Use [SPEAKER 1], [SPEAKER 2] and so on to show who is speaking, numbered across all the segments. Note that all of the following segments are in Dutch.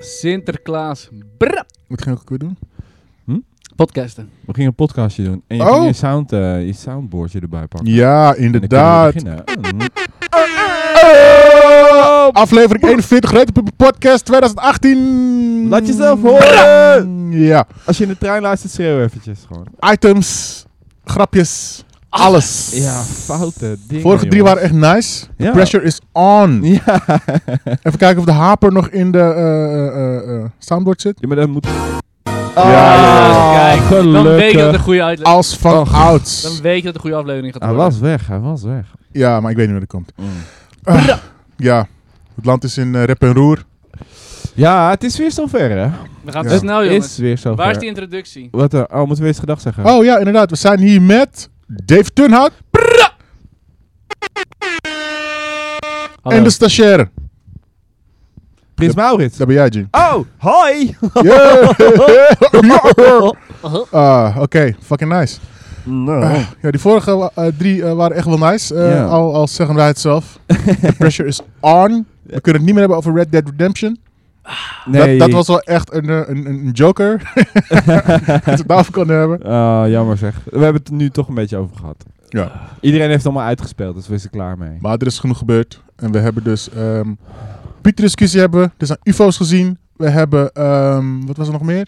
[SPEAKER 1] Sinterklaas brrr,
[SPEAKER 2] Moet ik nog een keer doen?
[SPEAKER 1] podcasten.
[SPEAKER 3] We gingen een podcastje doen. En je
[SPEAKER 2] Oh.
[SPEAKER 3] ging je, sound, eh, je soundboardje erbij pakken.
[SPEAKER 2] Ja,
[SPEAKER 3] En dan
[SPEAKER 2] inderdaad.
[SPEAKER 3] kunnen we beginnen. Mm.
[SPEAKER 2] Oh! Aflevering 41, Rate Puppen Podcast 2018.
[SPEAKER 3] Mm. Laat jezelf horen!
[SPEAKER 2] Ja.
[SPEAKER 3] Als je in de trein luistert, schreeuw eventjes gewoon.
[SPEAKER 2] Items, grapjes, alles.
[SPEAKER 3] Ah, Ja, foute dingen.
[SPEAKER 2] Vorige drie
[SPEAKER 3] jongens.
[SPEAKER 2] waren echt nice. The
[SPEAKER 3] Ja.
[SPEAKER 2] pressure is on.
[SPEAKER 3] Ja.
[SPEAKER 2] Even kijken of de haper nog in de eh, eh, eh, eh, soundboard zit.
[SPEAKER 3] ja, maar dan moet... Ah,
[SPEAKER 2] ja,
[SPEAKER 1] Ah, kijk, Dan weet je dat het een goede uitle-
[SPEAKER 2] Als van
[SPEAKER 3] Oh,
[SPEAKER 2] ouds.
[SPEAKER 1] Dan weet je dat het een goede aflevering gaat
[SPEAKER 3] Hij
[SPEAKER 1] worden.
[SPEAKER 3] was weg, hij was weg.
[SPEAKER 2] Ja, maar ik weet niet waar dat komt.
[SPEAKER 3] Mm.
[SPEAKER 2] Eh, Ja, het land is in eh, rep en roer.
[SPEAKER 3] Ja, het is weer zover, hè?
[SPEAKER 1] We gaan
[SPEAKER 2] Ja.
[SPEAKER 1] te snel,
[SPEAKER 3] het
[SPEAKER 1] jongens.
[SPEAKER 3] is weer zover.
[SPEAKER 1] Waar is die introductie?
[SPEAKER 3] Wat, eh, oh, moeten we eens gedag zeggen?
[SPEAKER 2] Oh ja, inderdaad. We zijn hier met Dave Tunhout en de stagiair.
[SPEAKER 3] Prins Maurits.
[SPEAKER 2] Dat ben jij, Jim.
[SPEAKER 3] Oh, hoi!
[SPEAKER 2] Yeah. Ja.
[SPEAKER 1] Uh-huh.
[SPEAKER 2] Ah, Oké, fucking nice. Ah, ja, die vorige eh, drie eh, waren echt wel nice. Eh,
[SPEAKER 3] Ja.
[SPEAKER 2] al, al zeggen wij het zelf. The pressure is on. We kunnen het niet meer hebben over Red Dead Redemption. Dat,
[SPEAKER 3] Nee.
[SPEAKER 2] dat was wel echt een, eh, een, een, een joker. dat we het daarover konden hebben.
[SPEAKER 3] Ah, jammer zeg. We hebben het er nu toch een beetje over gehad.
[SPEAKER 2] Ja.
[SPEAKER 3] Iedereen heeft het allemaal uitgespeeld, dus we zijn er klaar mee.
[SPEAKER 2] Maar er is genoeg gebeurd. En we hebben dus ehm Pieter-discussie hebben. we. Er zijn UFO's gezien. We hebben, ehm, wat was er nog meer?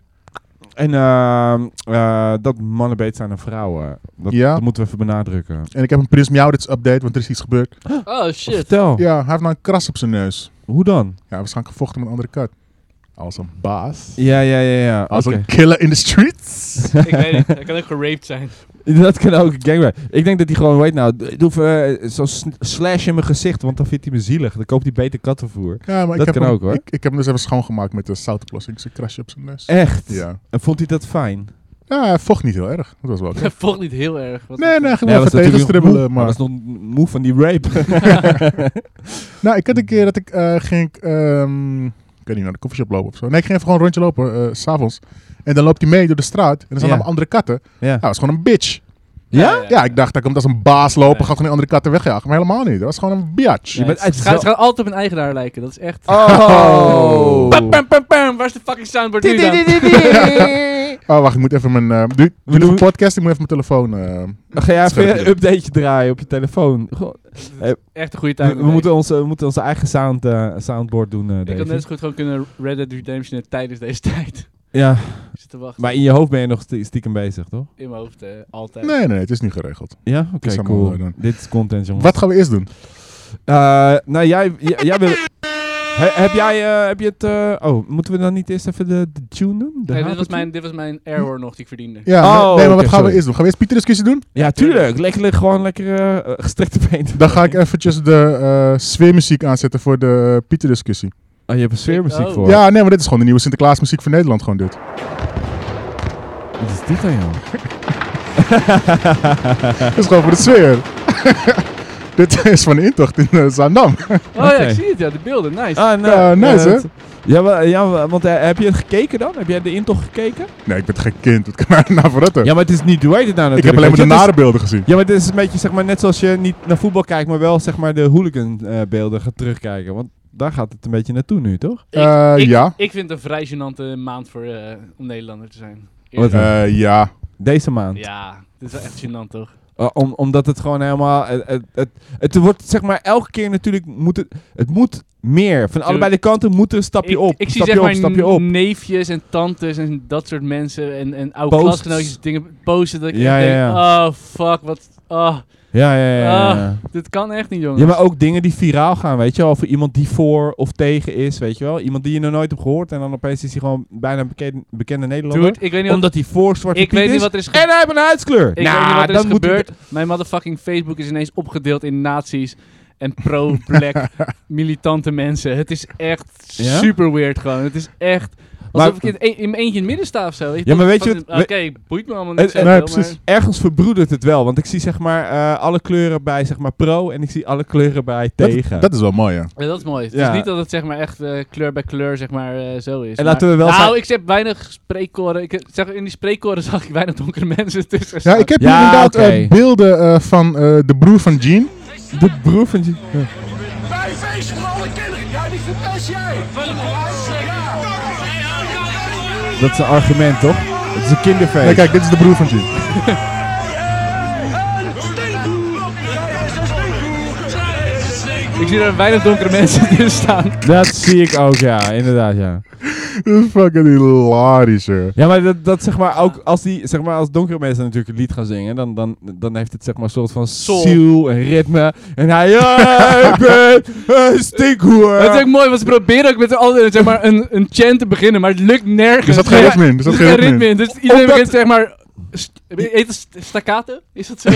[SPEAKER 3] En ehm, eh, dat mannen beter zijn dan vrouwen. Dat,
[SPEAKER 2] Ja.
[SPEAKER 3] dat moeten we even benadrukken.
[SPEAKER 2] En ik heb een Prins Miauwdits update, want er is iets gebeurd.
[SPEAKER 1] Oh, shit.
[SPEAKER 3] Vertel,
[SPEAKER 2] Ja, hij heeft nou een kras op zijn neus.
[SPEAKER 3] hoe dan?
[SPEAKER 2] Ja, waarschijnlijk gevochten met een andere kat. Als een baas.
[SPEAKER 3] Ja, ja, ja, ja.
[SPEAKER 2] Als
[SPEAKER 3] oké.
[SPEAKER 2] een killer in the streets.
[SPEAKER 1] ik weet niet. Hij kan ook geraped zijn.
[SPEAKER 3] Dat kan ook gangbang. Ik denk dat hij gewoon, weet nou, d- doe even, eh, zo'n sn- slash in mijn gezicht, want dan vindt hij me zielig. Dan koopt hij beter kattenvoer.
[SPEAKER 2] Ja, maar
[SPEAKER 3] Dat
[SPEAKER 2] ik heb
[SPEAKER 3] kan
[SPEAKER 2] hem,
[SPEAKER 3] ook, hoor.
[SPEAKER 2] Ik, ik heb hem dus even schoongemaakt met de zoutoplossing. Zijn krasje op zijn neus.
[SPEAKER 3] Echt?
[SPEAKER 2] Ja.
[SPEAKER 3] En vond hij dat fijn?
[SPEAKER 2] ja, hij vocht niet heel erg. Dat was wel oké.
[SPEAKER 1] Hij vocht niet heel erg. Wat-
[SPEAKER 2] Nee, nee,
[SPEAKER 3] Nee,
[SPEAKER 2] gewoon
[SPEAKER 3] hij
[SPEAKER 2] even
[SPEAKER 3] was natuurlijk nog
[SPEAKER 2] tegenstribbelen.
[SPEAKER 3] moe.
[SPEAKER 2] Maar...
[SPEAKER 3] Hij was nog moe van die rape.
[SPEAKER 2] Nou, ik had een keer dat ik eh, ging, ehm, ik weet niet, naar de koffieshop lopen of zo. Nee, ik ging even gewoon een rondje lopen, eh, s s'avonds. En dan loopt hij mee door de straat. En dan zijn
[SPEAKER 3] Ja.
[SPEAKER 2] allemaal andere katten.
[SPEAKER 3] ja.
[SPEAKER 2] Nou, dat is gewoon een bitch.
[SPEAKER 3] Ja?
[SPEAKER 2] Ja, ik dacht, dat komt als een baas lopen,
[SPEAKER 1] Nee.
[SPEAKER 2] gaat gewoon die andere katten wegjagen. Maar helemaal niet. Dat was gewoon een biatch.
[SPEAKER 3] Je
[SPEAKER 1] Nee,
[SPEAKER 3] bent
[SPEAKER 1] het,
[SPEAKER 3] uit-
[SPEAKER 1] gaat, het gaat altijd op een eigenaar lijken. Dat is echt...
[SPEAKER 3] Oh!
[SPEAKER 1] Pam, pam, pam, pam. Waar is de fucking soundboard nu dan?
[SPEAKER 2] Oh, wacht, ik moet even mijn... eh doe, doe
[SPEAKER 3] doen-
[SPEAKER 2] een podcast, ik moet even mijn telefoon... eh,
[SPEAKER 3] Ga jij even
[SPEAKER 2] Scherp.
[SPEAKER 3] een updateje draaien op je telefoon? Goh, Eh,
[SPEAKER 1] Echt een goede
[SPEAKER 3] we,
[SPEAKER 1] tijd.
[SPEAKER 3] we moeten onze, we moeten onze eigen sound, eh, soundboard doen, eh
[SPEAKER 1] Ik had
[SPEAKER 3] David.
[SPEAKER 1] net zo goed gewoon kunnen Red Dead Redemption tijdens deze tijd.
[SPEAKER 3] Ja,
[SPEAKER 1] Ik zit te wachten.
[SPEAKER 3] maar in je hoofd ben je nog stie- stiekem bezig, toch?
[SPEAKER 1] In mijn hoofd eh, altijd.
[SPEAKER 2] nee, nee, nee, het is niet geregeld.
[SPEAKER 3] Ja? Oké,
[SPEAKER 2] is allemaal
[SPEAKER 1] eh,
[SPEAKER 3] cool.
[SPEAKER 2] mooi dan.
[SPEAKER 3] Dit is content, jongens.
[SPEAKER 2] Wat gaan we eerst doen?
[SPEAKER 3] Eh, nou, jij, j- jij wil... He- heb jij eh, heb je het... eh, oh, moeten we dan niet eerst even de, de tune doen? De
[SPEAKER 1] Nee, dit, was
[SPEAKER 3] hapertune?
[SPEAKER 1] mijn, dit was mijn airhorn nog die ik verdiende.
[SPEAKER 2] Ja,
[SPEAKER 3] Oh,
[SPEAKER 2] nee, nee, maar wat
[SPEAKER 3] oké,
[SPEAKER 2] gaan we
[SPEAKER 3] sorry.
[SPEAKER 2] eerst doen? Gaan we eerst Pieter-discussie doen?
[SPEAKER 3] Ja, tuurlijk. Lekker, lekker- gewoon lekker eh, gestrekte been.
[SPEAKER 2] Dan ga ik eventjes de eh sfeermuziek aanzetten voor de Pieter-discussie.
[SPEAKER 3] Oh, je hebt een sfeermuziek
[SPEAKER 1] Oh.
[SPEAKER 3] voor.
[SPEAKER 2] Ja, nee, maar dit is gewoon de nieuwe Sinterklaasmuziek voor Nederland gewoon dit.
[SPEAKER 3] Wat is dit dan, joh?
[SPEAKER 2] Dit is gewoon voor de sfeer. dit is van de intocht in eh, Zaandam.
[SPEAKER 1] Oh ja,
[SPEAKER 3] Oké.
[SPEAKER 1] ik zie het. Ja, de beelden. Nice.
[SPEAKER 3] Ah, nou,
[SPEAKER 2] Ja, nice,
[SPEAKER 3] eh,
[SPEAKER 2] hè?
[SPEAKER 3] het- Ja, wa- ja, wa- want eh, heb je het gekeken dan? Heb jij de intocht gekeken?
[SPEAKER 2] Nee, ik ben geen kind. Wat kan mij nou verrutten?
[SPEAKER 3] Ja, maar het is niet... Hoe heet het nou natuurlijk?
[SPEAKER 2] ik heb alleen maar de
[SPEAKER 3] weet je? Het is-
[SPEAKER 2] nare beelden gezien.
[SPEAKER 3] Ja, maar het is een beetje zeg maar, net zoals je niet naar voetbal kijkt, maar wel zeg maar, de hooligan-beelden gaat terugkijken. Want daar gaat het een beetje naartoe nu, toch?
[SPEAKER 2] Eh,
[SPEAKER 1] ik,
[SPEAKER 2] ja.
[SPEAKER 1] Ik vind het een vrij gênante maand voor, eh, om Nederlander te zijn.
[SPEAKER 3] Oh, Wat dan?
[SPEAKER 2] Eh, ja.
[SPEAKER 3] Deze maand.
[SPEAKER 1] Ja, dit is wel echt gênant toch?
[SPEAKER 3] Eh, om, omdat het gewoon helemaal... Het, het, het, het wordt zeg maar elke keer natuurlijk... Moet het, het moet meer. Van allebei de kanten moet er een stapje
[SPEAKER 1] ik,
[SPEAKER 3] op.
[SPEAKER 1] Ik zie
[SPEAKER 3] stapje
[SPEAKER 1] zeg
[SPEAKER 3] op,
[SPEAKER 1] maar
[SPEAKER 3] stapje op.
[SPEAKER 1] neefjes en tantes en dat soort mensen en, en oude
[SPEAKER 3] Posts.
[SPEAKER 1] klasgenootjes dingen posten dat ik
[SPEAKER 3] Ja,
[SPEAKER 1] echt
[SPEAKER 3] ja,
[SPEAKER 1] denk,
[SPEAKER 3] ja.
[SPEAKER 1] oh fuck, wat, oh,
[SPEAKER 3] Ja, ja, ja. ja, ja.
[SPEAKER 1] dit kan echt niet jongens.
[SPEAKER 3] Ja, maar ook dingen die viraal gaan, weet je wel. Over iemand die voor of tegen is, weet je wel. Iemand die je nog nooit hebt gehoord. En dan opeens is hij gewoon bijna een bekende, bekende Nederlander.
[SPEAKER 1] Dude, ik weet niet wat,
[SPEAKER 3] omdat hij voor Zwarte
[SPEAKER 1] ik
[SPEAKER 3] Piet
[SPEAKER 1] weet
[SPEAKER 3] is.
[SPEAKER 1] niet wat er is gebeurd.
[SPEAKER 3] En hij heeft een huidskleur.
[SPEAKER 1] Ik
[SPEAKER 3] Nou,
[SPEAKER 1] weet niet wat er
[SPEAKER 3] dan
[SPEAKER 1] is
[SPEAKER 3] moet hij-
[SPEAKER 1] gebeurd. Mijn motherfucking Facebook is ineens opgedeeld in nazi's en pro-black militante mensen. Het is echt
[SPEAKER 3] Ja?
[SPEAKER 1] super weird gewoon. Het is echt alsof
[SPEAKER 3] Maar-
[SPEAKER 1] ik in, een- in mijn eentje in het midden sta of zo. Weet je?
[SPEAKER 3] Ja, maar
[SPEAKER 1] Dat-
[SPEAKER 3] weet je
[SPEAKER 1] van-
[SPEAKER 3] wat-
[SPEAKER 1] Oké, boeit me allemaal niet
[SPEAKER 3] Eh,
[SPEAKER 1] zo
[SPEAKER 3] eh,
[SPEAKER 2] nee,
[SPEAKER 1] veel,
[SPEAKER 2] precies.
[SPEAKER 1] maar-
[SPEAKER 3] Ergens verbroedert het wel, want ik zie zeg maar eh, alle kleuren bij zeg maar pro en ik zie alle kleuren bij tegen.
[SPEAKER 2] Dat, dat is wel mooi, ja.
[SPEAKER 1] Ja, dat is mooi. Het
[SPEAKER 3] Ja.
[SPEAKER 1] is niet dat het zeg maar echt eh, kleur bij kleur zeg maar eh, zo is. Maar-
[SPEAKER 3] En laten we wel
[SPEAKER 1] Nou,
[SPEAKER 3] zijn-
[SPEAKER 1] ik heb weinig spreekkoren. Ik eh, zeg, in die spreekkoren zag ik weinig donkere mensen tussen.
[SPEAKER 2] Ja, ik heb hier
[SPEAKER 3] Ja,
[SPEAKER 2] inderdaad
[SPEAKER 3] oké.
[SPEAKER 2] eh, beelden eh, van eh, de broer van Jean.
[SPEAKER 3] de broer van je.
[SPEAKER 4] Bij feest van alle kinderen. Ja, die verpest jij. Van de Ja.
[SPEAKER 3] Dat is een argument, toch? Het is een kinderfeest.
[SPEAKER 2] Nee, kijk, dit is de broer van Jim.
[SPEAKER 1] Ik zie er weinig donkere mensen hier staan.
[SPEAKER 3] Dat zie ik ook, ja. Inderdaad, ja.
[SPEAKER 2] Dat is fucking hilarisch, hè.
[SPEAKER 3] Ja, maar dat, dat zeg maar ook... Als, die, zeg maar, als donkere mensen natuurlijk een lied gaan zingen... dan, dan, dan heeft het zeg maar een soort van
[SPEAKER 1] Soul.
[SPEAKER 3] ziel en ritme. En hij... Ja, ik ben een stinkhoer.
[SPEAKER 1] Dat is ook mooi, want ze proberen ook met z'n allen zeg maar, een, een chant te beginnen, maar het lukt nergens.
[SPEAKER 2] Er zat geen
[SPEAKER 1] Ja,
[SPEAKER 2] ritme in. Er zat
[SPEAKER 1] er
[SPEAKER 2] geen ritme in.
[SPEAKER 1] in. Dus iedereen
[SPEAKER 3] Omdat-
[SPEAKER 1] begint zeg maar... st- Heet het st- staccato? Is dat zo?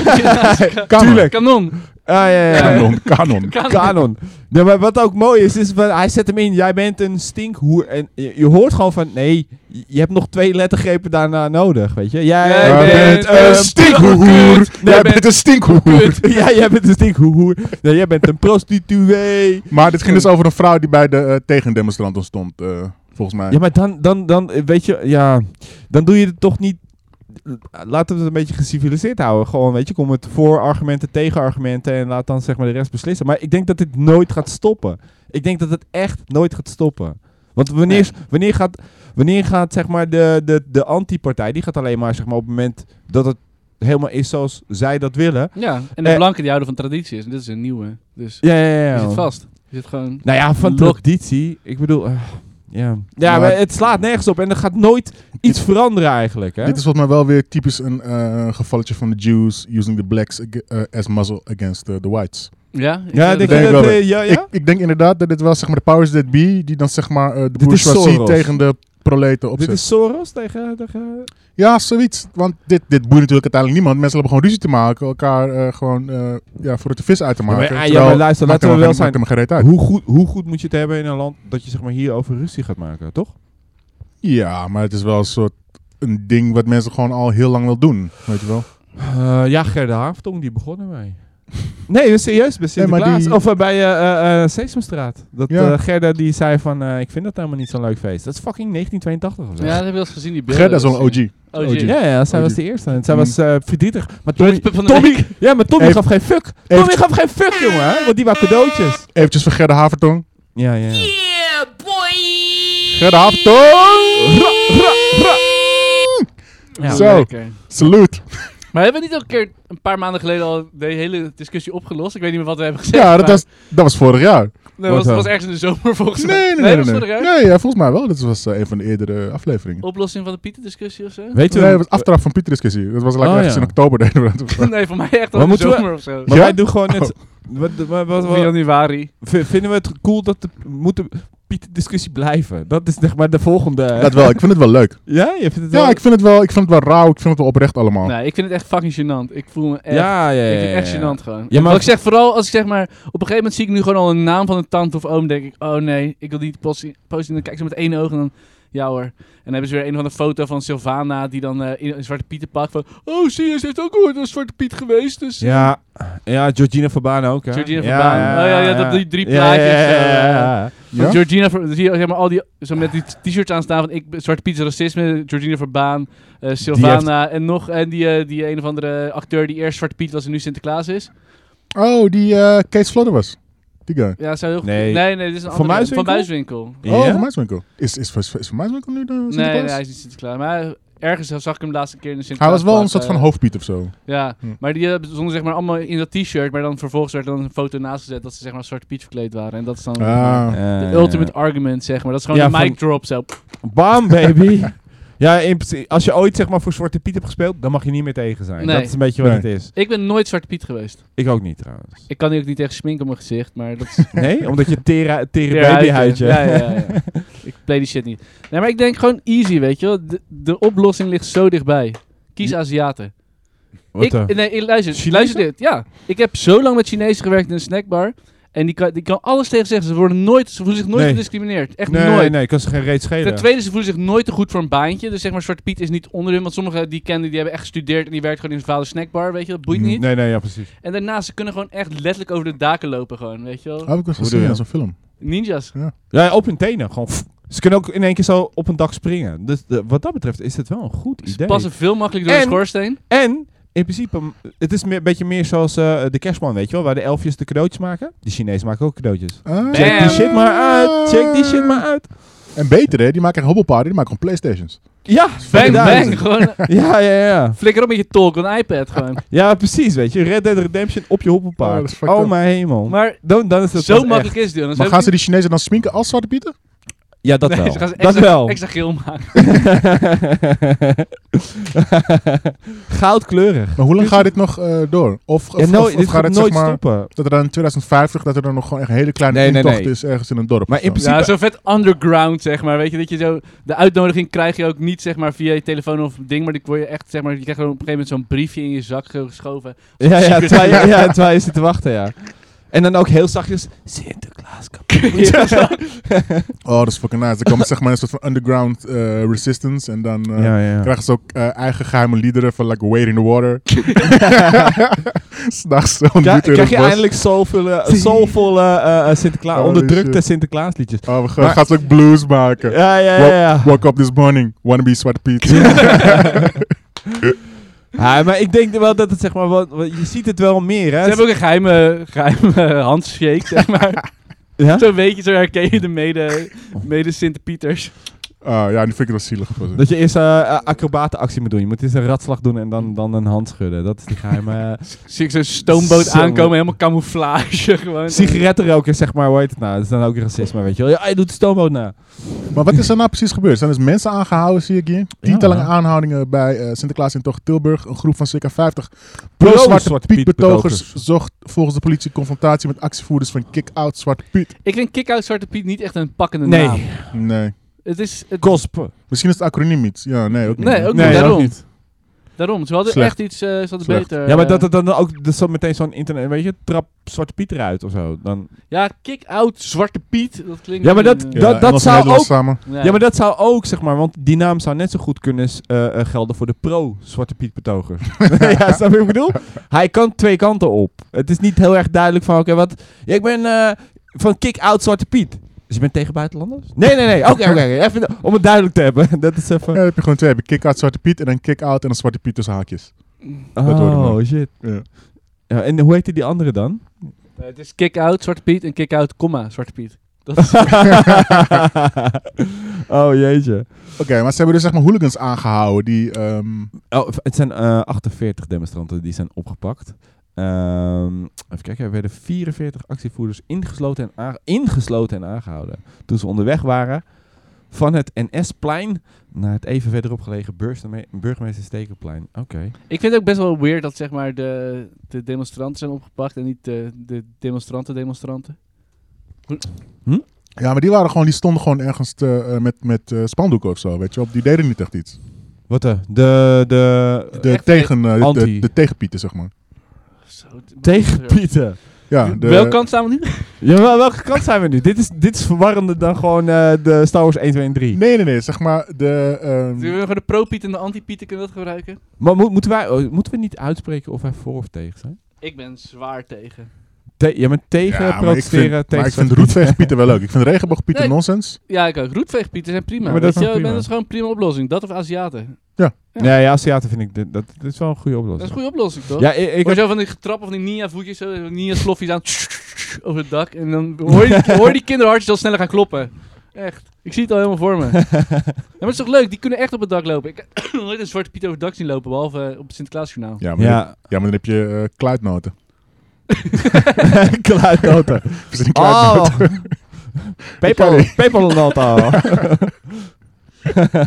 [SPEAKER 2] Kanon.
[SPEAKER 1] Kanon.
[SPEAKER 3] Ah, ja, ja. ja.
[SPEAKER 2] Kanon. Kanon.
[SPEAKER 1] Kanon.
[SPEAKER 3] Kanon. Nee, maar wat ook mooi is, is van, hij zet hem in. Jij bent een stinkhoer. En je, je hoort gewoon van, nee, je- je hebt nog twee lettergrepen daarna nodig, weet je. Jij
[SPEAKER 1] Jij
[SPEAKER 3] bent een
[SPEAKER 2] stinkhoer. Jij bent een stinkhoer.
[SPEAKER 3] stinkhoer. Ja, jij bent een stinkhoer. Nee, jij bent een prostituee.
[SPEAKER 2] Maar dit ging dus over een vrouw die bij de eh, tegendemonstranten stond, eh, volgens mij.
[SPEAKER 3] Ja, maar dan, dan, dan, eh, weet je, ja, dan doe je het toch niet... eh, Laten we het een beetje geciviliseerd houden. Gewoon, weet je, kom met voorargumenten, tegenargumenten en laat dan zeg maar de rest beslissen. Maar ik denk dat dit nooit gaat stoppen. Ik denk dat het echt nooit gaat stoppen. Want wanneer, wanneer gaat, wanneer gaat zeg maar de, de, de antipartij, die gaat alleen maar zeg maar op het moment dat het helemaal is zoals zij dat willen.
[SPEAKER 1] Ja, en de
[SPEAKER 3] Eh.
[SPEAKER 1] blanken die houden van tradities. En dit is een nieuwe. Dus
[SPEAKER 3] Ja, ja, ja.
[SPEAKER 1] je zit vast. Je zit gewoon...
[SPEAKER 3] Nou ja, van
[SPEAKER 1] Lok.
[SPEAKER 3] traditie. Ik bedoel, eh, ja. Ja,
[SPEAKER 2] Maar-
[SPEAKER 3] maar het slaat nergens op en er gaat nooit iets veranderen eigenlijk, hè?
[SPEAKER 2] Dit is volgens mij wel weer typisch een eh, gevalletje van de Jews using the blacks ag- eh, as muzzle against eh, the whites.
[SPEAKER 1] Ja?
[SPEAKER 3] Ja, denk
[SPEAKER 2] denk
[SPEAKER 3] je
[SPEAKER 2] ik
[SPEAKER 3] dat...
[SPEAKER 2] wel.
[SPEAKER 3] eh, ja, ja?
[SPEAKER 2] Ik, ik denk inderdaad dat dit wel zeg maar de powers that be, die dan zeg maar eh, de
[SPEAKER 3] Dit is
[SPEAKER 2] bourgeoisie
[SPEAKER 3] Soros.
[SPEAKER 2] tegen de proleten opzet.
[SPEAKER 3] Dit is Soros tegen... tegen...
[SPEAKER 2] Ja, zoiets. Want dit, dit boeit natuurlijk uiteindelijk niemand. Mensen hebben gewoon ruzie te maken, elkaar eh, gewoon eh, ja, voor het de vis uit te
[SPEAKER 3] maar-
[SPEAKER 2] maken.
[SPEAKER 3] ah, ja,
[SPEAKER 2] Terwijl-
[SPEAKER 3] maar luister,
[SPEAKER 2] maakt
[SPEAKER 3] laten we
[SPEAKER 2] hem-
[SPEAKER 3] wel
[SPEAKER 2] maakt hem geen reet uit.
[SPEAKER 3] Hoe goed, hoe goed moet je het hebben in een land dat je zeg maar hierover ruzie gaat maken, toch?
[SPEAKER 2] Ja, maar het is wel een soort een ding wat mensen gewoon al heel lang wil doen, weet je wel.
[SPEAKER 3] Eh, ja, Gerda Haaftong, die begon ermee. Nee, serieus, bij Sinterklaas.
[SPEAKER 2] maar die-
[SPEAKER 3] Of eh, bij eh eh, eh, Sesamstraat. Dat
[SPEAKER 2] Ja.
[SPEAKER 3] eh, Gerda die zei van, eh, ik vind dat helemaal niet zo'n leuk feest. Dat is fucking 1982 of zo.
[SPEAKER 1] Ja, dat heb je wel eens gezien, die beelden.
[SPEAKER 2] Gerda is wel een OG.
[SPEAKER 1] OG.
[SPEAKER 2] OG.
[SPEAKER 3] Ja, ja, zij
[SPEAKER 2] Oh,
[SPEAKER 3] was
[SPEAKER 2] die-
[SPEAKER 3] de eerste. En zij
[SPEAKER 2] Mm.
[SPEAKER 3] was eh, verdrietig. Maar
[SPEAKER 1] Tommy
[SPEAKER 3] Tommy,
[SPEAKER 1] Pup van de
[SPEAKER 3] Tommy, ja, maar Tommy
[SPEAKER 2] Heeft-
[SPEAKER 3] gaf geen fuck.
[SPEAKER 2] heeft-
[SPEAKER 3] Tommy gaf geen fuck, jongen. hè, Want die waren cadeautjes.
[SPEAKER 2] Eventjes voor Gerda Havertong.
[SPEAKER 3] Ja, ja. ja.
[SPEAKER 4] Yeah, boy!
[SPEAKER 2] Gerda Havertong! Ra, ra, ra.
[SPEAKER 3] Ja.
[SPEAKER 2] Zo.
[SPEAKER 1] Lekker.
[SPEAKER 2] Salute.
[SPEAKER 1] Maar hebben we niet al een keer een paar maanden geleden al de hele discussie opgelost? Ik weet niet meer wat we hebben gezegd.
[SPEAKER 2] Ja, dat
[SPEAKER 1] maar-
[SPEAKER 2] was, dat was vorig jaar.
[SPEAKER 1] Nee, dat was,
[SPEAKER 3] Wat
[SPEAKER 1] dat was
[SPEAKER 3] dan?
[SPEAKER 1] ergens in de zomer volgens mij.
[SPEAKER 2] Nee, nee,
[SPEAKER 1] dat
[SPEAKER 2] nee.
[SPEAKER 1] was
[SPEAKER 2] nee,
[SPEAKER 1] vorig
[SPEAKER 2] nee.
[SPEAKER 1] jaar. Oh,
[SPEAKER 2] Nee, ja, volgens mij wel. Dit was eh, een van de eerdere afleveringen.
[SPEAKER 1] Oplossing van de Pieter-discussie of zo?
[SPEAKER 3] Weet je,
[SPEAKER 2] Nee,
[SPEAKER 3] wel-
[SPEAKER 2] het was aftrap van Pieter discussie. Dat was
[SPEAKER 3] Oh,
[SPEAKER 2] lekker ergens
[SPEAKER 3] ja.
[SPEAKER 2] in oktober deden we dat.
[SPEAKER 1] Nee, voor mij echt al in
[SPEAKER 3] Maar
[SPEAKER 1] de
[SPEAKER 3] moeten we-
[SPEAKER 1] zomer of zo.
[SPEAKER 3] maar
[SPEAKER 2] Ja?
[SPEAKER 3] wij doen gewoon het... Wat, wat, wat,
[SPEAKER 1] Oh. Of
[SPEAKER 3] wat-
[SPEAKER 1] in januari.
[SPEAKER 3] v- vinden we het cool dat de, moet de Pieter discussie blijven? Dat is zeg maar de volgende...
[SPEAKER 2] Dat wel, ik vind het wel leuk.
[SPEAKER 3] Ja, je vindt het wel...
[SPEAKER 2] Ja, ik vind het wel, ik vind het wel rauw. Ik vind het wel oprecht allemaal.
[SPEAKER 1] Nee, ik vind het echt fucking gênant. Ik voel me echt...
[SPEAKER 3] Oh. ja, ja, ja,
[SPEAKER 1] Ik vind
[SPEAKER 3] ja,
[SPEAKER 1] het echt
[SPEAKER 3] ja.
[SPEAKER 1] gênant gewoon.
[SPEAKER 3] Ja, maar-
[SPEAKER 1] Want ik zeg vooral als ik zeg maar... Op een gegeven moment zie ik nu gewoon al een naam van een tante of oom. denk ik, oh nee, ik wil die post in- post in. Dan kijk ze met één oog en dan... Ja hoor. En dan hebben ze weer een van de foto van Sylvana die dan eh, in een zwarte pieten pakt. Van, oh zie je, ze heeft ook ooit een zwarte piet geweest. Dus
[SPEAKER 3] Ja, ja, Georgina Verbaan ook, hè?
[SPEAKER 1] Georgina Verbaan. Oh, ja, ja, dat- die drie plaatjes,
[SPEAKER 3] Ja, ja, ja,
[SPEAKER 1] eh,
[SPEAKER 3] ja.
[SPEAKER 2] Ja?
[SPEAKER 1] Want Georgina, Ver- dan zie je zeg maar, al die, zo met die t-shirts aanstaan van ik, ben- Zwarte Piet is racisme, Georgina Verbaan, eh Sylvana en nog en die, eh, die een of andere acteur die eerst Zwarte Piet was en nu Sinterklaas is.
[SPEAKER 2] Oh, die eh Kees Vlodder was. Die guy.
[SPEAKER 1] Ja, zou heel goed-
[SPEAKER 3] Nee.
[SPEAKER 1] nee, nee, dit is een
[SPEAKER 3] Van
[SPEAKER 1] andere-
[SPEAKER 3] Muiswinkel?
[SPEAKER 1] Van Muiswinkel.
[SPEAKER 3] Ja?
[SPEAKER 2] Oh, Van Muiswinkel. Is, is, is, is Van Muiswinkel nu de
[SPEAKER 1] Nee, nee,
[SPEAKER 2] Sinterklaas?
[SPEAKER 1] hij is niet Sinterklaas. Maar ergens zag ik hem de laatste keer in de eh. Oh,
[SPEAKER 2] Hij
[SPEAKER 1] Sinterklaas.
[SPEAKER 2] was wel een soort van hoofdpiet of zo.
[SPEAKER 1] Ja,
[SPEAKER 2] Hm.
[SPEAKER 1] maar die eh, stonden zeg maar allemaal in dat t-shirt, maar dan vervolgens werd er dan een foto naast gezet dat ze zeg maar als Zwarte Piet verkleed waren. En dat is dan zeg maar,
[SPEAKER 2] Ah.
[SPEAKER 1] de
[SPEAKER 3] Ja, Eh. ja,
[SPEAKER 1] ultimate
[SPEAKER 3] ja.
[SPEAKER 1] argument, zeg maar. Dat is gewoon
[SPEAKER 3] Ja,
[SPEAKER 1] een
[SPEAKER 3] van-
[SPEAKER 1] mic drop zo.
[SPEAKER 3] Bam, baby. ja, in principe, als je ooit zeg maar voor Zwarte Piet hebt gespeeld, dan mag je niet meer tegen zijn.
[SPEAKER 1] Nee.
[SPEAKER 3] Dat is een beetje wat
[SPEAKER 2] Nee.
[SPEAKER 3] het is.
[SPEAKER 1] Ik ben nooit Zwarte Piet geweest.
[SPEAKER 3] Ik ook niet trouwens.
[SPEAKER 1] Ik kan hier ook niet tegen sminken op mijn gezicht, maar dat is
[SPEAKER 3] Nee, omdat je tere, tere
[SPEAKER 1] Ja,
[SPEAKER 3] babyhuidje.
[SPEAKER 1] Ja, ja, ja. ik play die shit niet. Nee, maar ik denk gewoon easy, weet je wel. De, de oplossing ligt zo dichtbij. Kies Aziaten.
[SPEAKER 3] Wat
[SPEAKER 1] ik,
[SPEAKER 3] dan?
[SPEAKER 1] nee, ik- luister,
[SPEAKER 3] Chinezen?
[SPEAKER 1] luister dit. Ja, ik heb zo lang met Chinezen gewerkt in een snackbar. En die kan, die kan alles tegen zeggen. Ze, worden nooit, ze voelen zich nooit
[SPEAKER 3] Nee.
[SPEAKER 1] gediscrimineerd. Echt
[SPEAKER 3] nee,
[SPEAKER 1] nooit.
[SPEAKER 3] nee, ik kan ze geen reet schelen.
[SPEAKER 1] Ten tweede, ze voelen zich nooit te goed voor een baantje. Dus zeg maar, Zwarte Piet is niet onder hun. Want sommigen die kennen, die hebben echt gestudeerd. En die werkt gewoon in een vader snackbar, weet je. Dat boeit
[SPEAKER 2] Mm,
[SPEAKER 1] niet.
[SPEAKER 3] Nee, nee, ja, precies.
[SPEAKER 1] En daarnaast, ze kunnen gewoon echt letterlijk over de daken lopen gewoon, weet je wel.
[SPEAKER 2] Heb ik wel eens
[SPEAKER 3] Hoe
[SPEAKER 2] gezien
[SPEAKER 3] doe je
[SPEAKER 2] in zo'n film.
[SPEAKER 1] Ninjas.
[SPEAKER 3] Ja, ja, op hun tenen. Gewoon. pff. Ze kunnen ook in één keer zo op een dak springen. Dus de- wat dat betreft is het wel een goed
[SPEAKER 1] Ze
[SPEAKER 3] idee.
[SPEAKER 1] passen veel makkelijker door
[SPEAKER 3] En-
[SPEAKER 1] de schoorsteen.
[SPEAKER 3] En in principe, m- het is meer- een beetje meer zoals eh, de kerstman, weet je wel, waar de elfjes de cadeautjes maken. De Chinezen maken ook cadeautjes.
[SPEAKER 2] Ah.
[SPEAKER 3] Check die shit maar uit. Check die shit maar uit.
[SPEAKER 2] En beter hè, die maken echt hobbelpaarden, die maken gewoon playstations.
[SPEAKER 3] Ja,
[SPEAKER 1] Bang,
[SPEAKER 3] inderdaad.
[SPEAKER 1] bang. Gewoon
[SPEAKER 3] Ja, ja, ja.
[SPEAKER 1] flikker op met je tolk, een iPad gewoon.
[SPEAKER 3] Ja, precies, weet je. Red Dead Redemption op je
[SPEAKER 2] Oh,
[SPEAKER 3] hoppenpaard.
[SPEAKER 2] dat is
[SPEAKER 3] Oh,
[SPEAKER 2] fucked up.
[SPEAKER 3] mijn hemel.
[SPEAKER 1] Maar
[SPEAKER 3] dan, dan is het
[SPEAKER 1] zo
[SPEAKER 3] pas echt-
[SPEAKER 1] makkelijk is het, Jonas.
[SPEAKER 2] Maar
[SPEAKER 1] Heb
[SPEAKER 2] gaan
[SPEAKER 1] je-
[SPEAKER 2] ze die Chinezen dan sminken als Zwarte Pieten?
[SPEAKER 3] Ja, dat
[SPEAKER 1] Nee,
[SPEAKER 3] wel.
[SPEAKER 1] ze gaan ze
[SPEAKER 3] dat
[SPEAKER 1] extra,
[SPEAKER 3] wel.
[SPEAKER 1] extra geel maken.
[SPEAKER 3] Goudkleurig.
[SPEAKER 2] Maar hoe lang gaat dit nog eh, door? Of, of,
[SPEAKER 3] Ja, no-
[SPEAKER 2] of- of
[SPEAKER 3] dit
[SPEAKER 2] gaat
[SPEAKER 3] gaat
[SPEAKER 2] het
[SPEAKER 3] nooit
[SPEAKER 2] zeg maar,
[SPEAKER 3] stoppen.
[SPEAKER 2] dat er dan in 2050 dat er dan nog gewoon echt een hele kleine
[SPEAKER 3] Nee, nee,
[SPEAKER 2] intocht
[SPEAKER 3] nee.
[SPEAKER 2] is ergens in een dorp?
[SPEAKER 3] Maar
[SPEAKER 2] of
[SPEAKER 3] in
[SPEAKER 2] zo?
[SPEAKER 3] principe-
[SPEAKER 1] Ja, zo vet underground, zeg maar. Weet je, dat je zo... De uitnodiging krijg je ook niet, zeg maar, via je telefoon of ding. Maar die word je echt, zeg maar... Je krijgt gewoon op een gegeven moment zo'n briefje in je zak zo geschoven.
[SPEAKER 3] Ja, ja, terwijl je, ja, terwijl je zit te wachten, ja. En dan ook heel zachtjes, Sinterklaas kapoen.
[SPEAKER 2] Oh, dat is fucking nice. Er komt zeg maar een soort van underground eh, resistance. En dan eh,
[SPEAKER 3] Ja, ja.
[SPEAKER 2] krijgen ze ook eh, eigen geheime liederen van like Wait in the Water. S'nachts zo'n
[SPEAKER 3] Krijg-
[SPEAKER 2] doet in
[SPEAKER 3] krijg
[SPEAKER 2] het
[SPEAKER 3] je
[SPEAKER 2] bos.
[SPEAKER 3] eindelijk soulvolle, soulvolle eh, eh, Sinterklaas,
[SPEAKER 2] Holy
[SPEAKER 3] onderdrukte
[SPEAKER 2] shit.
[SPEAKER 3] Sinterklaas liedjes.
[SPEAKER 2] Oh, we gaan,
[SPEAKER 3] Maar-
[SPEAKER 2] gaan ze ook blues maken.
[SPEAKER 3] Ja, ja, ja. ja.
[SPEAKER 2] Woke up this morning, wanna be Zwarte Piet.
[SPEAKER 3] Ja, maar ik denk wel dat het zeg maar, wat, wat- je ziet het wel meer
[SPEAKER 1] Ze
[SPEAKER 3] hè.
[SPEAKER 1] hebben ook een geheime, geheime handshake, zeg maar.
[SPEAKER 3] Ja?
[SPEAKER 1] Zo weet je, zo herken je de mede, mede Sint-Pieters.
[SPEAKER 2] Ah, ja, nu vind ik het wel zielig. of zo.
[SPEAKER 3] Dat je eerst eh, eh, acrobatenactie moet doen. Je moet eerst een ratslag doen en dan, dan een hand schudden. Dat is de geheime... eh,
[SPEAKER 1] Zie ik zo'n stoomboot
[SPEAKER 3] Zo.
[SPEAKER 1] aankomen, helemaal camouflage gewoon.
[SPEAKER 3] sigarettenroker, zeg maar, hoe heet het nou? Dat is dan ook racisme, weet je wel. Ja, je doet de stoomboot na.
[SPEAKER 2] Maar wat is er nou precies gebeurd? Zijn dus mensen aangehouden, zie ik hier. Tientallen aanhoudingen bij eh, Sinterklaas in Tocht Tilburg. Een groep van circa 50 pro-Zwarte Piet betogers zocht volgens de politie confrontatie met actievoerders van Kick-Out Zwarte Piet.
[SPEAKER 1] Ik vind Kick-Out Zwarte Piet niet echt een pakkende
[SPEAKER 3] Nee.
[SPEAKER 1] naam.
[SPEAKER 2] Nee.
[SPEAKER 1] Het is... Het,
[SPEAKER 3] Kosp.
[SPEAKER 2] Misschien is het acroniem iets. Ja, nee, ook niet.
[SPEAKER 1] nee, ook
[SPEAKER 3] Nee,
[SPEAKER 1] niet.
[SPEAKER 3] ook
[SPEAKER 1] Daarom.
[SPEAKER 3] niet.
[SPEAKER 1] Daarom. Ze hadden
[SPEAKER 2] Slecht.
[SPEAKER 1] echt iets... eh, ze hadden
[SPEAKER 2] Slecht.
[SPEAKER 1] beter...
[SPEAKER 3] Ja, maar
[SPEAKER 1] eh,
[SPEAKER 3] dat het dan ook dus zo meteen zo'n internet, weet je, trap Zwarte Piet eruit of zo. Dan,
[SPEAKER 1] Ja, kick-out Zwarte Piet. Dat klinkt...
[SPEAKER 3] Ja, maar
[SPEAKER 1] een,
[SPEAKER 3] dat-
[SPEAKER 1] eh,
[SPEAKER 2] Ja,
[SPEAKER 3] dat
[SPEAKER 2] Engels en
[SPEAKER 3] zou
[SPEAKER 2] Nederlands
[SPEAKER 3] ook-
[SPEAKER 2] Samen.
[SPEAKER 3] ja. maar dat zou ook, zeg maar, want die naam zou net zo goed kunnen s- eh, eh, gelden voor de pro-Zwarte Piet betoger. ja, snap je wat ik bedoel? Hij kan twee kanten op. Het is niet heel erg duidelijk van, oké, wat... Ja, ik ben eh, van kick-out Zwarte Piet. Dus je bent tegen buitenlanders? Nee, nee, nee. Oké, oké. oké. Even om het duidelijk te hebben. dat is even...
[SPEAKER 2] Ja, dan heb je gewoon twee. Heb je Kick-Out Zwarte Piet en dan Kick-Out en dan Zwarte Piet tussen haakjes. dat hoorde ik
[SPEAKER 3] oh,
[SPEAKER 2] wel.
[SPEAKER 3] shit.
[SPEAKER 2] Ja.
[SPEAKER 3] Ja, en hoe heette die andere dan?
[SPEAKER 1] Eh, het is kick-out Zwarte Piet en kick-out, comma Zwarte Piet. Dat is...
[SPEAKER 3] oh, jeetje.
[SPEAKER 2] Oké, maar ze hebben dus zeg maar hooligans aangehouden die... ehm,
[SPEAKER 3] Oh, het zijn eh, 48 demonstranten die zijn opgepakt. Ehm, even kijken, er werden 44 actievoerders ingesloten en, aange- ingesloten en aangehouden. Toen ze onderweg waren van het NS-plein naar het even verderop gelegen burgemeester Burgemeester Stekelplein. Oké.
[SPEAKER 1] Ik vind het ook best wel weird dat zeg maar de, de demonstranten zijn opgepakt en niet de, de demonstranten demonstranten.
[SPEAKER 2] ja, maar die, waren gewoon, die stonden gewoon ergens te, eh, met, met eh, spandoeken of zo, weet je wel. Die deden niet echt iets.
[SPEAKER 3] Wat de? De, de,
[SPEAKER 2] De,
[SPEAKER 1] Echt,
[SPEAKER 2] tegen, eh, de,
[SPEAKER 3] anti.
[SPEAKER 2] de, de tegenpieten, zeg maar.
[SPEAKER 1] Zo,
[SPEAKER 3] tegenpieten.
[SPEAKER 2] Ja, de,
[SPEAKER 1] Welke kant staan we nu?
[SPEAKER 3] Ehm, Jawel, welke kant zijn we nu? Dit is, dit is verwarrender dan gewoon eh, de Star Wars 1, 2 en 3.
[SPEAKER 2] Nee, nee, nee. Zeg maar de... ehm,
[SPEAKER 1] Zullen we gewoon de pro-piet en de anti-pieten kunnen we dat gebruiken?
[SPEAKER 3] Maar moet- moeten, wij, oh, moeten we niet uitspreken of wij voor of tegen zijn?
[SPEAKER 1] Ik ben zwaar tegen.
[SPEAKER 3] Te- ja, maar tegen
[SPEAKER 2] ja, maar ik
[SPEAKER 3] protesteren.
[SPEAKER 2] vind,
[SPEAKER 3] tegen
[SPEAKER 2] maar ik vind
[SPEAKER 3] Zwarte Piet.
[SPEAKER 2] roetveegpieten wel leuk. Ik vind regenboogpieten
[SPEAKER 1] Nee.
[SPEAKER 2] nonsens.
[SPEAKER 1] Ja, ik ook. Roetveegpieten zijn prima.
[SPEAKER 3] Ja, maar dat
[SPEAKER 1] Weet
[SPEAKER 3] is
[SPEAKER 1] je, wel,
[SPEAKER 3] wel
[SPEAKER 1] ik ben-
[SPEAKER 3] prima.
[SPEAKER 1] dat is gewoon een prima oplossing. Dat of Aziaten. Ja.
[SPEAKER 3] Nee, ja, Aziaten vind ik. dit- Dat, dit is wel een goede
[SPEAKER 1] Dat is
[SPEAKER 3] oplossing.
[SPEAKER 1] een goede oplossing, toch?
[SPEAKER 3] Ja, ik, ik
[SPEAKER 1] Ik hoor zo van die getrap of die Nia-voetjes, zo, Nia-sloffies aan over het dak. En dan hoor je, hoor je die kinderhartjes al sneller gaan kloppen. Echt. Ik zie het al helemaal voor me. ja, maar het is toch leuk? Die kunnen echt op het dak lopen. Ik heb nog nooit een zwarte piet over het dak zien lopen, behalve eh, op het Sinterklaasjournaal.
[SPEAKER 2] Ja, maar,
[SPEAKER 3] ja,
[SPEAKER 2] ja, maar dan heb je eh, kluitnoten.
[SPEAKER 3] kluitnoten.
[SPEAKER 2] We zijn
[SPEAKER 3] Oh!
[SPEAKER 2] kluitnoten.
[SPEAKER 3] Paypal, Paypal-nota.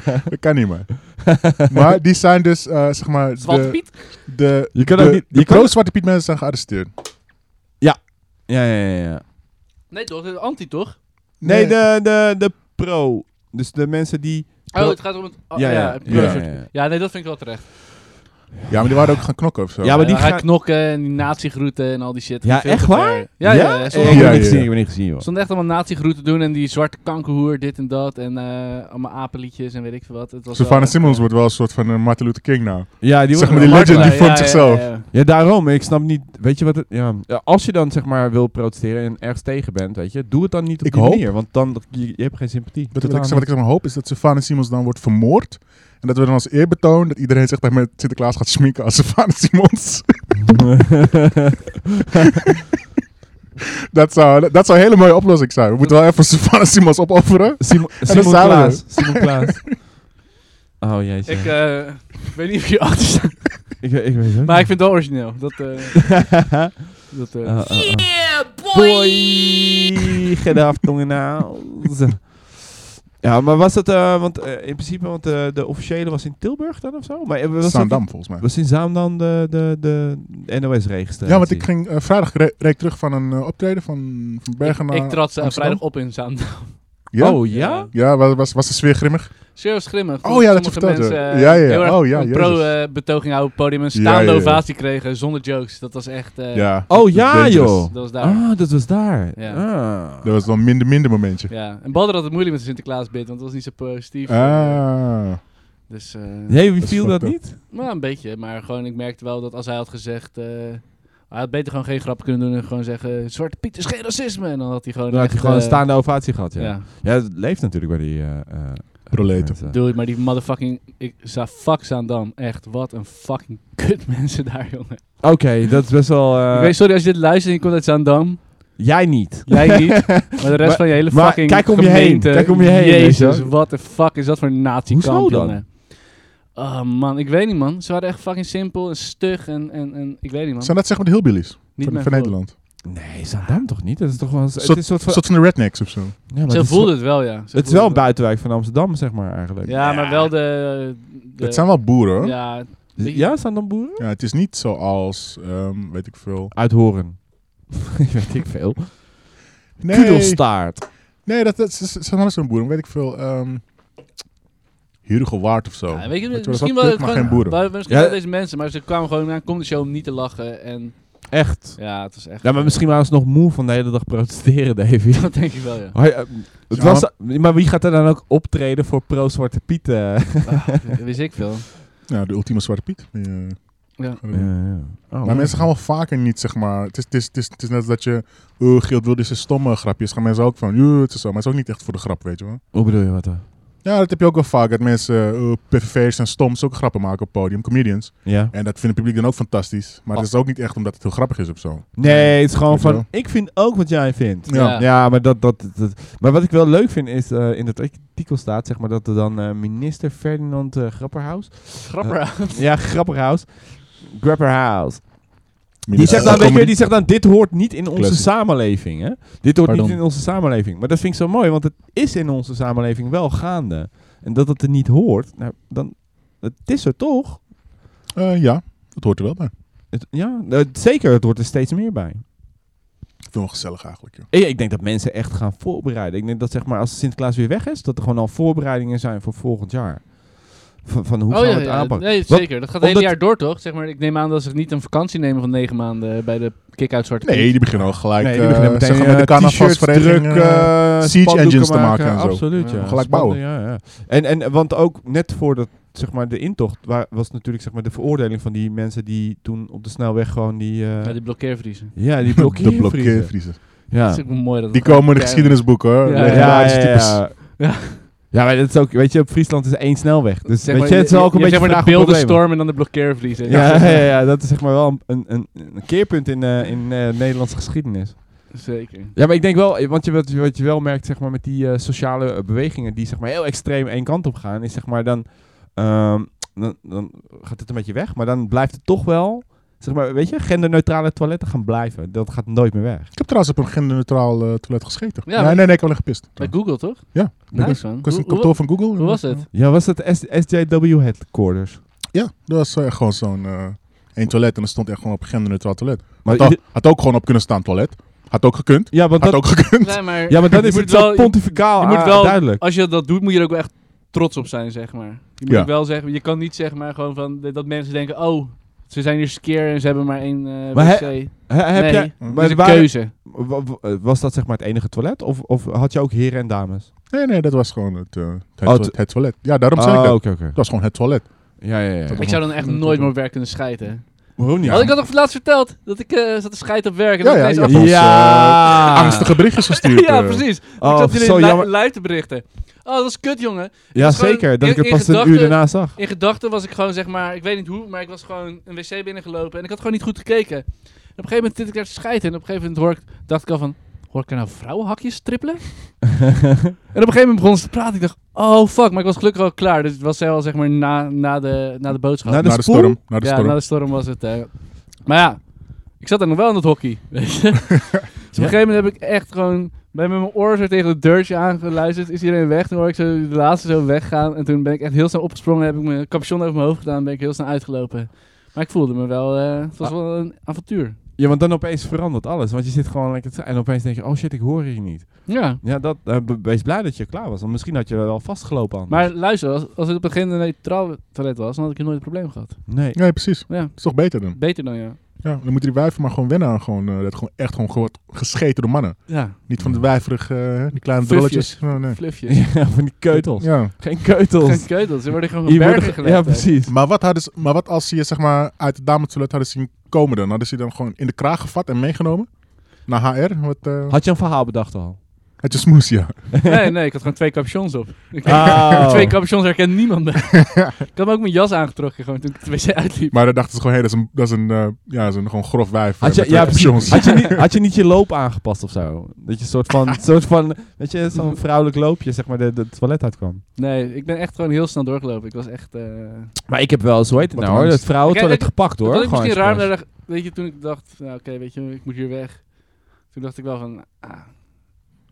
[SPEAKER 2] Dat kan niet meer. maar die zijn dus, eh, zeg maar...
[SPEAKER 1] Zwarte
[SPEAKER 2] de-
[SPEAKER 1] piet?
[SPEAKER 2] De,
[SPEAKER 3] Je kan
[SPEAKER 2] de,
[SPEAKER 3] ook niet-
[SPEAKER 2] de
[SPEAKER 3] je kan-
[SPEAKER 2] pro-Zwarte Piet mensen zijn gearresteerd.
[SPEAKER 3] Ja, ja, ja. ja.
[SPEAKER 1] Nee toch? De anti toch?
[SPEAKER 3] Nee, de, de, de pro. Dus de mensen die.
[SPEAKER 1] Oh, het gaat om het... oh, ja, ja,
[SPEAKER 3] ja, ja,
[SPEAKER 1] ja.
[SPEAKER 3] ja.
[SPEAKER 1] Ja, nee, dat vind ik wel terecht.
[SPEAKER 2] Ja, maar die waren ook gaan knokken of zo.
[SPEAKER 3] Ja, maar die
[SPEAKER 1] Ja, hij
[SPEAKER 3] gaan-
[SPEAKER 1] knokken en die nazi-groeten en al die shit.
[SPEAKER 3] Ja,
[SPEAKER 1] Veel te
[SPEAKER 3] echt waar?
[SPEAKER 1] ver. Ja, ja. ja,
[SPEAKER 3] Eh,
[SPEAKER 1] stond-
[SPEAKER 3] Ik
[SPEAKER 2] Ja,
[SPEAKER 3] ben niet
[SPEAKER 2] ja,
[SPEAKER 3] gezien,
[SPEAKER 2] ja.
[SPEAKER 3] ik ben niet gezien, joh.
[SPEAKER 1] stonden echt allemaal nazi-groeten doen en die zwarte kankerhoer, dit en dat. En eh, allemaal apenliedjes en weet ik veel wat. Het was
[SPEAKER 2] Savannah
[SPEAKER 1] wel-
[SPEAKER 2] Simmons wordt wel een soort van eh, Martin Luther King nou.
[SPEAKER 3] Ja, die
[SPEAKER 2] Zeg
[SPEAKER 3] worden-
[SPEAKER 2] maar die
[SPEAKER 1] Ja,
[SPEAKER 2] legend die
[SPEAKER 1] Markelaar,
[SPEAKER 2] vond zichzelf.
[SPEAKER 1] ja.
[SPEAKER 3] Ja, daarom. Ik snap niet. Weet je wat het. Ja. Ja, Als je dan zeg maar wil protesteren en ergens tegen bent, weet je, doe het dan niet op
[SPEAKER 2] Ik
[SPEAKER 3] die
[SPEAKER 2] hoop-
[SPEAKER 3] manier. Want dan je, je hebt geen sympathie.
[SPEAKER 2] Wat,
[SPEAKER 3] Totaal
[SPEAKER 2] ik, wat ik zeg maar hoop is dat Savannah Simmons dan wordt vermoord. En dat we dan als eerbetoon dat iedereen zich dan met Sinterklaas gaat schminken als Savannah Simmons. dat, zou, dat zou een hele mooie oplossing zijn. We moeten wel even Savannah Simmons opofferen.
[SPEAKER 3] Simon,
[SPEAKER 2] dan
[SPEAKER 3] Simon
[SPEAKER 2] staan we
[SPEAKER 3] Klaas. Simon Klaas. Oh jeetje.
[SPEAKER 1] Ik eh, weet niet of je achter staat,
[SPEAKER 3] ik, ik weet het ook
[SPEAKER 1] maar ik vind
[SPEAKER 3] niet.
[SPEAKER 1] het wel origineel. Dat, eh, dat, eh,
[SPEAKER 3] Oh, oh, oh.
[SPEAKER 4] Yeah,
[SPEAKER 3] Boy,
[SPEAKER 4] boy!
[SPEAKER 3] get off Ja, maar was dat, eh, want eh, in principe, want eh, de officiële was in Tilburg dan of zo? Maar, eh, was dat-
[SPEAKER 2] Zaandam volgens mij.
[SPEAKER 3] was in Zaam dan de, de, de NOS-registratie?
[SPEAKER 2] Ja, want ik ging eh, vrijdag re- reed ik terug van een eh, optreden van, van Bergen
[SPEAKER 1] ik,
[SPEAKER 2] naar
[SPEAKER 1] ik trad eh,
[SPEAKER 2] Amsterdam.
[SPEAKER 1] vrijdag op in Zaandam.
[SPEAKER 2] Ja,
[SPEAKER 3] Oh ja?
[SPEAKER 2] ja was, was, was de sfeer grimmig?
[SPEAKER 1] Zeer grimmig.
[SPEAKER 2] Oh ja, dat je
[SPEAKER 1] Sommige
[SPEAKER 2] vertelde.
[SPEAKER 1] mensen, eh,
[SPEAKER 2] Ja, ja, ja.
[SPEAKER 1] heel erg
[SPEAKER 2] Oh ja,
[SPEAKER 1] een
[SPEAKER 2] jezus.
[SPEAKER 1] pro-betoging houden op het podium. Een
[SPEAKER 2] Ja, ja,
[SPEAKER 1] staande
[SPEAKER 2] ja.
[SPEAKER 1] ovatie kregen zonder jokes. Dat was echt... eh,
[SPEAKER 2] ja.
[SPEAKER 3] Oh ja,
[SPEAKER 2] Dangerous.
[SPEAKER 3] joh.
[SPEAKER 1] Dat was daar.
[SPEAKER 3] Ah, dat was daar.
[SPEAKER 1] Ja.
[SPEAKER 3] Ah.
[SPEAKER 2] Dat was wel een minder, minder momentje.
[SPEAKER 1] Ja. En Badder had het moeilijk met de Sinterklaasbit, want het was niet zo positief.
[SPEAKER 2] Ah.
[SPEAKER 1] Dus, eh,
[SPEAKER 3] Nee, wie
[SPEAKER 2] Dat
[SPEAKER 3] viel
[SPEAKER 2] is
[SPEAKER 3] dat
[SPEAKER 2] fucked
[SPEAKER 3] niet?
[SPEAKER 1] Nou, een beetje. Maar gewoon, ik merkte wel dat als hij had gezegd... eh, hij had beter gewoon geen grap kunnen doen en gewoon zeggen... Zwarte Piet is geen racisme. En dan had hij gewoon
[SPEAKER 3] Dan had
[SPEAKER 1] echt,
[SPEAKER 3] je gewoon een
[SPEAKER 1] eh,
[SPEAKER 3] staande ovatie gehad, ja.
[SPEAKER 1] Ja.
[SPEAKER 3] ja. het leeft natuurlijk bij die... eh, eh,
[SPEAKER 2] Proleten.
[SPEAKER 3] mensen.
[SPEAKER 1] Doe het, maar die motherfucking... Ik, za- fuck Zaandam. Echt, wat een fucking kut mensen daar, jongen.
[SPEAKER 3] Oké, dat is best wel... eh,
[SPEAKER 1] ik weet, sorry als je dit luistert en je komt uit Zaandam.
[SPEAKER 3] Jij niet.
[SPEAKER 1] Jij niet. maar de rest
[SPEAKER 3] Maar-
[SPEAKER 1] van je hele
[SPEAKER 3] maar
[SPEAKER 1] fucking
[SPEAKER 3] kijk om je heen,
[SPEAKER 1] gemeente.
[SPEAKER 3] kijk om je heen, weet
[SPEAKER 1] Jezus,
[SPEAKER 3] je wel.
[SPEAKER 1] wat de fuck is dat voor een nazi-kamp,
[SPEAKER 3] Hoezo dan?
[SPEAKER 1] jongen. Oh man, ik weet niet man. Ze waren echt fucking simpel en stug en, en, en ik weet niet man.
[SPEAKER 2] Zijn dat zeg maar de hillbillies
[SPEAKER 1] niet
[SPEAKER 2] van,
[SPEAKER 1] mijn
[SPEAKER 2] van
[SPEAKER 1] gevoel.
[SPEAKER 2] Nederland?
[SPEAKER 3] Nee, Zaandam toch niet? Dat is toch wel... Het is
[SPEAKER 2] Soort-
[SPEAKER 3] een soort
[SPEAKER 2] Een
[SPEAKER 3] van...
[SPEAKER 2] soort van de rednecks of zo.
[SPEAKER 3] Ja, maar
[SPEAKER 1] Ze
[SPEAKER 3] het is-
[SPEAKER 1] voelden het wel, ja. Ze
[SPEAKER 3] Het is wel een
[SPEAKER 1] voelden
[SPEAKER 3] buitenwijk van Amsterdam, zeg maar, eigenlijk.
[SPEAKER 1] het. Ja, maar wel de... de
[SPEAKER 2] Dat zijn wel boeren hoor. Ja.
[SPEAKER 1] Ja,
[SPEAKER 3] Ja, Zaandam boeren?
[SPEAKER 2] het is niet zoals, ehm, weet ik veel.
[SPEAKER 3] Uit Horen. weet ik veel.
[SPEAKER 2] Nee,
[SPEAKER 3] Kudelstaart.
[SPEAKER 2] nee dat, dat, ze- ze zijn wel zo'n boeren, weet ik veel. ehm Waard of zo.
[SPEAKER 1] ja, weet je,
[SPEAKER 2] Weet je
[SPEAKER 1] misschien
[SPEAKER 2] dat
[SPEAKER 1] wel...
[SPEAKER 2] kut, maar
[SPEAKER 1] gewoon-
[SPEAKER 2] geen boeren.
[SPEAKER 1] maar Misschien
[SPEAKER 3] Oh. Ja.
[SPEAKER 1] wel deze mensen, maar ze kwamen gewoon naar een comedy show om niet te lachen. En
[SPEAKER 3] Echt.
[SPEAKER 1] ja, het was echt...
[SPEAKER 3] Ja, maar misschien waren ze nog moe van de hele dag protesteren, Davy.
[SPEAKER 1] Dat denk ik wel, ja.
[SPEAKER 3] Hoi, eh, het
[SPEAKER 2] Ja,
[SPEAKER 3] was, maar wie gaat er dan ook optreden voor pro-Zwarte Piet? eh?
[SPEAKER 1] Ah, wist ik veel.
[SPEAKER 2] Nou, de ultieme Zwarte Piet. Die, eh,
[SPEAKER 1] Ja.
[SPEAKER 2] gaan we
[SPEAKER 3] Ja,
[SPEAKER 2] doen.
[SPEAKER 3] ja. Oh,
[SPEAKER 2] Maar mensen gaan wel vaker niet, zeg maar. Het is, het is, het is, het is net als dat je... Oh, Geert Wilders is stomme grapjes. Gaan mensen ook van... "Joh, het is zo. Maar het is ook niet echt voor de grap, weet je wel.
[SPEAKER 3] Hoe bedoel je wat dan?
[SPEAKER 2] Ja, dat heb je ook wel vaak. Dat mensen, eh, oh, PVV'ers en stoms ook grappen maken op het podium. Comedians.
[SPEAKER 3] Ja.
[SPEAKER 2] En dat vindt het publiek dan ook fantastisch. Maar het is ook niet echt omdat het heel grappig is of zo.
[SPEAKER 3] Nee, het is gewoon
[SPEAKER 2] Weet je
[SPEAKER 3] van,
[SPEAKER 2] wel.
[SPEAKER 3] ik vind ook wat jij vindt.
[SPEAKER 2] Ja.
[SPEAKER 3] Ja, maar, dat, dat, dat- maar wat ik wel leuk vind is, eh, in dat artikel staat, zeg maar, dat er dan eh, minister Ferdinand eh, Grapperhaus...
[SPEAKER 1] Grappig.
[SPEAKER 3] ja, Grapperhaus. Grapperhaus. Die
[SPEAKER 2] Minder-
[SPEAKER 3] zegt,
[SPEAKER 2] Eh,
[SPEAKER 3] dan, weet je,
[SPEAKER 2] comedy-
[SPEAKER 3] die zegt dan, dit hoort niet in onze
[SPEAKER 2] Classic.
[SPEAKER 3] samenleving. Hè? Dit hoort niet
[SPEAKER 2] Pardon.
[SPEAKER 3] in onze samenleving. Maar dat vind ik zo mooi, want het is in onze samenleving wel gaande. En dat het er niet hoort, nou, dan, het is er toch.
[SPEAKER 2] Eh, ja, dat hoort er wel bij.
[SPEAKER 3] Het- ja, het- zeker, het hoort er steeds meer bij.
[SPEAKER 2] Ik vind het wel gezellig eigenlijk, joh.
[SPEAKER 3] En ja, ik denk dat mensen echt gaan voorbereiden. Ik denk dat zeg maar, als Sinterklaas weer weg is, dat er gewoon al voorbereidingen zijn voor volgend jaar. Van, van hoe gaan we het aanpakken?
[SPEAKER 1] Oh, Nee,
[SPEAKER 3] Wat-
[SPEAKER 1] zeker. Dat gaat het hele
[SPEAKER 3] omdat-
[SPEAKER 1] jaar door, toch? Zeg maar, ik neem aan dat ze niet een vakantie nemen van negen maanden bij de kick-out Zwarte
[SPEAKER 2] Nee,
[SPEAKER 1] Piet.
[SPEAKER 2] die beginnen al gelijk...
[SPEAKER 3] Nee, die
[SPEAKER 2] eh,
[SPEAKER 3] beginnen meteen,
[SPEAKER 2] zeg maar, met de
[SPEAKER 3] eh, t-shirts
[SPEAKER 2] carnavalsvereniging...
[SPEAKER 3] druk,
[SPEAKER 2] eh,
[SPEAKER 3] eh,
[SPEAKER 2] siege
[SPEAKER 3] spandoeken
[SPEAKER 2] engines te maken en zo.
[SPEAKER 3] Absoluut, ja.
[SPEAKER 1] Ja,
[SPEAKER 2] gelijk
[SPEAKER 3] Spanden, Ja, ja. En, en, want ook net voor dat, zeg maar, de intocht waar, was natuurlijk zeg maar, de veroordeling van die mensen die toen op de snelweg gewoon die... eh,
[SPEAKER 1] Ja, die blokkeervriezen.
[SPEAKER 3] ja, die
[SPEAKER 2] De
[SPEAKER 3] blokkeervriezen.
[SPEAKER 2] blokkeervriezen.
[SPEAKER 1] Dat
[SPEAKER 3] Ja.
[SPEAKER 1] is ook wel mooi dat
[SPEAKER 2] Die
[SPEAKER 1] het gewoon
[SPEAKER 2] komen in de
[SPEAKER 1] keihard-
[SPEAKER 2] geschiedenisboeken, hoor.
[SPEAKER 1] Ja,
[SPEAKER 3] Ja, ja, ja,
[SPEAKER 2] Legendarische types.
[SPEAKER 3] ja.
[SPEAKER 1] Ja.
[SPEAKER 3] Ja, maar dat is ook, weet je, op Friesland is één snelweg. Dus
[SPEAKER 1] Zeg
[SPEAKER 3] weet
[SPEAKER 1] maar,
[SPEAKER 3] je, het is
[SPEAKER 1] je-
[SPEAKER 3] wel ook een
[SPEAKER 1] je
[SPEAKER 3] beetje
[SPEAKER 1] hebt zeg maar
[SPEAKER 3] vraag
[SPEAKER 1] de
[SPEAKER 3] om problemen.
[SPEAKER 1] beeldenstorm en dan de blokkeervriezen.
[SPEAKER 3] Ja, ja, ja, dat is zeg maar wel een, een, een keerpunt in, eh, in eh, Nederlandse geschiedenis.
[SPEAKER 1] Zeker.
[SPEAKER 3] Ja, maar ik denk wel, eh, want je, wat, je- wat je wel merkt zeg maar, met die eh, sociale eh, bewegingen die zeg maar, heel extreem één kant op gaan, is zeg maar dan, ehm, dan, dan gaat het een beetje weg, maar dan blijft het toch wel, zeg maar, weet je, genderneutrale toiletten gaan blijven. Dat gaat nooit meer weg.
[SPEAKER 2] Ik heb trouwens op een genderneutraal eh, toilet gescheten.
[SPEAKER 1] Ja,
[SPEAKER 2] nee,
[SPEAKER 1] maar-
[SPEAKER 2] nee, nee, ik heb alleen gepist.
[SPEAKER 1] Bij Google, toch?
[SPEAKER 2] Ja. Ik was-
[SPEAKER 1] Nice, man.
[SPEAKER 2] ik was in
[SPEAKER 1] Hoe-
[SPEAKER 2] het kantoor van Google.
[SPEAKER 1] Hoe was het?
[SPEAKER 3] Ja, was dat S SJW headquarters?
[SPEAKER 2] Ja, dat was eh, gewoon zo'n eh, één toilet en er stond echt gewoon op genderneutraal toilet.
[SPEAKER 3] Maar
[SPEAKER 2] Had,
[SPEAKER 3] ieder-
[SPEAKER 2] ook- had ook gewoon op kunnen staan toilet. Had ook gekund.
[SPEAKER 3] ja, want
[SPEAKER 2] Had
[SPEAKER 3] dat,
[SPEAKER 2] ook gekund.
[SPEAKER 1] Nee, maar
[SPEAKER 3] ja, maar dat
[SPEAKER 1] je
[SPEAKER 3] is
[SPEAKER 1] moet
[SPEAKER 3] het wel
[SPEAKER 1] wel,
[SPEAKER 3] pontificaal
[SPEAKER 1] je moet
[SPEAKER 3] ah,
[SPEAKER 1] wel-
[SPEAKER 3] duidelijk.
[SPEAKER 1] Als je dat doet, moet je er ook wel echt trots op zijn, zeg maar. Je moet
[SPEAKER 2] Ja.
[SPEAKER 1] ook wel zeggen, je kan niet zeg maar gewoon van dat mensen denken, oh, ze zijn hier skeer en ze hebben maar één eh
[SPEAKER 3] Maar
[SPEAKER 1] wc.
[SPEAKER 3] he- Hè,
[SPEAKER 1] nee,
[SPEAKER 3] heb
[SPEAKER 1] Mm-hmm.
[SPEAKER 3] jij,
[SPEAKER 1] dat is een
[SPEAKER 3] waar-
[SPEAKER 1] keuze.
[SPEAKER 3] wa- wa- was dat zeg maar het enige toilet? Of, of had je ook heren en dames?
[SPEAKER 2] Nee, nee, dat was gewoon het, eh, het,
[SPEAKER 3] Oh,
[SPEAKER 2] toilet, het toilet. Ja, daarom zei ik
[SPEAKER 3] Ah,
[SPEAKER 2] dat.
[SPEAKER 3] oké,
[SPEAKER 2] Het
[SPEAKER 3] oké.
[SPEAKER 2] was gewoon het toilet.
[SPEAKER 3] Ja, ja, ja.
[SPEAKER 1] Ik zou dan echt nooit meer op werk kunnen scheiden.
[SPEAKER 3] Waarom niet?
[SPEAKER 1] Had ik dat nog laatst verteld? Dat ik eh, zat te scheiden op werk en
[SPEAKER 2] Ja,
[SPEAKER 1] dat ik
[SPEAKER 2] ja,
[SPEAKER 1] ineens
[SPEAKER 2] ja.
[SPEAKER 1] achter-
[SPEAKER 2] ons,
[SPEAKER 3] Ja.
[SPEAKER 2] Angstige berichtjes gestuurd.
[SPEAKER 1] ja,
[SPEAKER 2] eh.
[SPEAKER 1] precies. ik
[SPEAKER 3] Oh,
[SPEAKER 1] zat jullie
[SPEAKER 3] zo
[SPEAKER 1] lu-
[SPEAKER 3] jammer.
[SPEAKER 1] luid te berichten. Oh, dat is kut, jongen.
[SPEAKER 3] Ja,
[SPEAKER 1] was gewoon
[SPEAKER 3] zeker. Dat
[SPEAKER 1] in-
[SPEAKER 3] ik het
[SPEAKER 1] in
[SPEAKER 3] pas een uur
[SPEAKER 1] gedachten-
[SPEAKER 3] daarna zag.
[SPEAKER 1] In gedachten was ik gewoon, zeg maar, ik weet niet hoe, maar ik was gewoon een wc binnengelopen en ik had gewoon niet goed gekeken. En op een gegeven moment zit ik daar te scheiden en op een gegeven moment hoor ik, dacht ik al van, hoor ik er nou vrouwenhakjes trippelen? en op een gegeven moment begon ze te praten. Ik dacht, oh fuck, maar ik was gelukkig al klaar. Dus het was wel zeg maar na, na, de, na de boodschap.
[SPEAKER 3] Na de
[SPEAKER 2] naar de
[SPEAKER 3] spoel?
[SPEAKER 2] storm. Naar de
[SPEAKER 1] ja,
[SPEAKER 2] storm.
[SPEAKER 1] na de storm was het. eh. Maar ja, ik zat er nog wel in het hockey. Weet je? dus op een gegeven moment heb ik echt gewoon... Ben met mijn oor zo tegen het deurtje aangeluisterd. Is iedereen weg? Toen hoor ik zo de laatste zo weggaan. En toen ben ik echt heel snel opgesprongen. Heb ik mijn capuchon over mijn hoofd gedaan. En ben ik heel snel uitgelopen. Maar ik voelde me wel... eh, het was wel een avontuur.
[SPEAKER 3] Ja, want dan opeens verandert alles. Want je zit gewoon lekker... te- En opeens denk je, oh shit, ik hoor hier niet.
[SPEAKER 1] Ja.
[SPEAKER 3] Ja, dat, eh, be- wees blij dat je klaar was. Want misschien had je wel vastgelopen anders.
[SPEAKER 1] Maar luister, als, als het op het begin een neutraal toilet was, dan had ik hier nooit een probleem gehad.
[SPEAKER 3] Nee.
[SPEAKER 2] Nee, precies.
[SPEAKER 1] Ja.
[SPEAKER 2] is toch beter dan?
[SPEAKER 1] Beter dan ja.
[SPEAKER 2] Ja, dan moeten die wijven maar gewoon wennen aan gewoon, eh, dat gewoon echt gewoon wordt gescheten door mannen.
[SPEAKER 1] Ja,
[SPEAKER 2] Niet van de wijverig, eh, die kleine
[SPEAKER 1] Fufjes.
[SPEAKER 2] drolletjes. Oh, nee.
[SPEAKER 1] fluffjes.
[SPEAKER 3] Ja, van die keutels.
[SPEAKER 2] Ja.
[SPEAKER 3] Geen keutels.
[SPEAKER 1] Geen keutels, ze worden gewoon op
[SPEAKER 3] Je wordt-
[SPEAKER 1] bergen gelegd.
[SPEAKER 3] ja, precies.
[SPEAKER 2] Maar wat, hadden ze, maar wat als ze je zeg maar, uit de dametoilet hadden zien komen dan? Hadden ze je dan gewoon in de kraag gevat en meegenomen? Naar HR? Wat, eh,
[SPEAKER 3] Had je een verhaal bedacht al?
[SPEAKER 2] had je smoes, ja.
[SPEAKER 1] Nee, nee, ik had gewoon twee capuchons op. Ik-
[SPEAKER 3] Oh.
[SPEAKER 1] Twee capuchons herkent niemand me. ik had me ook mijn jas aangetrokken gewoon toen ik de wc uitliep.
[SPEAKER 2] Maar dan dachten ze gewoon, hé, dat is een, dat is een, eh, ja, dat is een gewoon grof wijf.
[SPEAKER 3] Had
[SPEAKER 2] eh,
[SPEAKER 3] je,
[SPEAKER 2] met
[SPEAKER 3] ja,
[SPEAKER 2] twee capuchons.
[SPEAKER 3] precies. Had, je niet, had je niet je loop aangepast of zo? Dat je een soort van, soort van weet je, zo'n vrouwelijk loopje, zeg maar, de, de toilet uitkwam.
[SPEAKER 1] Nee, ik ben echt gewoon heel snel doorgelopen. Ik was echt... eh,
[SPEAKER 3] Maar ik heb wel, zo heet het
[SPEAKER 2] Wat
[SPEAKER 3] nou
[SPEAKER 2] een
[SPEAKER 3] hoor,
[SPEAKER 2] angst.
[SPEAKER 3] dat vrouwentoilet
[SPEAKER 1] Kijk, dat-
[SPEAKER 3] gepakt hoor.
[SPEAKER 1] dat ik
[SPEAKER 3] gewoon
[SPEAKER 1] misschien raar, maar
[SPEAKER 3] expres.
[SPEAKER 1] dacht- weet je, toen ik dacht, nou, oké, weet je, ik moet hier weg. Toen dacht ik wel van, ah,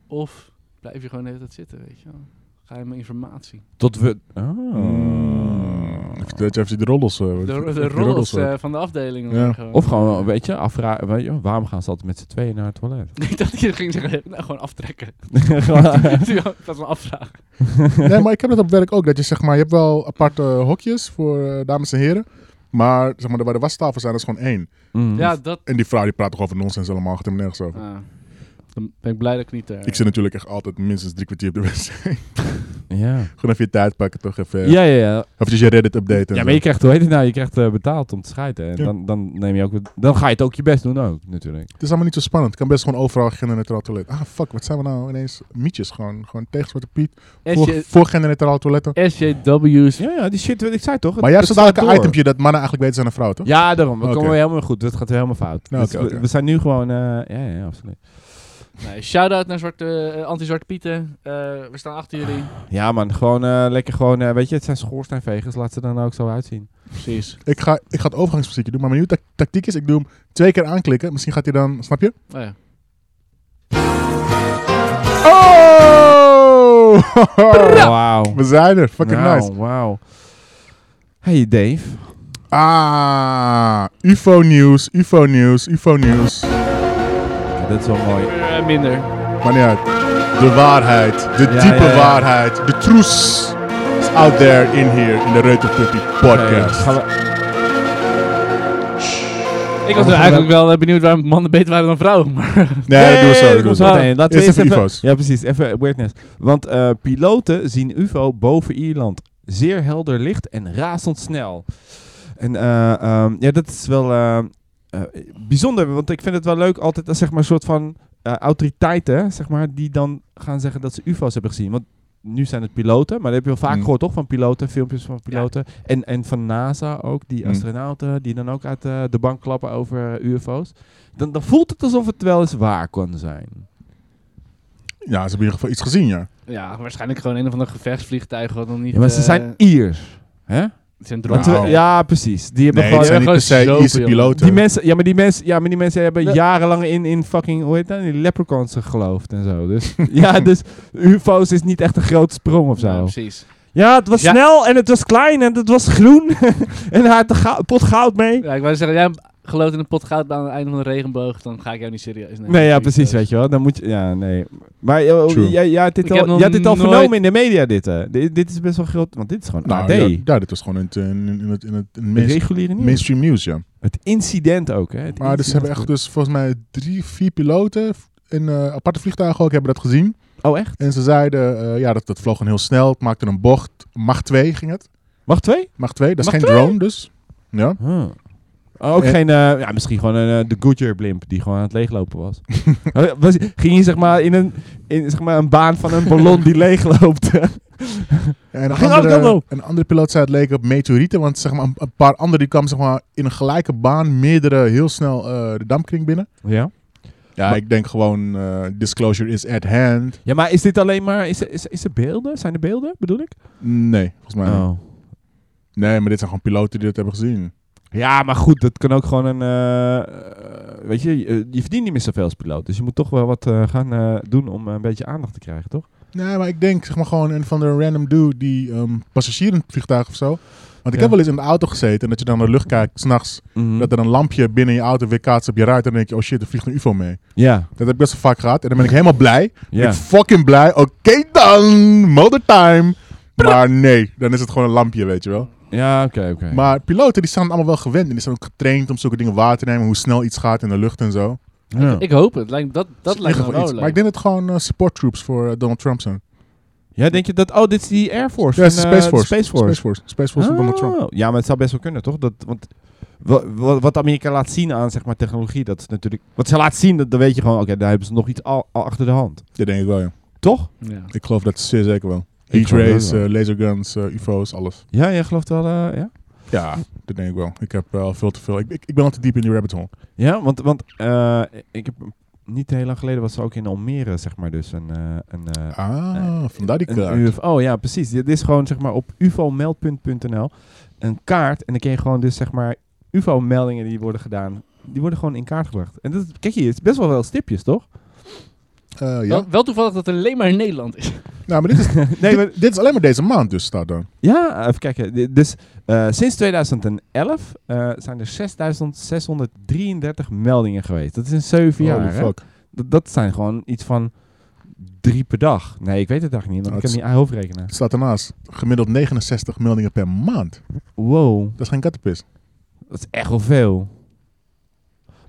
[SPEAKER 1] of blijf je gewoon de hele tijd zitten, weet je wel. Ga je mijn informatie.
[SPEAKER 3] Tot we... Oh. Hmm.
[SPEAKER 2] Mm. Even- Dat je even de roddels... eh,
[SPEAKER 1] De,
[SPEAKER 2] wat-
[SPEAKER 1] de,
[SPEAKER 2] wat- wat-
[SPEAKER 1] roddels
[SPEAKER 2] hoort.
[SPEAKER 1] eh, van de afdeling.
[SPEAKER 2] Ja.
[SPEAKER 1] gewoon.
[SPEAKER 3] Of gewoon, weet je, afvragen, weet je, waarom gaan ze altijd met z'n tweeën naar het toilet?
[SPEAKER 1] Ik dacht dat je ging zeggen, nou gewoon aftrekken.
[SPEAKER 3] Gewoon-
[SPEAKER 1] Toen dacht ik, Dat is een afvraag. eh.
[SPEAKER 2] Nee, maar ik heb dat op werk ook. Dat je zeg maar, je hebt wel aparte hokjes voor eh, dames en heren. Maar zeg maar, waar de wastafel zijn, dat is gewoon één.
[SPEAKER 3] Mm.
[SPEAKER 1] Ja, dat...
[SPEAKER 2] En die vrouw die praat toch over nonsens allemaal, gaat hem nergens over.
[SPEAKER 1] Ah, dan ben ik blij dat ik niet... eh,
[SPEAKER 2] Ik zit natuurlijk echt altijd minstens drie kwartier op de wc.
[SPEAKER 3] Ja.
[SPEAKER 2] Gewoon even je tijd pakken, toch even. eh,
[SPEAKER 3] Ja, ja, ja.
[SPEAKER 2] Eventjes je Reddit updaten.
[SPEAKER 3] Ja,
[SPEAKER 2] en
[SPEAKER 3] maar je
[SPEAKER 2] zo.
[SPEAKER 3] krijgt, hoe heet het nou, je krijgt eh, betaald om te schijten. En
[SPEAKER 2] Ja.
[SPEAKER 3] dan, dan, neem je ook, dan ga je het ook je best doen ook, natuurlijk.
[SPEAKER 2] Het is allemaal niet zo spannend. Het kan best gewoon overal genderneutraal toilet. Ah, fuck, wat zijn we nou ineens? Mietjes gewoon. Gewoon tegen Zwarte Piet. Voor,
[SPEAKER 1] SJ
[SPEAKER 2] voor genderneutraal toiletten.
[SPEAKER 1] SJW's.
[SPEAKER 3] Ja, ja, die shit, ik zei toch? het-
[SPEAKER 2] Maar jij hebt
[SPEAKER 3] het
[SPEAKER 2] zo dadelijk
[SPEAKER 3] staat
[SPEAKER 2] een
[SPEAKER 3] door.
[SPEAKER 2] itempje dat mannen eigenlijk beter zijn dan vrouwen, toch?
[SPEAKER 3] Ja, daarom. We
[SPEAKER 2] Oké.
[SPEAKER 3] komen weer helemaal goed. Het gaat weer helemaal fout.
[SPEAKER 2] Nou,
[SPEAKER 3] Dus
[SPEAKER 2] oké,
[SPEAKER 3] we,
[SPEAKER 2] oké.
[SPEAKER 3] we zijn nu gewoon... eh, ja, ja, absoluut.
[SPEAKER 1] Nee, shout-out naar zwarte, eh, anti-zwarte pieten. Eh, we staan achter jullie.
[SPEAKER 3] Ja, man. Gewoon eh, lekker gewoon... eh, weet je, het zijn schoorsteenvegers. Laat ze dan ook zo uitzien.
[SPEAKER 1] Precies.
[SPEAKER 2] Ik ga, ik ga het overgangsmuziekje doen. Maar mijn nieuwe ta- tactiek is, ik doe hem twee keer aanklikken. Misschien gaat hij dan, snap je?
[SPEAKER 1] Oh, ja.
[SPEAKER 2] Oh!
[SPEAKER 3] Wauw.
[SPEAKER 2] We zijn er. Fucking
[SPEAKER 3] Wauw,
[SPEAKER 2] nice.
[SPEAKER 3] Wauw. Hey, Dave.
[SPEAKER 2] Ah, UFO nieuws, UFO nieuws, UFO nieuws.
[SPEAKER 3] Ja, dat is wel mooi.
[SPEAKER 1] Weer, eh, minder.
[SPEAKER 2] Maar niet uit. De waarheid, de
[SPEAKER 3] Ja,
[SPEAKER 2] diepe
[SPEAKER 3] ja, ja.
[SPEAKER 2] waarheid, de truus is out there in here in de Reuterpuppy
[SPEAKER 3] Hey,
[SPEAKER 2] podcast.
[SPEAKER 3] gaan we-
[SPEAKER 1] Ik was eigenlijk wel eh, benieuwd waarom mannen beter waren dan vrouwen. Maar
[SPEAKER 2] nee, dat doen we zo.
[SPEAKER 3] Nee,
[SPEAKER 2] dat doen we
[SPEAKER 3] komt
[SPEAKER 2] zo.
[SPEAKER 3] wel. Nee, laten we
[SPEAKER 2] Eerst
[SPEAKER 3] eerst
[SPEAKER 2] even
[SPEAKER 3] even...
[SPEAKER 2] UFO's.
[SPEAKER 3] Ja, precies. Even weirdness. Want eh, piloten zien UFO boven Ierland. Zeer helder licht en razendsnel. En eh, ehm, ja, dat is wel eh, eh, bijzonder. Want ik vind het wel leuk altijd als zeg maar een soort van eh, autoriteiten, zeg maar, die dan gaan zeggen dat ze UFO's hebben gezien. Want nu zijn het piloten, maar dat heb je wel vaak
[SPEAKER 2] Mm.
[SPEAKER 3] gehoord toch van piloten, filmpjes van piloten. En, en van NASA ook, die
[SPEAKER 2] Mm.
[SPEAKER 3] astronauten die dan ook uit eh, de bank klappen over eh, UFO's. Dan, dan voelt het alsof het wel eens waar kon zijn.
[SPEAKER 2] Ja, ze hebben in ieder geval iets gezien, ja.
[SPEAKER 1] ja, waarschijnlijk gewoon een of ander gevechtsvliegtuig wat nog niet...
[SPEAKER 3] Ja, maar ze
[SPEAKER 1] eh,
[SPEAKER 3] zijn Iers. Hè?
[SPEAKER 1] ze zijn
[SPEAKER 2] Want
[SPEAKER 1] droog.
[SPEAKER 3] Want we- ja, precies. Die hebben
[SPEAKER 2] Nou. Nee,
[SPEAKER 3] gewoon...
[SPEAKER 2] dat zijn niet per se
[SPEAKER 1] zoveel.
[SPEAKER 2] Ierse piloten.
[SPEAKER 3] Die mensen, ja, maar die mensen, ja, maar die mensen hebben
[SPEAKER 1] Le-
[SPEAKER 3] jarenlang in, in fucking, hoe heet dat, in die leprechauns geloofd en zo. Dus ja, dus UFO's is niet echt een groot sprong of
[SPEAKER 1] Ja,
[SPEAKER 3] zo.
[SPEAKER 1] precies.
[SPEAKER 3] Ja, het was
[SPEAKER 1] Ja.
[SPEAKER 3] snel en het was klein en het was groen. en hij had de gou- pot goud mee.
[SPEAKER 1] Ja, ik wou zeggen, jij gelooft in een pot goud aan het einde van de regenboog, dan ga ik jou niet serieus nemen. Dus
[SPEAKER 3] Nee, ja, precies, weet je wel. Dan moet je, ja, nee. Maar joh,
[SPEAKER 2] True.
[SPEAKER 3] jij jij had dit
[SPEAKER 1] Ik
[SPEAKER 3] al,
[SPEAKER 1] heb nog
[SPEAKER 3] jij had dit al
[SPEAKER 1] nooit-
[SPEAKER 3] vernomen in de media, dit, hè? Dit, dit is best wel groot, want dit is gewoon AD.
[SPEAKER 2] Nou, ja, ja, dit was gewoon in het, in, in het, in het
[SPEAKER 3] het
[SPEAKER 2] mainst-
[SPEAKER 3] reguliere nieuws.
[SPEAKER 2] mainstream nieuws, ja.
[SPEAKER 3] Het incident ook, hè. Het
[SPEAKER 2] Maar dus ze hebben echt
[SPEAKER 3] incident.
[SPEAKER 2] dus volgens mij drie, vier piloten in eh, aparte vliegtuigen ook hebben dat gezien.
[SPEAKER 3] Oh, echt?
[SPEAKER 2] En ze zeiden, eh, ja, dat, dat vloog gewoon heel snel. Het maakte een bocht. Mach 2 ging het.
[SPEAKER 3] Mag twee?
[SPEAKER 2] Mach 2, dat is
[SPEAKER 3] Mach
[SPEAKER 2] geen drone dus. Ja.
[SPEAKER 3] Huh. Oh, ook
[SPEAKER 2] Eh.
[SPEAKER 3] geen, eh, ja, misschien gewoon een, eh, de Goodyear blimp die gewoon aan het leeglopen was. Eh, was ging je zeg maar in een, in, zeg maar een baan van een ballon die leegloopt.
[SPEAKER 2] En een
[SPEAKER 3] Ging ook
[SPEAKER 2] andere,
[SPEAKER 3] dat
[SPEAKER 2] een andere piloot zei het leek op meteorieten. Want zeg maar, een, een paar anderen die kwamen zeg maar, in een gelijke baan meerdere heel snel eh, de dampkring binnen.
[SPEAKER 3] ja.
[SPEAKER 2] Ja, ik denk gewoon eh, disclosure is at hand.
[SPEAKER 3] Ja, maar is dit alleen maar... Is, is, is er beelden? Zijn er beelden, bedoel ik?
[SPEAKER 2] Nee, volgens mij. niet.
[SPEAKER 3] Oh.
[SPEAKER 2] Nee, maar dit zijn gewoon piloten die dit hebben gezien.
[SPEAKER 3] Ja, maar goed, dat kan ook gewoon een... eh, eh, weet je, je, je verdient niet meer zoveel als piloot. Dus je moet toch wel wat eh, gaan eh, doen om eh, een beetje aandacht te krijgen, toch?
[SPEAKER 2] Nee, maar ik denk zeg maar gewoon een van de random dude die ehm passagier in het vliegtuig of zo. Want ik
[SPEAKER 3] Ja.
[SPEAKER 2] heb
[SPEAKER 3] Hm.
[SPEAKER 2] wel eens in de auto gezeten en dat je dan naar de lucht kijkt s'nachts. Dat er een lampje binnen je auto weer kaatst op je ruit. En dan denk je, oh shit, er vliegt een ufo mee.
[SPEAKER 3] Ja,
[SPEAKER 2] Dat heb ik best wel vaak gehad. En dan ben ik helemaal blij.
[SPEAKER 3] ja.
[SPEAKER 2] Ik fucking blij. Oké dan, mother time. Maar nee, dan is het gewoon een lampje, weet je wel.
[SPEAKER 3] Ja, oké, oké.
[SPEAKER 2] Maar piloten die zijn allemaal wel gewend. En die zijn ook getraind om zulke dingen waar te nemen. Hoe snel iets gaat in de lucht en zo.
[SPEAKER 3] Ja.
[SPEAKER 1] Ik hoop het. Lijkt, dat dat
[SPEAKER 2] Dus in
[SPEAKER 1] lijkt me
[SPEAKER 2] ieder geval
[SPEAKER 1] wel
[SPEAKER 2] iets.
[SPEAKER 1] leuk.
[SPEAKER 2] Maar ik denk dat het gewoon eh, support troops voor eh, Donald Trump zijn.
[SPEAKER 3] Ja, denk je dat... Oh, dit is die Air Force.
[SPEAKER 2] Ja,
[SPEAKER 3] van, eh,
[SPEAKER 2] Space Force.
[SPEAKER 3] Space Force.
[SPEAKER 2] Space Force, Space Force van Donald Trump.
[SPEAKER 3] Oh, Ja, maar het zou best wel kunnen, toch? Dat, want wa- wa- wat Amerika laat zien aan zeg maar, technologie, dat is natuurlijk... Wat ze laat zien, dat, dan weet je gewoon, oké, daar hebben ze nog iets al, al achter de hand.
[SPEAKER 2] Dat denk ik wel, ja.
[SPEAKER 3] Toch?
[SPEAKER 1] Ja.
[SPEAKER 2] Ik geloof dat zeer zeker wel.
[SPEAKER 3] Ik
[SPEAKER 2] Heat
[SPEAKER 3] geloof dat
[SPEAKER 2] rays,
[SPEAKER 3] wel.
[SPEAKER 2] eh, laserguns, eh, UFO's, alles.
[SPEAKER 3] Ja, jij gelooft wel, eh, ja?
[SPEAKER 2] Ja, dat denk ik wel. Ik heb wel veel te veel. Ik, ik, ik ben al te diep in die rabbit hole.
[SPEAKER 3] Ja, want, want eh, ik heb... Niet heel lang geleden was er ook in Almere, zeg maar, dus een... eh, een eh,
[SPEAKER 2] Ah, vandaar die kaart.
[SPEAKER 3] Een UFO, ja, precies. Dit is gewoon zeg maar op uvomeldpunt.nl een kaart. En dan kun je gewoon dus zeg maar UFO-meldingen die worden gedaan, die worden gewoon in kaart gebracht. En dat, kijk hier, het is best wel wel stipjes, toch?
[SPEAKER 2] Eh, ja.
[SPEAKER 3] Oh.
[SPEAKER 1] Wel, wel toevallig dat het alleen maar in Nederland is.
[SPEAKER 2] Nou, maar dit is,
[SPEAKER 3] nee,
[SPEAKER 2] dit,
[SPEAKER 3] maar,
[SPEAKER 2] dit is alleen maar deze maand dus, staat dan.
[SPEAKER 3] ja, even kijken. Di- Dus eh, sinds 2011 eh, zijn er 6633 meldingen geweest. Dat is in zeven
[SPEAKER 2] Holy
[SPEAKER 3] jaar. hè?
[SPEAKER 2] fuck.
[SPEAKER 3] Dat, dat zijn gewoon iets van drie per dag. Nee, ik weet het eigenlijk niet, want
[SPEAKER 2] Nou,
[SPEAKER 3] ik kan
[SPEAKER 2] het
[SPEAKER 3] niet uit mijn hoofd rekenen.
[SPEAKER 2] Het staat ernaast. Gemiddeld 69 meldingen per maand.
[SPEAKER 3] Wow.
[SPEAKER 2] Dat is geen kattenpis.
[SPEAKER 3] Dat is echt wel veel.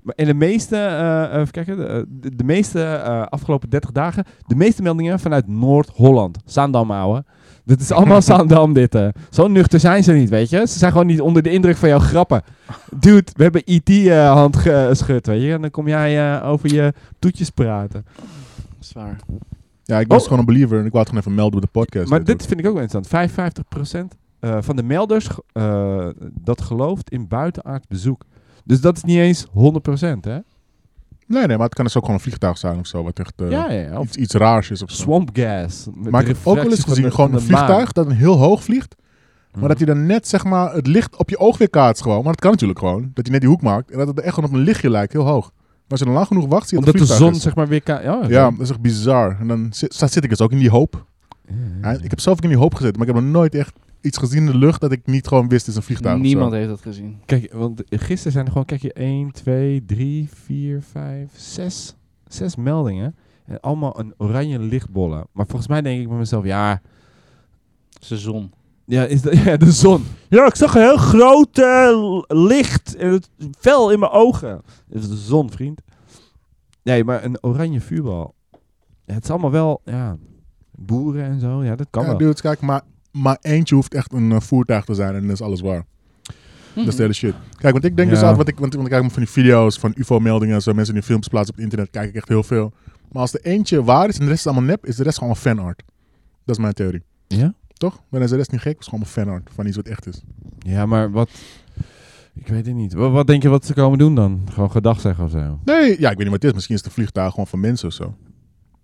[SPEAKER 3] Maar in de meeste, eh, even kijken, de, de- de meeste eh, afgelopen 30 dagen, de meeste meldingen vanuit Noord-Holland. Zaandam, ouwe. Dit is allemaal Zaandam, dit. eh. Zo nuchter zijn ze niet, weet je. Ze zijn gewoon niet onder de indruk van jouw grappen. Dude, we hebben IT eh, hand geschud, weet je. En dan kom jij eh, over je toetjes praten.
[SPEAKER 1] Zwaar.
[SPEAKER 2] Ja, ik was
[SPEAKER 3] Oh.
[SPEAKER 2] gewoon een believer en ik wou het gewoon even melden op de podcast.
[SPEAKER 3] Maar
[SPEAKER 2] Weet
[SPEAKER 3] dit vind ik ook wel interessant. 55% eh, van de melders eh, dat gelooft in buitenaards bezoek. Dus dat is niet eens 100%, hè?
[SPEAKER 2] je. Nee, nee, maar het kan dus ook gewoon een vliegtuig zijn of zo. Wat echt eh,
[SPEAKER 3] ja, ja. Of
[SPEAKER 2] iets, iets raars is of zo.
[SPEAKER 3] swamp gas. met
[SPEAKER 2] Maar
[SPEAKER 3] de
[SPEAKER 2] ik heb ook wel eens
[SPEAKER 3] refractie
[SPEAKER 2] gezien,
[SPEAKER 3] van de-
[SPEAKER 2] gewoon
[SPEAKER 3] van
[SPEAKER 2] een
[SPEAKER 3] de maan.
[SPEAKER 2] vliegtuig dat een heel hoog vliegt. Maar dat
[SPEAKER 3] Mhm.
[SPEAKER 2] hij dan net zeg maar het licht op je oog weer kaatst gewoon. Maar dat kan natuurlijk gewoon. Dat hij net die hoek maakt. En dat het echt gewoon op een lichtje lijkt, heel hoog. Maar als je dan lang genoeg wacht, zie je dat
[SPEAKER 3] Omdat
[SPEAKER 2] het
[SPEAKER 3] de
[SPEAKER 2] vliegtuig
[SPEAKER 3] zon zeg maar weer... ka- Ja,
[SPEAKER 2] is. Ja, dat is echt bizar. En dan zit, zat- zit ik dus ook in die hoop. Ja, ik heb zelf ook in die hoop gezeten, maar ik heb nog nooit echt iets gezien in de lucht dat ik niet gewoon wist, het is een vliegtuig of zo.
[SPEAKER 1] Niemand heeft dat gezien.
[SPEAKER 3] Kijk, want gisteren zijn er gewoon... Kijk je, 1, 2, 3, 4, 5, 6. 6 meldingen. En allemaal een oranje lichtbollen. Maar volgens mij denk ik bij mezelf... Ja,
[SPEAKER 1] Seizoen.
[SPEAKER 3] ja, is dat, ja de zon. Ja, ik zag een heel groot eh, licht. En het fel in mijn ogen. Dat is de zon, vriend. Nee, maar een oranje vuurbal. Ja, het is allemaal wel... Ja, boeren en zo. Ja, dat kan
[SPEAKER 2] ja,
[SPEAKER 3] wel.
[SPEAKER 2] dudes, kijk, maar, maar eentje hoeft echt een eh, voertuig te zijn en dan is alles waar. Dat is de hele shit. Kijk, want ik denk dus
[SPEAKER 3] Ja.
[SPEAKER 2] altijd, wat ik, want, want ik kijk van die video's van UFO-meldingen en zo, mensen die films plaatsen op het internet, kijk ik echt heel veel. Maar als er eentje waar is en de rest is allemaal nep, is de rest gewoon fanart. Dat is mijn theorie.
[SPEAKER 3] Ja?
[SPEAKER 2] Toch? Maar dan is de rest niet gek, het is gewoon fanart van iets wat echt is.
[SPEAKER 3] Ja, maar wat... Ik weet het niet. Wat, wat denk je wat ze komen doen dan? Gewoon gedag zeggen of zo?
[SPEAKER 2] Nee, ja, ik weet niet wat het is. Misschien is de vliegtuig gewoon van mensen of zo.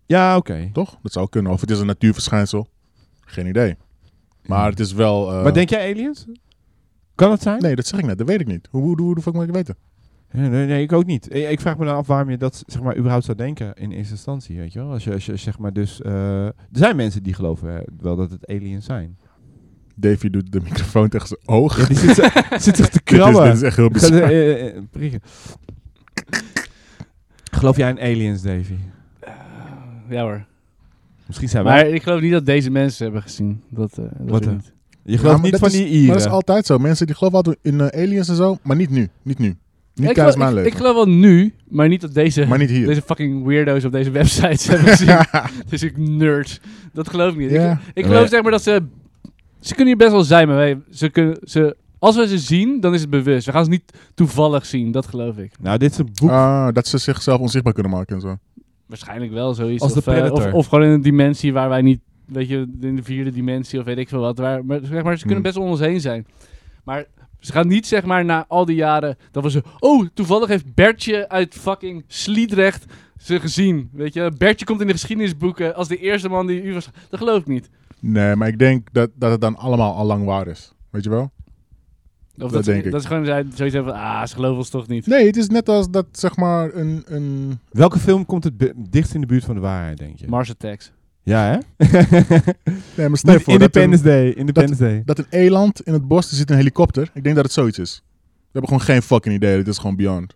[SPEAKER 3] Ja, oké.
[SPEAKER 2] Toch? Dat zou kunnen. Of het is een natuurverschijnsel. Geen idee. Maar het is wel... eh,
[SPEAKER 3] Maar denk jij aliens? Kan dat zijn?
[SPEAKER 2] Nee, dat zeg ik net. Dat weet ik niet. Hoe, hoe, hoe de fuck moet ik het weten?
[SPEAKER 3] Nee, nee, nee, ik ook niet. Ik, ik vraag me dan af waarom je dat zeg maar überhaupt zou denken in eerste instantie, weet je wel? Als je, als je zeg maar dus... eh, er zijn mensen die geloven eh, wel dat het aliens zijn.
[SPEAKER 2] Davy doet de microfoon tegen zijn oog.
[SPEAKER 3] Ja, die zit, ze- zit zich te
[SPEAKER 2] Dit is,
[SPEAKER 3] krabben.
[SPEAKER 2] dit is echt heel
[SPEAKER 3] Gaat,
[SPEAKER 2] bizar.
[SPEAKER 3] eh, eh, eh, prikken. Geloof jij in aliens, Davy?
[SPEAKER 1] Eh, Ja hoor.
[SPEAKER 3] Misschien zijn wij...
[SPEAKER 1] Maar ik geloof niet dat deze mensen hebben gezien. Dat, eh dat
[SPEAKER 3] Wat
[SPEAKER 1] weet ik
[SPEAKER 3] dan?
[SPEAKER 1] niet.
[SPEAKER 3] Je
[SPEAKER 2] Ja,
[SPEAKER 3] gelooft
[SPEAKER 2] maar
[SPEAKER 3] niet
[SPEAKER 2] dat
[SPEAKER 3] van
[SPEAKER 2] is-
[SPEAKER 3] die Ieren.
[SPEAKER 2] Maar dat is altijd zo. Mensen die geloven altijd in eh, aliens en zo, maar niet nu. Niet nu. Niet
[SPEAKER 1] ik,
[SPEAKER 2] tijdens
[SPEAKER 1] geloof,
[SPEAKER 2] mijn
[SPEAKER 1] ik-
[SPEAKER 2] leven.
[SPEAKER 1] ik geloof wel nu, maar niet dat deze,
[SPEAKER 2] maar niet hier.
[SPEAKER 1] deze fucking weirdo's op deze websites hebben gezien. dus ik nerd. Dat geloof ik niet.
[SPEAKER 2] Ja.
[SPEAKER 1] Ik, ik
[SPEAKER 3] Ja,
[SPEAKER 1] geloof
[SPEAKER 3] maar-
[SPEAKER 1] zeg maar dat ze... Ze kunnen hier best wel zijn, maar wij, ze kunnen, ze, als we ze zien, dan is het bewust. We gaan ze niet toevallig zien, dat geloof ik.
[SPEAKER 3] Nou, dit is een boek
[SPEAKER 2] Ah, dat ze zichzelf onzichtbaar kunnen maken en zo.
[SPEAKER 1] Waarschijnlijk wel zoiets.
[SPEAKER 3] Als de
[SPEAKER 1] of, eh,
[SPEAKER 3] Predator.
[SPEAKER 1] of, of gewoon in een dimensie waar wij niet, weet je, in de vierde dimensie of weet ik veel wat. Waar, maar, zeg maar, ze kunnen
[SPEAKER 2] Hmm.
[SPEAKER 1] best om ons heen zijn. Maar ze gaan niet, zeg maar, na al die jaren, dat we ze, oh, toevallig heeft Bertje uit fucking Sliedrecht ze gezien. Weet je, Bertje komt in de geschiedenisboeken als de eerste man die u was. Dat geloof ik niet.
[SPEAKER 2] Nee, maar ik denk dat, dat het dan allemaal al lang waar is. Weet je wel?
[SPEAKER 1] Of dat,
[SPEAKER 2] Dat
[SPEAKER 1] ze-
[SPEAKER 2] denk ik.
[SPEAKER 1] Dat is gewoon zij- zoiets hebben van, ah, ze geloven ons toch niet.
[SPEAKER 2] Nee, het is net als dat zeg maar een... een
[SPEAKER 3] Welke film komt het be- dichtst in de buurt van de waarheid, denk je?
[SPEAKER 1] Mars Attacks.
[SPEAKER 3] ja, hè?
[SPEAKER 2] nee, maar stel je voor
[SPEAKER 3] Niet
[SPEAKER 2] dat een,
[SPEAKER 3] Independence Day. Independence Day.
[SPEAKER 2] dat een eland in het bos, er zit een helikopter. Ik denk dat het zoiets is. We hebben gewoon geen fucking idee. Dit is gewoon beyond.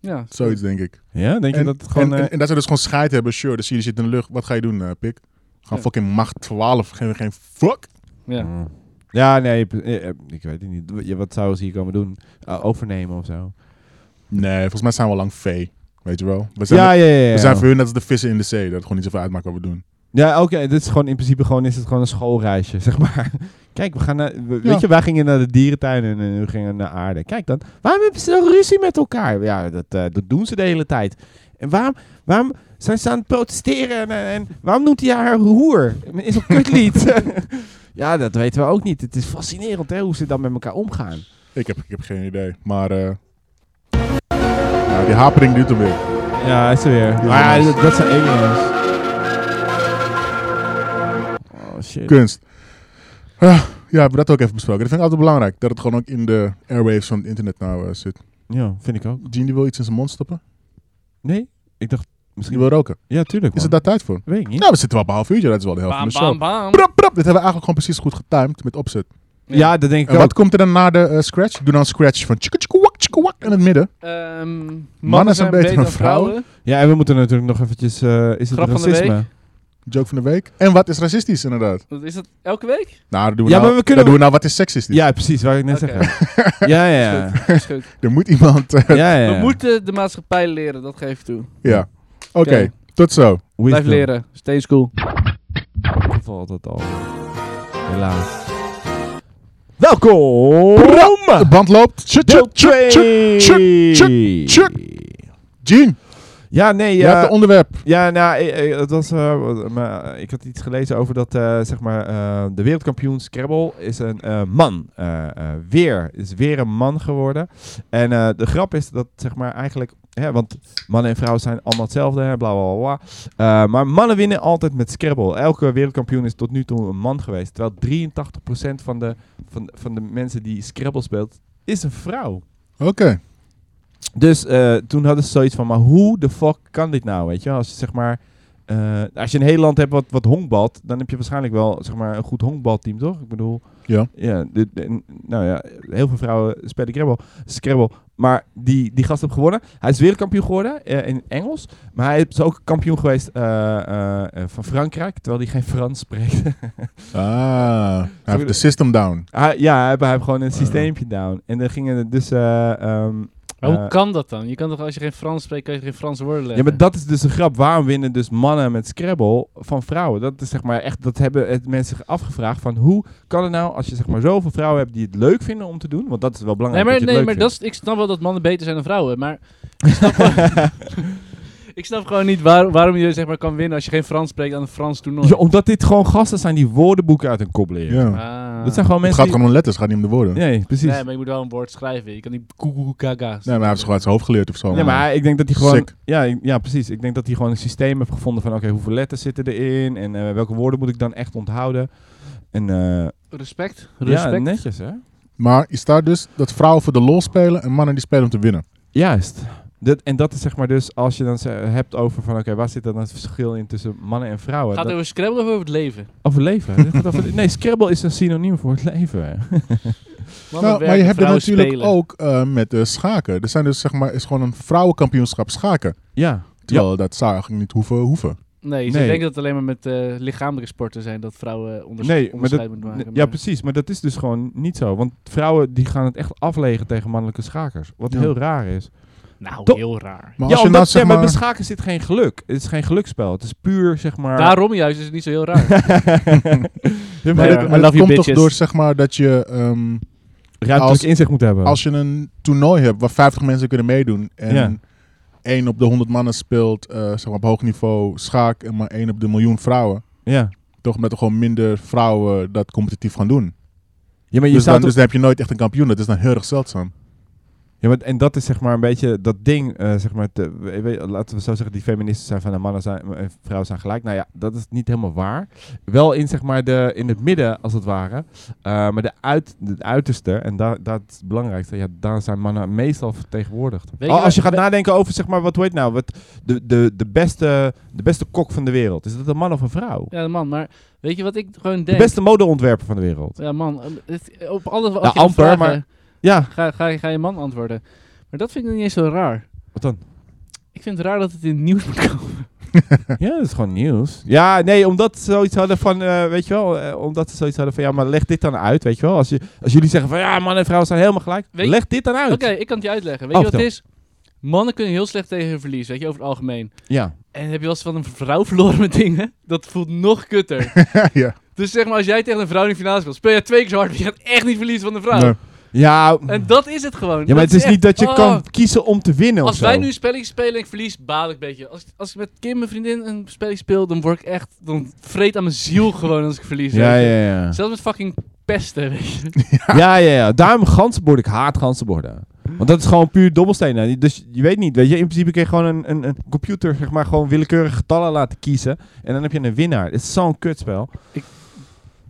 [SPEAKER 1] Ja.
[SPEAKER 2] Zoiets denk ik.
[SPEAKER 3] Ja, denk je
[SPEAKER 2] en,
[SPEAKER 3] dat het gewoon...
[SPEAKER 2] en,
[SPEAKER 3] eh,
[SPEAKER 2] en, en dat ze dus gewoon scheid hebben. Sure, dus jullie zitten in de lucht. Wat ga je doen, eh, pik? Gaan
[SPEAKER 1] Ja.
[SPEAKER 2] fucking macht 12. Geen, geen fuck.
[SPEAKER 1] ja.
[SPEAKER 3] Mm. Ja, nee, p- eh, eh, ik weet het niet. W- ja, Wat zouden ze hier komen doen? Eh, overnemen of zo?
[SPEAKER 2] Nee, volgens mij zijn we al lang vee. Weet je wel? We zijn,
[SPEAKER 3] ja, ja, ja. ja.
[SPEAKER 2] we zijn voor hun net als de vissen in de zee. Dat het gewoon niet zoveel uitmaakt wat we doen.
[SPEAKER 3] Ja, oké. dit is gewoon in principe gewoon, is het gewoon een schoolreisje, zeg maar. Kijk, we gaan naar, we-
[SPEAKER 2] Ja.
[SPEAKER 3] weet je, wij gingen naar de dierentuin en eh, we gingen naar aarde. Kijk dan, waarom hebben ze zo ruzie met elkaar? Ja, dat, eh, dat doen ze de hele tijd. En waarom, waarom zijn ze aan het protesteren en, en waarom noemt hij haar hoer? Is een kutlied. ja, dat weten we ook niet. Het is fascinerend, hè, hoe ze dan met elkaar omgaan.
[SPEAKER 2] Ik heb, ik heb geen idee. Maar eh, nou, die hapering duurt er weer.
[SPEAKER 3] Ja, hij is er weer. Maar ja, dat, dat zijn aliens. Oh shit.
[SPEAKER 2] Kunst. Ah, ja, we hebben dat ook even besproken. Dat vind ik altijd belangrijk. Dat het gewoon ook in de airwaves van het internet nou eh, zit.
[SPEAKER 3] Ja, vind ik ook.
[SPEAKER 2] Gene die wil iets in zijn mond stoppen.
[SPEAKER 3] Nee? Ik dacht
[SPEAKER 2] Die
[SPEAKER 3] misschien...
[SPEAKER 2] wil roken.
[SPEAKER 3] Ja, tuurlijk
[SPEAKER 2] Is er
[SPEAKER 3] man.
[SPEAKER 2] daar tijd voor?
[SPEAKER 3] Weet ik niet.
[SPEAKER 2] Nou, we zitten wel op een half uurtje. Dat is wel de helft
[SPEAKER 1] Bam,
[SPEAKER 2] van de show.
[SPEAKER 1] bam, bam.
[SPEAKER 2] Prap, prap. Dit hebben we eigenlijk gewoon precies goed getimed met opzet.
[SPEAKER 3] Ja, dat denk ik
[SPEAKER 2] En
[SPEAKER 3] ook.
[SPEAKER 2] wat komt er dan na de eh, scratch? Doe dan een scratch van tjikke tjikke wak tjikke wak in het midden.
[SPEAKER 1] Ehm, mannen,
[SPEAKER 2] zijn beter dan vrouwen.
[SPEAKER 3] Ja, en we moeten natuurlijk nog eventjes... eh, is het
[SPEAKER 1] Grap van de
[SPEAKER 3] racisme?
[SPEAKER 2] Joke van de week. En wat is racistisch inderdaad?
[SPEAKER 1] Wat Is dat elke week?
[SPEAKER 2] Nou, dan doen we
[SPEAKER 3] Ja,
[SPEAKER 2] nou,
[SPEAKER 3] maar we kunnen-
[SPEAKER 2] dan doen we nou wat is seksistisch.
[SPEAKER 3] Ja, precies. Waar ik net
[SPEAKER 1] Oké.
[SPEAKER 3] zeggen. ja, ja, ja.
[SPEAKER 1] Is goed.
[SPEAKER 2] Er moet iemand... eh,
[SPEAKER 3] ja, ja.
[SPEAKER 1] We moeten de maatschappij leren, dat geef ik toe.
[SPEAKER 2] ja. Oké,
[SPEAKER 1] Oké.
[SPEAKER 2] tot zo.
[SPEAKER 1] Blijf leren. Stay school.
[SPEAKER 3] Valt dat al. Helaas. Welkom!
[SPEAKER 2] De band loopt. Tjut,
[SPEAKER 3] Deel
[SPEAKER 2] tjut, tjut, tjut. tjut,
[SPEAKER 3] twee.
[SPEAKER 2] tjut, Gene,
[SPEAKER 3] Ja, nee. eh,
[SPEAKER 2] je hebt
[SPEAKER 3] ja.
[SPEAKER 2] het onderwerp.
[SPEAKER 3] Ja, nou, eh, eh, het was, eh, wat- maar, eh, ik had iets gelezen over dat, eh, zeg maar, eh, de wereldkampioen Scrabble is een eh, man. Eh, eh, weer, is weer een man geworden. En eh, de grap is dat, zeg maar, eigenlijk, hè, want mannen en vrouwen zijn allemaal hetzelfde, hè, bla bla bla. bla. Eh, maar mannen winnen altijd met Scrabble. Elke wereldkampioen is tot nu toe een man geweest. Terwijl 83% van de, van, van de mensen die Scrabble speelt, is een vrouw.
[SPEAKER 2] Oké.
[SPEAKER 3] Dus eh, toen hadden ze zoiets van, maar hoe de fuck kan dit nou, weet je? wel? Als je zeg maar, eh, als je een heel land hebt wat, wat honkbalt, dan heb je waarschijnlijk wel zeg maar een goed honkbalteam, toch? Ik bedoel,
[SPEAKER 2] Ja.
[SPEAKER 3] ja dit, en, nou ja, heel veel vrouwen spelen Scrabble, Scrabble. Maar die, die gast heeft gewonnen. Hij is wereldkampioen geworden eh, in Engels, maar hij is ook kampioen geweest eh, eh, eh, van Frankrijk, terwijl hij geen Frans spreekt.
[SPEAKER 2] Ah, hij heeft
[SPEAKER 3] Sorry.
[SPEAKER 2] de system down.
[SPEAKER 3] hij, ja, hij, hij heeft gewoon een systeempje down. En dan gingen er dus eh, ehm,
[SPEAKER 1] Maar
[SPEAKER 3] Eh,
[SPEAKER 1] hoe kan dat dan? Je kan toch als je geen Frans spreekt, kan je geen Franse woorden
[SPEAKER 3] Ja,
[SPEAKER 1] leggen?
[SPEAKER 3] maar dat is dus een grap. Waarom winnen dus mannen met Scrabble van vrouwen? Dat is zeg maar echt, dat hebben het mensen zich afgevraagd van hoe kan het nou als je zeg maar zoveel vrouwen hebt die het leuk vinden om te doen? Want dat is wel
[SPEAKER 1] Nee,
[SPEAKER 3] belangrijk.
[SPEAKER 1] maar,
[SPEAKER 3] dat je
[SPEAKER 1] nee,
[SPEAKER 3] het
[SPEAKER 1] maar
[SPEAKER 3] leuk
[SPEAKER 1] dat is, ik snap wel dat mannen beter zijn dan vrouwen, maar ik snap, gewoon- ik snap gewoon niet waar- waarom je zeg maar, kan winnen als je geen Frans spreekt aan een Frans toernooi.
[SPEAKER 3] vindt. Ja, oh, omdat dit gewoon gasten zijn die woordenboeken uit hun kop leren.
[SPEAKER 2] Ja.
[SPEAKER 1] Ah.
[SPEAKER 3] Dat zijn gewoon
[SPEAKER 2] Het
[SPEAKER 3] mensen.
[SPEAKER 2] gaat gewoon om letters, het gaat niet om de woorden.
[SPEAKER 3] die- Nee, precies.
[SPEAKER 1] Nee, maar je moet wel een woord schrijven. Je kan niet koekoekaga's.
[SPEAKER 2] Nee, maar hij heeft gewoon uit zijn hoofd geleerd of zo.
[SPEAKER 3] Ja, maar hij- ik denk dat hij gewoon.
[SPEAKER 2] Sick.
[SPEAKER 3] Ja, ik- ja, precies. Ik denk dat hij gewoon een systeem heeft gevonden van: oké, hoeveel letters zitten erin en eh, welke woorden moet ik dan echt onthouden? En eh,
[SPEAKER 1] Respect.
[SPEAKER 3] ja,
[SPEAKER 1] Respect.
[SPEAKER 3] netjes hè?
[SPEAKER 2] Maar je staat dus dat vrouwen voor de lol spelen en mannen die spelen om te winnen.
[SPEAKER 3] Juist. Dat, en dat is zeg maar dus als je dan ze- hebt over van oké, waar zit dan het verschil in tussen mannen en vrouwen?
[SPEAKER 1] Gaat het
[SPEAKER 3] Dat-
[SPEAKER 1] over Scrabble of over het leven?
[SPEAKER 3] over leven. Dit gaat over- nee, Scrabble is een synoniem voor het leven.
[SPEAKER 1] Mannen
[SPEAKER 2] nou, maar je
[SPEAKER 1] werken,
[SPEAKER 2] hebt dat
[SPEAKER 1] vrouwen
[SPEAKER 2] natuurlijk
[SPEAKER 1] spelen.
[SPEAKER 2] ook eh, met eh, schaken. Er zijn dus zeg maar, is gewoon een vrouwenkampioenschap schaken.
[SPEAKER 3] ja. ja.
[SPEAKER 2] Terwijl dat zou eigenlijk niet hoeven. hoeven.
[SPEAKER 1] Nee, ik
[SPEAKER 3] Nee.
[SPEAKER 1] denk dat het alleen maar met eh, lichamelijke sporten zijn dat vrouwen onders
[SPEAKER 3] Nee, maar dat,
[SPEAKER 1] onderscheid moeten maken.
[SPEAKER 3] ja,
[SPEAKER 1] maar-
[SPEAKER 3] precies. Maar dat is dus gewoon niet zo. Want vrouwen die gaan het echt aflegen tegen mannelijke schakers. Wat
[SPEAKER 2] Ja.
[SPEAKER 3] heel raar is.
[SPEAKER 1] Nou,
[SPEAKER 3] Toch-
[SPEAKER 1] heel raar.
[SPEAKER 2] Maar
[SPEAKER 3] ja,
[SPEAKER 2] als je
[SPEAKER 3] omdat,
[SPEAKER 2] nou zeg
[SPEAKER 3] ja,
[SPEAKER 2] maar...
[SPEAKER 3] maar dus- bij schaken zit geen geluk. Het is geen geluksspel. Het is puur, zeg maar...
[SPEAKER 1] Daarom juist is het niet zo heel raar.
[SPEAKER 3] Ja,
[SPEAKER 2] Maar
[SPEAKER 1] Ja,
[SPEAKER 2] dat,
[SPEAKER 1] I
[SPEAKER 2] maar dat
[SPEAKER 1] love you
[SPEAKER 2] komt toch
[SPEAKER 1] bitches.
[SPEAKER 2] door zeg maar dat je... ehm,
[SPEAKER 3] ruimtelijk
[SPEAKER 2] als-
[SPEAKER 3] inzicht moet hebben.
[SPEAKER 2] als je een toernooi hebt waar 50 mensen kunnen meedoen en
[SPEAKER 3] Ja.
[SPEAKER 2] één op de 100 mannen speelt eh, zeg maar op hoog niveau schaak en maar één op de miljoen vrouwen,
[SPEAKER 3] ja.
[SPEAKER 2] toch met gewoon minder vrouwen dat competitief gaan doen.
[SPEAKER 3] ja, maar je
[SPEAKER 2] Dus
[SPEAKER 3] staat
[SPEAKER 2] dan,
[SPEAKER 3] op-
[SPEAKER 2] dus dan heb je nooit echt een kampioen. Dat is dan heel erg zeldzaam.
[SPEAKER 3] Ja, maar, en dat is zeg maar een beetje dat ding, eh, zeg maar, te- we- we- laten we zo zeggen, die feministen zijn van de mannen zijn, en vrouwen zijn gelijk. Nou ja, dat is niet helemaal waar. Wel in, zeg maar, de, in het midden, als het ware. Eh, maar de, uit, de uiterste, en da, dat is het belangrijkste, ja, daar zijn mannen meestal vertegenwoordigd.
[SPEAKER 1] Weet je
[SPEAKER 3] Al- als je
[SPEAKER 1] wat-
[SPEAKER 3] gaat nadenken over, zeg maar, wat weet nou, wat, de, de, de, beste, de beste kok van de wereld. Is dat een man of een vrouw?
[SPEAKER 1] Ja, man, maar weet je wat ik gewoon
[SPEAKER 3] De
[SPEAKER 1] denk?
[SPEAKER 3] beste modeontwerper van de wereld.
[SPEAKER 1] Ja, man, eh, het- op alles wat
[SPEAKER 3] Nou,
[SPEAKER 1] je gaat
[SPEAKER 3] amper,
[SPEAKER 1] vragen,
[SPEAKER 3] maar- Ja,
[SPEAKER 1] ga, ga, ga je man antwoorden. Maar dat vind ik niet eens zo raar.
[SPEAKER 3] wat dan?
[SPEAKER 1] Ik vind het raar dat het in het nieuws moet komen.
[SPEAKER 3] Ja, dat is gewoon nieuws. Ja, nee, omdat ze zoiets hadden van, eh, weet je wel, eh, omdat ze zoiets hadden van, ja, maar leg dit dan uit, weet je wel. Als, je, als jullie zeggen van, ja, man en vrouw zijn helemaal gelijk,
[SPEAKER 1] Weet-
[SPEAKER 3] leg dit dan uit.
[SPEAKER 1] Oké, ik kan het je uitleggen. Weet
[SPEAKER 3] Oh,
[SPEAKER 1] je wat het
[SPEAKER 3] vertel.
[SPEAKER 1] is? Mannen kunnen heel slecht tegen hun verlies, weet je, over het algemeen.
[SPEAKER 3] Ja.
[SPEAKER 1] En heb je wel eens van een vrouw verloren met dingen? Dat voelt nog kutter.
[SPEAKER 2] ja.
[SPEAKER 1] dus zeg maar, als jij tegen een vrouw in de finale speelt, speel je twee keer zo hard, maar je gaat echt niet verliezen van een vrouw.
[SPEAKER 2] Nee.
[SPEAKER 3] Ja,
[SPEAKER 1] En dat is het gewoon.
[SPEAKER 3] ja maar het is
[SPEAKER 1] echt-
[SPEAKER 3] niet dat je
[SPEAKER 1] oh.
[SPEAKER 3] kan kiezen om te winnen of
[SPEAKER 1] Als
[SPEAKER 3] zo.
[SPEAKER 1] wij nu een spelletje spelen en ik verlies, baal ik een beetje. Als, ik- als ik met Kim, mijn vriendin, een spelletje speel, dan word ik echt... Dan vreet aan mijn ziel gewoon als ik verlies.
[SPEAKER 3] Ja,
[SPEAKER 1] weet je.
[SPEAKER 3] ja, ja.
[SPEAKER 1] Zelfs met fucking pesten, weet je.
[SPEAKER 3] Ja, ja, ja. Daarom ganzenborden. Ik haat ganzenborden. Want dat is gewoon puur dobbelstenen. Dus je weet niet, weet je. In principe kun je gewoon een, een, een computer, zeg maar, gewoon willekeurige getallen laten kiezen. En dan heb je een winnaar. Het is zo'n kutspel.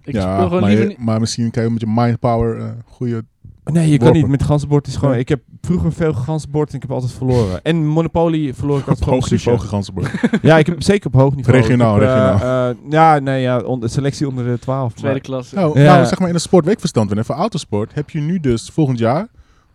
[SPEAKER 1] Ik
[SPEAKER 2] Ja,
[SPEAKER 1] speel gewoon
[SPEAKER 2] maar,
[SPEAKER 1] liever
[SPEAKER 2] je-
[SPEAKER 1] niet...
[SPEAKER 2] maar misschien kan je met je mindpower eh goede...
[SPEAKER 3] Nee, je kan
[SPEAKER 2] Worpen.
[SPEAKER 3] niet met ganzenbord. Is gewoon,
[SPEAKER 2] Ja.
[SPEAKER 3] Ik heb vroeger veel ganzenbord en ik heb altijd verloren. En Monopoly verloor ik altijd
[SPEAKER 2] Op
[SPEAKER 3] gewoon
[SPEAKER 2] hoog
[SPEAKER 3] op sushi.
[SPEAKER 2] niveau Gansenburg.
[SPEAKER 3] Ja, ik heb zeker op hoog niveau.
[SPEAKER 2] Regionaal,
[SPEAKER 3] Ik heb, eh,
[SPEAKER 2] regionaal.
[SPEAKER 3] eh, ja, nee, ja, on- selectie onder de 12. maar-
[SPEAKER 1] Tweede klasse.
[SPEAKER 2] nou,
[SPEAKER 3] Ja.
[SPEAKER 2] nou, zeg maar in het sportweekverstand, winnen voor autosport, heb je nu dus volgend jaar,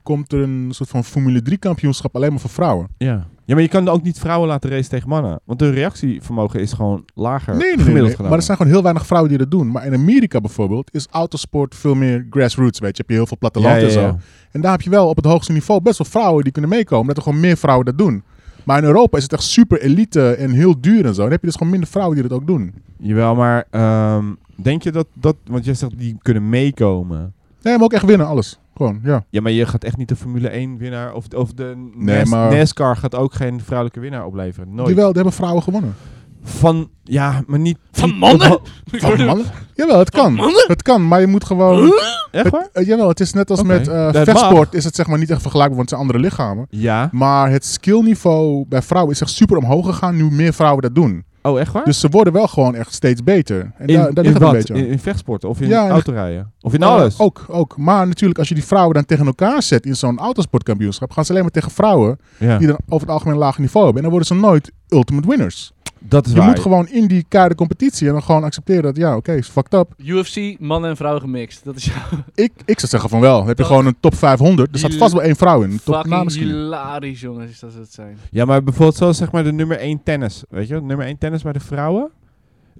[SPEAKER 2] komt er een soort van Formule 3 kampioenschap alleen maar voor vrouwen.
[SPEAKER 3] ja. ja, maar je kan ook niet vrouwen laten racen tegen mannen. Want hun reactievermogen is gewoon lager.
[SPEAKER 2] Nee, nee, nee,
[SPEAKER 3] gemiddeld
[SPEAKER 2] nee.
[SPEAKER 3] genomen.
[SPEAKER 2] Maar er zijn gewoon heel weinig vrouwen die dat doen. Maar in Amerika bijvoorbeeld is autosport veel meer grassroots, weet je. Heb je heel veel platteland
[SPEAKER 3] Ja,
[SPEAKER 2] en
[SPEAKER 3] ja,
[SPEAKER 2] zo.
[SPEAKER 3] ja.
[SPEAKER 2] En daar heb je wel op het hoogste niveau best wel vrouwen die kunnen meekomen. Omdat er gewoon meer vrouwen dat doen. Maar in Europa is het echt super elite en heel duur en zo. Dan heb je dus gewoon minder vrouwen die dat ook doen.
[SPEAKER 3] Jawel, maar ehm, denk je dat, dat... Want jij zegt die kunnen meekomen.
[SPEAKER 2] Nee, maar ook echt winnen, alles. Gewoon, ja.
[SPEAKER 3] Ja, maar je gaat echt niet de Formule 1 winnaar... Of, of de
[SPEAKER 2] Nee,
[SPEAKER 3] NAS-
[SPEAKER 2] maar-
[SPEAKER 3] NASCAR gaat ook geen vrouwelijke winnaar opleveren. Nooit.
[SPEAKER 2] Jawel, daar hebben vrouwen gewonnen.
[SPEAKER 3] Van, ja, maar niet...
[SPEAKER 1] Van
[SPEAKER 3] niet- Oh,
[SPEAKER 1] mannen?
[SPEAKER 2] Van mannen? Jawel, het kan. Het kan, maar je moet gewoon...
[SPEAKER 3] Echt waar?
[SPEAKER 2] Eh, jawel, het is net als
[SPEAKER 3] Oké,
[SPEAKER 2] met eh,
[SPEAKER 3] dat
[SPEAKER 2] vechtsport. Is het zeg maar niet echt vergelijkbaar, want het zijn andere lichamen.
[SPEAKER 3] Ja.
[SPEAKER 2] Maar het skillniveau bij vrouwen is echt super omhoog gegaan. Nu meer vrouwen dat doen.
[SPEAKER 3] Oh, echt waar?
[SPEAKER 2] Dus ze worden wel gewoon echt steeds beter. En daar, daar
[SPEAKER 3] in
[SPEAKER 2] ligt het een
[SPEAKER 3] wat?
[SPEAKER 2] beetje aan.
[SPEAKER 3] In, in vechtsporten of in
[SPEAKER 2] Ja, in-
[SPEAKER 3] autorijden? Of in alles?
[SPEAKER 2] Eh, ook, ook. Maar natuurlijk, als je die vrouwen dan tegen elkaar zet in zo'n autosportkampioenschap, gaan ze alleen maar tegen vrouwen
[SPEAKER 3] ja.
[SPEAKER 2] die dan over het algemeen een laag niveau hebben. En dan worden ze nooit ultimate winners.
[SPEAKER 3] Dat is
[SPEAKER 2] Je
[SPEAKER 3] waar.
[SPEAKER 2] moet gewoon in die keiharde competitie en dan gewoon accepteren dat, ja, oké, is fucked up.
[SPEAKER 1] UFC, mannen en vrouwen gemixt. Dat is jouw
[SPEAKER 2] Ik, ik zou zeggen van wel. Dan heb je
[SPEAKER 1] Dat-
[SPEAKER 2] gewoon een top 500. Er staat
[SPEAKER 1] Die
[SPEAKER 2] vast wel één vrouw in. Een Top na
[SPEAKER 1] fucking
[SPEAKER 2] misschien.
[SPEAKER 1] hilarisch, jongens, is dat ze het zijn.
[SPEAKER 3] Ja, maar bijvoorbeeld zoals zeg maar de nummer 1 tennis. Weet je wel? Nummer 1 tennis bij de vrouwen.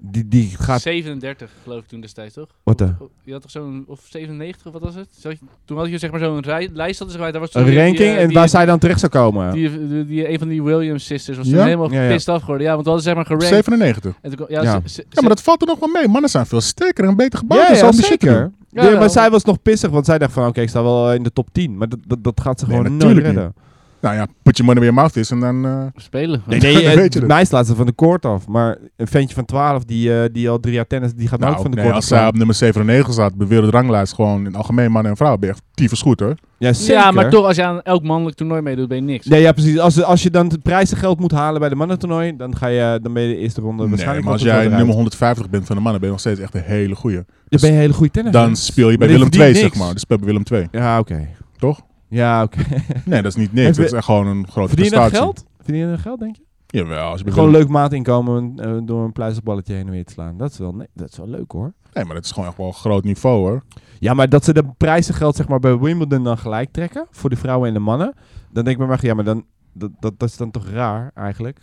[SPEAKER 3] Die, die gaat...
[SPEAKER 1] 37, geloof ik toen destijds, toch?
[SPEAKER 3] Wat dan?
[SPEAKER 1] Of- Je had toch zo'n... Of 97, of wat was het? Zo- toen had je zeg maar zo'n rij- lijst, hadden ze gemaakt, daar was toen
[SPEAKER 3] Een
[SPEAKER 1] die,
[SPEAKER 3] ranking
[SPEAKER 1] eh,
[SPEAKER 3] en
[SPEAKER 1] die-
[SPEAKER 3] waar zij dan terecht zou komen.
[SPEAKER 1] Die, die, die, een van die Williams sisters was
[SPEAKER 2] Ja?
[SPEAKER 1] toen helemaal
[SPEAKER 3] Ja, ja.
[SPEAKER 1] pissed af geworden. Ja, want we hadden zeg maar gerankt.
[SPEAKER 2] 97.
[SPEAKER 1] En toen, kwam- ja,
[SPEAKER 3] Ja.
[SPEAKER 1] ze- ze-
[SPEAKER 2] Ja, maar dat valt er nog wel mee. Mannen zijn veel sterker en beter gebouwd.
[SPEAKER 3] ja,
[SPEAKER 2] en zo
[SPEAKER 3] ja,
[SPEAKER 2] om die shit te
[SPEAKER 3] zeker.
[SPEAKER 2] doen.
[SPEAKER 1] Ja,
[SPEAKER 3] nee,
[SPEAKER 1] wel.
[SPEAKER 3] maar zij was nog pissig, want zij dacht van... Oké, ik sta wel eh, in de top 10. Maar dat, dat, dat gaat ze
[SPEAKER 2] Nee,
[SPEAKER 3] gewoon nooit
[SPEAKER 2] natuurlijk niet.
[SPEAKER 3] redden.
[SPEAKER 2] Nou ja, put your money where your mouth is en dan... eh,
[SPEAKER 1] ze- spelen.
[SPEAKER 2] Nee,
[SPEAKER 3] Nee,
[SPEAKER 2] dat
[SPEAKER 3] eh,
[SPEAKER 2] weet je
[SPEAKER 3] de
[SPEAKER 2] dus.
[SPEAKER 3] meisje laat ze van de koord af. Maar een ventje van 12 die, eh, die al drie jaar tennis... Die gaat nooit
[SPEAKER 2] Nou,
[SPEAKER 3] van de
[SPEAKER 2] nee,
[SPEAKER 3] koord
[SPEAKER 2] als
[SPEAKER 3] af.
[SPEAKER 2] zij op nummer 97 staat, op de wereldranglijst gewoon in het algemeen mannen en vrouwen, ben je echt tyfus goed hoor.
[SPEAKER 3] Ja, zeker.
[SPEAKER 1] Ja, maar toch, als je aan elk mannelijk toernooi meedoet, ben je niks.
[SPEAKER 3] Nee, ja, precies. Als, als je dan het prijzengeld moet halen bij de mannentoernooi, dan, ga je, dan ben je de eerste ronde
[SPEAKER 2] Nee,
[SPEAKER 3] waarschijnlijk
[SPEAKER 2] maar als
[SPEAKER 3] wel tot
[SPEAKER 2] jij
[SPEAKER 3] eruit.
[SPEAKER 2] nummer 150 bent van de mannen, ben je nog steeds echt een hele goeie.
[SPEAKER 3] Dan ben je een hele goede tennis.
[SPEAKER 2] Dan speel je bij
[SPEAKER 3] Maar die
[SPEAKER 2] Willem 2,
[SPEAKER 3] verdient
[SPEAKER 2] zeg
[SPEAKER 3] niks.
[SPEAKER 2] maar. Dan speel je bij Willem 2.
[SPEAKER 3] Ja, oké.
[SPEAKER 2] Toch?
[SPEAKER 3] Ja, oké.
[SPEAKER 2] Nee, dat is niet
[SPEAKER 3] Heb
[SPEAKER 2] niks.
[SPEAKER 3] je-
[SPEAKER 2] Dat is echt gewoon een grote
[SPEAKER 3] Verdien je dat
[SPEAKER 2] prestatie.
[SPEAKER 3] geld? Verdien je dat geld, denk je?
[SPEAKER 2] Jawel, als je bij
[SPEAKER 3] Gewoon
[SPEAKER 2] Willem-
[SPEAKER 3] leuk maatinkomen eh, door een pluizenballetje heen en weer te slaan. Dat is, wel, nee, dat is wel leuk, hoor.
[SPEAKER 2] Nee, maar dat is gewoon echt wel een groot niveau hoor.
[SPEAKER 3] Ja, maar dat ze de prijzengeld zeg maar, bij Wimbledon dan gelijk trekken, voor de vrouwen en de mannen. Dan denk ik bij mij, ja, maar dan, dat, dat, dat is dan toch raar, eigenlijk?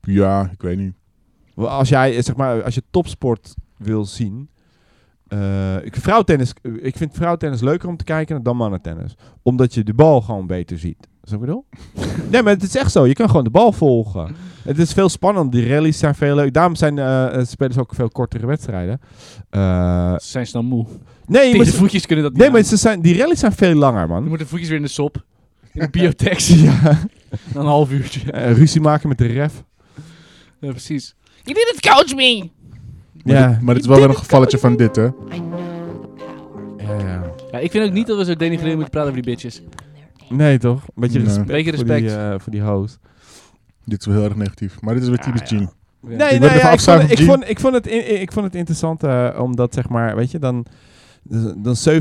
[SPEAKER 2] Ja, ik weet niet.
[SPEAKER 3] Wel, Als jij, eh, zeg maar, als je topsport wil zien. eh, ik, vind vrouwtennis, eh, ik vind vrouwtennis leuker om te kijken dan mannentennis. Omdat je de bal gewoon beter ziet. Is dat wat ik bedoel? nee, maar het is echt zo. Je kan gewoon de bal volgen. Het is veel spannend. Die rallies zijn veel leuk. Daarom zijn eh, eh, spelers ook veel kortere wedstrijden. Eh,
[SPEAKER 1] Zijn ze dan moe?
[SPEAKER 3] nee, maar,
[SPEAKER 1] Tegen de
[SPEAKER 3] ze-
[SPEAKER 1] voetjes kunnen dat niet
[SPEAKER 3] nee, maar
[SPEAKER 1] aan.
[SPEAKER 3] ze zijn, die rallies zijn veel langer,
[SPEAKER 1] Dan
[SPEAKER 3] man.
[SPEAKER 1] moeten de voetjes weer in de sop. In de biotex.
[SPEAKER 3] Ja.
[SPEAKER 1] Dan een half uurtje.
[SPEAKER 3] Eh, ruzie maken met de ref.
[SPEAKER 1] Ja, precies.
[SPEAKER 4] You didn't coach me!
[SPEAKER 2] Maar,
[SPEAKER 3] Ja.
[SPEAKER 2] dit, maar dit is wel weer een gevalletje van dit hè.
[SPEAKER 4] I know the power
[SPEAKER 3] Ja, ja.
[SPEAKER 1] Ja, ik vind ook niet dat we zo denigrerend moeten praten over die bitches.
[SPEAKER 3] Nee, toch? Een beetje
[SPEAKER 2] Nee.
[SPEAKER 3] respect,
[SPEAKER 1] Beetje
[SPEAKER 3] Voor, die,
[SPEAKER 1] respect.
[SPEAKER 3] eh, voor die host.
[SPEAKER 2] Dit is wel heel erg negatief. Maar dit is weer
[SPEAKER 1] Ja,
[SPEAKER 2] typisch
[SPEAKER 1] ja.
[SPEAKER 2] Gene.
[SPEAKER 1] Ja.
[SPEAKER 3] Nee,
[SPEAKER 2] Ik ben
[SPEAKER 3] nou
[SPEAKER 2] even
[SPEAKER 3] ja, ik,
[SPEAKER 2] afzuigen
[SPEAKER 3] vond, ik,
[SPEAKER 2] van
[SPEAKER 3] vond, ik, vond het in- ik vond het interessant eh, omdat, zeg maar, weet je, dan, dan 17%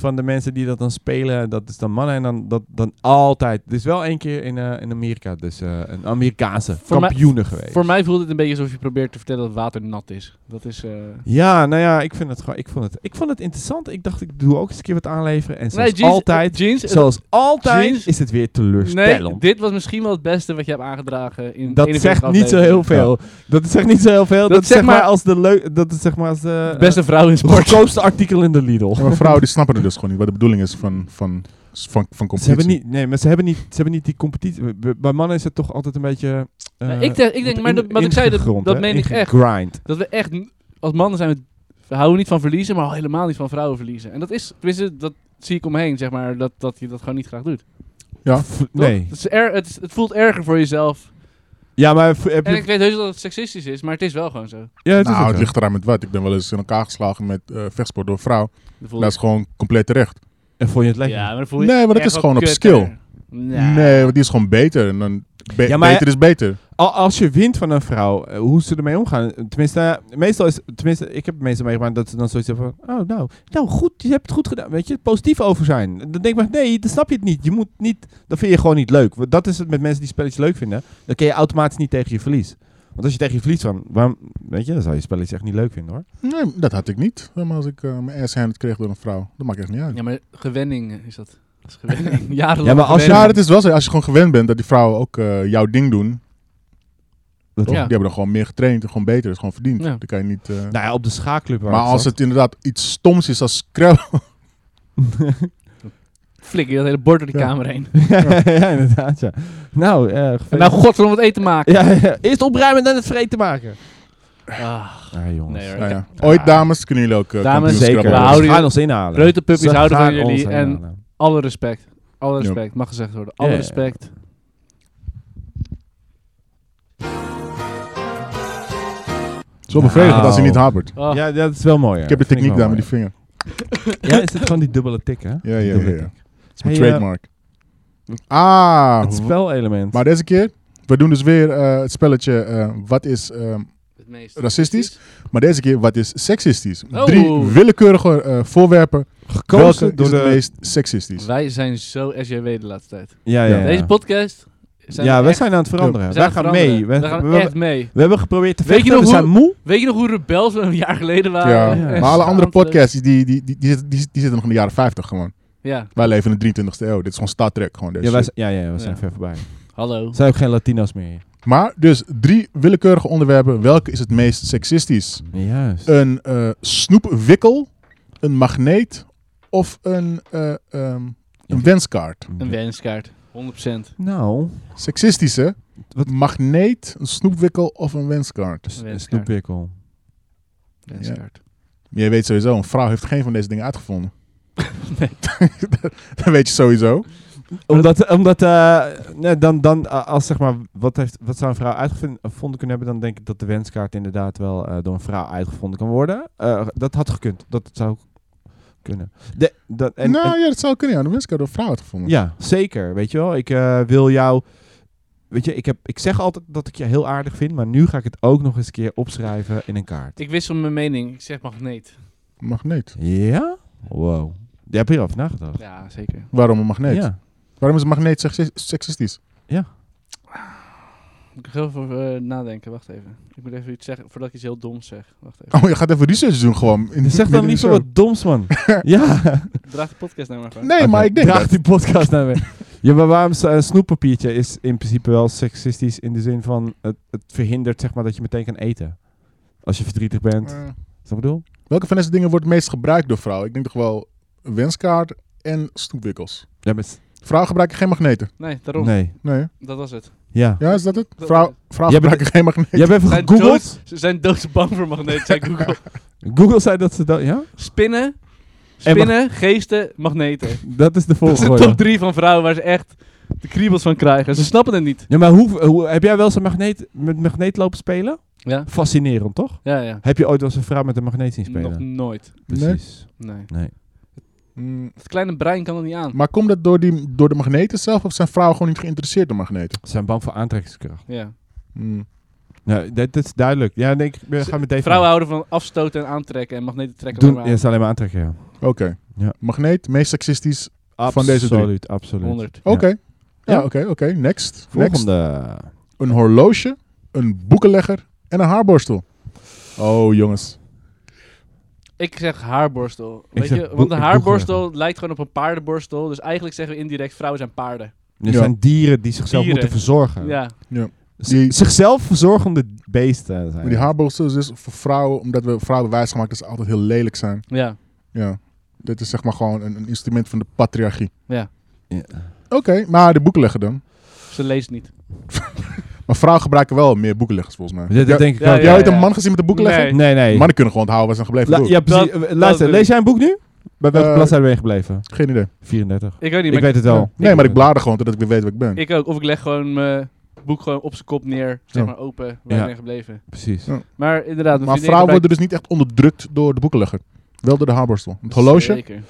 [SPEAKER 3] van de mensen die dat dan spelen, dat is dan mannen. En dan, dat, dan altijd. Het is wel één keer in, eh, in Amerika, dus eh, een Amerikaanse
[SPEAKER 1] Voor mij-
[SPEAKER 3] kampioenen geweest.
[SPEAKER 1] Voor mij voelt het een beetje alsof je probeert te vertellen dat water nat is. Dat is... eh,
[SPEAKER 3] Ja, nou ja, ik, vind het gewoon, ik, vond het, ik vond het interessant. Ik dacht, ik doe ook eens een keer wat aanleveren. En zoals
[SPEAKER 1] nee, jeans,
[SPEAKER 3] altijd,
[SPEAKER 1] Jeans, het-
[SPEAKER 3] zoals altijd
[SPEAKER 1] jeans-
[SPEAKER 3] is het weer
[SPEAKER 1] nee,
[SPEAKER 3] teleurstellend.
[SPEAKER 1] dit was misschien wel het beste wat je hebt aangedragen in
[SPEAKER 3] dat
[SPEAKER 1] 41
[SPEAKER 3] zegt niet zo
[SPEAKER 1] afleveringen.
[SPEAKER 3] heel veel. Dat zegt niet zo heel veel. Dat, is zeg maar, als de leuk. Dat is zeg maar als de.
[SPEAKER 1] De beste vrouw in
[SPEAKER 3] eh,
[SPEAKER 1] sport.
[SPEAKER 3] goedkoopste artikel in de Lidl.
[SPEAKER 2] Ja, maar vrouwen die snappen het dus gewoon niet. Wat de bedoeling is van, van, van, van
[SPEAKER 3] Ze
[SPEAKER 2] competitie.
[SPEAKER 3] hebben niet, nee, maar ze hebben niet, ze hebben niet die competitie. Bij- Bij mannen is het toch altijd een beetje. eh,
[SPEAKER 1] ik denk- ik denk-
[SPEAKER 3] wat
[SPEAKER 1] maar dat- wat ik zei, dat-
[SPEAKER 3] ingegrond,
[SPEAKER 1] dat
[SPEAKER 3] hè?
[SPEAKER 1] meen ik echt.
[SPEAKER 3] Ingegrind.
[SPEAKER 1] Dat we echt, n- als mannen zijn we, we houden niet van verliezen, maar al helemaal niet van vrouwen verliezen. En dat is, tenminste, dat zie ik omheen, zeg maar, dat, dat je dat gewoon niet graag doet.
[SPEAKER 2] Ja.
[SPEAKER 3] F-
[SPEAKER 1] Toch?
[SPEAKER 3] Nee.
[SPEAKER 1] Het, is er- het, is- het voelt erger voor jezelf.
[SPEAKER 3] Ja, maar v- heb
[SPEAKER 1] En ik
[SPEAKER 3] je.
[SPEAKER 1] weet heus dat het seksistisch is, maar het is wel gewoon zo.
[SPEAKER 3] Ja, het is ook
[SPEAKER 2] nou, het
[SPEAKER 3] zo.
[SPEAKER 2] ligt eraan met wat. Ik ben wel eens in elkaar geslagen met eh, vechtsport door een vrouw.
[SPEAKER 1] Dat voel
[SPEAKER 2] Dat Nou, is gewoon compleet terecht.
[SPEAKER 3] En vond je het
[SPEAKER 1] ik-
[SPEAKER 3] lekker?
[SPEAKER 1] ja, maar dat voel je
[SPEAKER 2] Nee, maar dat
[SPEAKER 1] echt
[SPEAKER 2] is
[SPEAKER 1] wel
[SPEAKER 2] gewoon op
[SPEAKER 1] kutter.
[SPEAKER 2] skill.
[SPEAKER 1] Nou,
[SPEAKER 2] Nee, want die is gewoon beter. En dan be-
[SPEAKER 3] Ja, maar-
[SPEAKER 2] beter is beter.
[SPEAKER 3] Al- Als je wint van een vrouw, eh, hoe ze ermee omgaan. eh, Tenminste, eh, meestal is, tenminste, ik heb meestal meegemaakt dat ze dan zoiets hebben van, oh nou, nou goed, je hebt het goed gedaan. Weet je, positief over zijn. Dan denk ik maar, nee, dan snap je het niet. Je moet niet, dat vind je gewoon niet leuk. Want Dat is het met mensen die spelletjes leuk vinden. Dan kun je automatisch niet tegen je verlies. Want als je tegen je verlies van, waarom, weet je, dan zou je spelletjes echt niet leuk vinden hoor.
[SPEAKER 2] Nee, dat had ik niet. Maar als ik eh, mijn ass handed kreeg door een vrouw, dat maakt echt niet uit.
[SPEAKER 1] Ja, maar gewenning is dat. Dat is gewenning. Jarenlang
[SPEAKER 3] Ja, maar als
[SPEAKER 2] Ja,
[SPEAKER 1] gewenning.
[SPEAKER 2] dat is wel zo. Als je gewoon gewend bent dat die vrouwen ook eh, jouw ding doen.
[SPEAKER 3] Dat-
[SPEAKER 2] toch?
[SPEAKER 1] Ja.
[SPEAKER 2] Die hebben dan gewoon meer getraind en gewoon beter. Dat is gewoon verdiend.
[SPEAKER 1] Ja.
[SPEAKER 2] Dan kan je niet... eh,
[SPEAKER 3] Nou ja, op de schaakclub. waar
[SPEAKER 2] maar
[SPEAKER 3] ik
[SPEAKER 2] als
[SPEAKER 3] zat.
[SPEAKER 2] het inderdaad iets stoms is als Scrabble...
[SPEAKER 1] Flikker je dat hele bord door die
[SPEAKER 2] Ja.
[SPEAKER 1] kamer heen.
[SPEAKER 3] ja, ja, inderdaad, ja. Nou, eh
[SPEAKER 1] En nou, god, om het eten maken.
[SPEAKER 3] ja, ja. eerst opruimen en dan het vreten maken.
[SPEAKER 1] Ah,
[SPEAKER 3] Ah jongens.
[SPEAKER 1] nee hoor.
[SPEAKER 2] Nou ja.
[SPEAKER 1] Ik-
[SPEAKER 2] Ooit, dames, kunnen jullie ook eh
[SPEAKER 1] Dames,
[SPEAKER 2] kampioen
[SPEAKER 1] Zeker.
[SPEAKER 2] Scrabble
[SPEAKER 1] We
[SPEAKER 2] worden.
[SPEAKER 1] houden
[SPEAKER 3] Ze gaan
[SPEAKER 1] jullie-
[SPEAKER 3] ons inhalen.
[SPEAKER 1] Reuterpuppies
[SPEAKER 3] Ze
[SPEAKER 1] houden van
[SPEAKER 3] gaan
[SPEAKER 1] jullie
[SPEAKER 3] ons
[SPEAKER 1] en-
[SPEAKER 3] inhalen.
[SPEAKER 1] Alle respect. Alle
[SPEAKER 2] Ja.
[SPEAKER 1] respect, mag gezegd worden. Alle
[SPEAKER 3] Ja, ja, ja.
[SPEAKER 1] respect.
[SPEAKER 2] Het is wel bevredigend als hij
[SPEAKER 3] Nou.
[SPEAKER 2] niet hapert.
[SPEAKER 1] Oh.
[SPEAKER 3] Ja, dat is wel mooi.
[SPEAKER 2] Ik heb de techniek daar met die vinger.
[SPEAKER 3] Ja, is het gewoon die dubbele tik, hè?
[SPEAKER 2] Ja, ja, ja.
[SPEAKER 3] Dubbele
[SPEAKER 2] ja.
[SPEAKER 3] tik.
[SPEAKER 2] Dat is mijn
[SPEAKER 3] Hey, eh,
[SPEAKER 2] trademark. Ah,
[SPEAKER 3] Het spelelement.
[SPEAKER 2] maar deze keer, we doen dus weer eh, het spelletje eh, wat is, ehm,
[SPEAKER 1] Het meest
[SPEAKER 2] Racistisch? maar deze keer wat is seksistisch.
[SPEAKER 1] Oh.
[SPEAKER 2] Drie willekeurige eh, voorwerpen, welke door
[SPEAKER 3] gekozen door
[SPEAKER 2] is
[SPEAKER 3] de...
[SPEAKER 2] het meest seksistisch?
[SPEAKER 1] Wij zijn zo SJW de laatste tijd.
[SPEAKER 3] Ja, ja, ja.
[SPEAKER 1] Deze podcast. Zijn
[SPEAKER 3] ja,
[SPEAKER 1] we
[SPEAKER 3] wij
[SPEAKER 1] echt-
[SPEAKER 3] zijn aan het veranderen.
[SPEAKER 1] we
[SPEAKER 3] wij
[SPEAKER 1] zijn
[SPEAKER 3] gaan
[SPEAKER 1] veranderen.
[SPEAKER 3] mee.
[SPEAKER 1] We,
[SPEAKER 3] We,
[SPEAKER 1] gaan
[SPEAKER 3] we-
[SPEAKER 1] echt mee.
[SPEAKER 3] we hebben geprobeerd te
[SPEAKER 1] Weet je
[SPEAKER 3] vechten,
[SPEAKER 1] nog
[SPEAKER 3] we
[SPEAKER 1] hoe-
[SPEAKER 3] zijn moe.
[SPEAKER 1] Weet je nog hoe rebels we een jaar geleden waren?
[SPEAKER 2] Ja.
[SPEAKER 3] Ja. eh,
[SPEAKER 2] Maar alle andere
[SPEAKER 1] Schaamteloos.
[SPEAKER 2] podcasts die, die, die, die, die, zitten- die zitten nog in de jaren 50 gewoon.
[SPEAKER 1] Ja,
[SPEAKER 2] Wij leven in de 23e eeuw. Dit is gewoon Star Trek. Gewoon deze
[SPEAKER 3] Ja, wij
[SPEAKER 2] shit.
[SPEAKER 3] zijn, ja, ja, we zijn
[SPEAKER 1] Ja.
[SPEAKER 3] ver voorbij.
[SPEAKER 1] hallo.
[SPEAKER 3] Er zijn ook geen Latino's meer.
[SPEAKER 2] Maar dus drie willekeurige onderwerpen. Welke is het meest seksistisch?
[SPEAKER 3] Juist.
[SPEAKER 2] Een eh, snoepwikkel, een magneet of een, eh, ehm, een wenskaart?
[SPEAKER 1] Een wenskaart. 100%.
[SPEAKER 3] Nou,
[SPEAKER 2] Seksistische.
[SPEAKER 3] Wat?
[SPEAKER 2] Magneet, een snoepwikkel of een wenskaart?
[SPEAKER 3] s-
[SPEAKER 1] wenskaart.
[SPEAKER 3] snoepwikkel.
[SPEAKER 1] Wenskaart.
[SPEAKER 2] Je weet sowieso, een vrouw heeft geen van deze dingen uitgevonden. dat weet je sowieso.
[SPEAKER 3] Omdat, omdat eh, nee, dan, dan eh, als zeg maar, wat, heeft, wat zou een vrouw uitgevonden eh, kunnen hebben, dan denk ik dat de wenskaart inderdaad wel eh, door een vrouw uitgevonden kan worden. Eh, dat had gekund, dat zou kunnen. De, dat, en,
[SPEAKER 2] nou
[SPEAKER 3] en-
[SPEAKER 2] ja, dat zou kunnen. Ja. Een wenskaart door een vrouw uitgevonden.
[SPEAKER 3] ja, zeker, weet je wel. Ik eh, wil jou, weet je, ik, heb, ik zeg altijd dat ik je heel aardig vind, maar nu ga ik het ook nog eens een keer opschrijven in een kaart.
[SPEAKER 1] Ik wissel mijn mening. Ik zeg magneet.
[SPEAKER 2] Magneet.
[SPEAKER 3] Ja? Wow. Je hebt hierover nagedacht.
[SPEAKER 1] Ja, zeker.
[SPEAKER 2] Waarom een magneet?
[SPEAKER 3] Ja.
[SPEAKER 2] Waarom is een magneet seksis- seksistisch?
[SPEAKER 1] Moet ik heel veel eh, nadenken. Wacht even. Ik moet even iets zeggen voordat ik iets heel doms zeg. Wacht even.
[SPEAKER 2] Oh, je gaat even research doen gewoon. In,
[SPEAKER 3] Zeg dan
[SPEAKER 2] midden in de
[SPEAKER 3] niet zo
[SPEAKER 2] show.
[SPEAKER 3] wat doms, man. ja.
[SPEAKER 1] Draag de podcast nou maar gewoon.
[SPEAKER 2] Nee, maar ik denk
[SPEAKER 3] Draag
[SPEAKER 2] dat.
[SPEAKER 3] die podcast naar me. Ja, maar waarom is, eh, snoeppapiertje is in principe wel seksistisch in de zin van het, het verhindert zeg maar dat je meteen kan eten. Als je verdrietig bent.
[SPEAKER 2] Eh,
[SPEAKER 3] Snap je wat ik bedoel?
[SPEAKER 2] welke van deze dingen wordt het meest gebruikt door vrouwen? Ik denk toch wel een wenskaart en snoepwikkels.
[SPEAKER 3] Ja, met...
[SPEAKER 2] Vrouwen gebruiken geen magneten.
[SPEAKER 1] Nee, daarom.
[SPEAKER 3] Nee.
[SPEAKER 2] Nee.
[SPEAKER 1] Dat was het.
[SPEAKER 3] Ja.
[SPEAKER 2] Ja, is dat het? Vrouw, vrouwen
[SPEAKER 3] Jij bent-
[SPEAKER 2] gebruiken geen magneten.
[SPEAKER 3] Je hebt even
[SPEAKER 1] Zijn
[SPEAKER 3] gegoogeld.
[SPEAKER 1] dood- Ze zijn doodsbang voor magneet, zei Google.
[SPEAKER 3] Google zei dat ze dat... Ja?
[SPEAKER 1] Spinnen.
[SPEAKER 3] En mag-
[SPEAKER 1] Spinnen, geesten, magneten.
[SPEAKER 3] Dat is de
[SPEAKER 1] Dat is de
[SPEAKER 3] volgorde.
[SPEAKER 1] top drie van vrouwen waar ze echt de kriebels van krijgen. Ze snappen het niet.
[SPEAKER 3] Ja, maar hoe, hoe, heb jij wel eens een magneet, met magneet lopen spelen?
[SPEAKER 1] Ja,
[SPEAKER 3] Fascinerend, toch?
[SPEAKER 1] ja, ja.
[SPEAKER 3] Heb je ooit wel eens een vrouw met een magneet zien spelen?
[SPEAKER 1] Nog nooit.
[SPEAKER 3] Precies.
[SPEAKER 1] Nee.
[SPEAKER 3] Nee.
[SPEAKER 2] Mm,
[SPEAKER 1] Het kleine brein kan dat niet aan.
[SPEAKER 2] Maar komt dat door, die, door de magneten zelf of zijn vrouwen gewoon niet geïnteresseerd in magneten?
[SPEAKER 3] Ze zijn bang voor aantrekkingskracht.
[SPEAKER 1] Ja.
[SPEAKER 2] Mm.
[SPEAKER 3] Nou, dat, dat is duidelijk. Ja, nee, ik ben- ga met deze
[SPEAKER 1] Vrouwen houden van afstoten en aantrekken en magneten trekken
[SPEAKER 3] doen.
[SPEAKER 1] alleen
[SPEAKER 3] Ja,
[SPEAKER 1] maar aan.
[SPEAKER 3] ze alleen maar aantrekken, ja.
[SPEAKER 2] Oké.
[SPEAKER 3] Ja.
[SPEAKER 2] Magneet, meest seksistisch. Van
[SPEAKER 3] Absoluut,
[SPEAKER 2] deze drie.
[SPEAKER 3] Absoluut, absoluut.
[SPEAKER 1] 100.
[SPEAKER 2] Oké. Ja,
[SPEAKER 3] Ja.
[SPEAKER 2] oké, oké. Next. Next.
[SPEAKER 3] Volgende.
[SPEAKER 2] Een horloge, een boekenlegger en een haarborstel. Oh, jongens.
[SPEAKER 1] Ik zeg haarborstel.
[SPEAKER 3] Ik
[SPEAKER 1] Weet
[SPEAKER 3] zeg
[SPEAKER 1] je,
[SPEAKER 3] boek-
[SPEAKER 1] want de
[SPEAKER 3] boek-
[SPEAKER 1] haarborstel lijkt gewoon op een paardenborstel. Dus eigenlijk zeggen we indirect vrouwen zijn paarden.
[SPEAKER 2] Ja.
[SPEAKER 3] Er zijn dieren die zichzelf
[SPEAKER 1] Dieren.
[SPEAKER 3] moeten verzorgen.
[SPEAKER 1] Ja.
[SPEAKER 3] Z-
[SPEAKER 2] Die-
[SPEAKER 3] Zichzelf verzorgende beesten zijn.
[SPEAKER 2] Maar die haarborstel is dus voor vrouwen, omdat we vrouwen wijsgemaakt dat ze altijd heel lelijk zijn.
[SPEAKER 1] Ja.
[SPEAKER 2] Ja. Dit is zeg maar gewoon een, een instrument van de patriarchie.
[SPEAKER 1] Ja.
[SPEAKER 3] Ja.
[SPEAKER 2] Oké, maar de boekenlegger dan?
[SPEAKER 1] Ze leest niet.
[SPEAKER 2] Maar vrouwen gebruiken wel meer boekenleggers volgens mij.
[SPEAKER 3] Dat, dat denk ik
[SPEAKER 1] Ja,
[SPEAKER 3] ook.
[SPEAKER 1] ja,
[SPEAKER 2] Jij
[SPEAKER 1] ja.
[SPEAKER 2] ooit een man gezien met een boekenlegger?
[SPEAKER 1] Nee.
[SPEAKER 3] Nee, nee.
[SPEAKER 2] Mannen kunnen gewoon onthouden waar ze aan gebleven
[SPEAKER 3] La-
[SPEAKER 2] boek.
[SPEAKER 3] ja, precies.
[SPEAKER 1] Dat-
[SPEAKER 3] Eh, Luister,
[SPEAKER 1] dat-
[SPEAKER 3] lees jij een boek nu? Bij welke
[SPEAKER 2] Eh,
[SPEAKER 3] bladzijde ben je gebleven?
[SPEAKER 2] Geen idee.
[SPEAKER 3] 34.
[SPEAKER 1] Ik weet niet,
[SPEAKER 3] Ik
[SPEAKER 1] maar
[SPEAKER 3] weet het wel.
[SPEAKER 2] Ja. Nee, maar ik blader gewoon totdat ik weer weet wat ik ben.
[SPEAKER 1] ik, ik ook. Of ik leg gewoon mijn boek gewoon op zijn kop neer. Zeg
[SPEAKER 2] Ja.
[SPEAKER 1] maar open, waar
[SPEAKER 3] Ja.
[SPEAKER 1] ik ben gebleven.
[SPEAKER 3] Precies.
[SPEAKER 2] Ja.
[SPEAKER 1] Maar inderdaad, mijn
[SPEAKER 2] maar
[SPEAKER 1] vriendin
[SPEAKER 2] vrouwen worden
[SPEAKER 1] gebruikt-
[SPEAKER 2] dus niet echt onderdrukt door de boekenlegger. Wel door de haarborstel. Het horloge?
[SPEAKER 1] Zeker.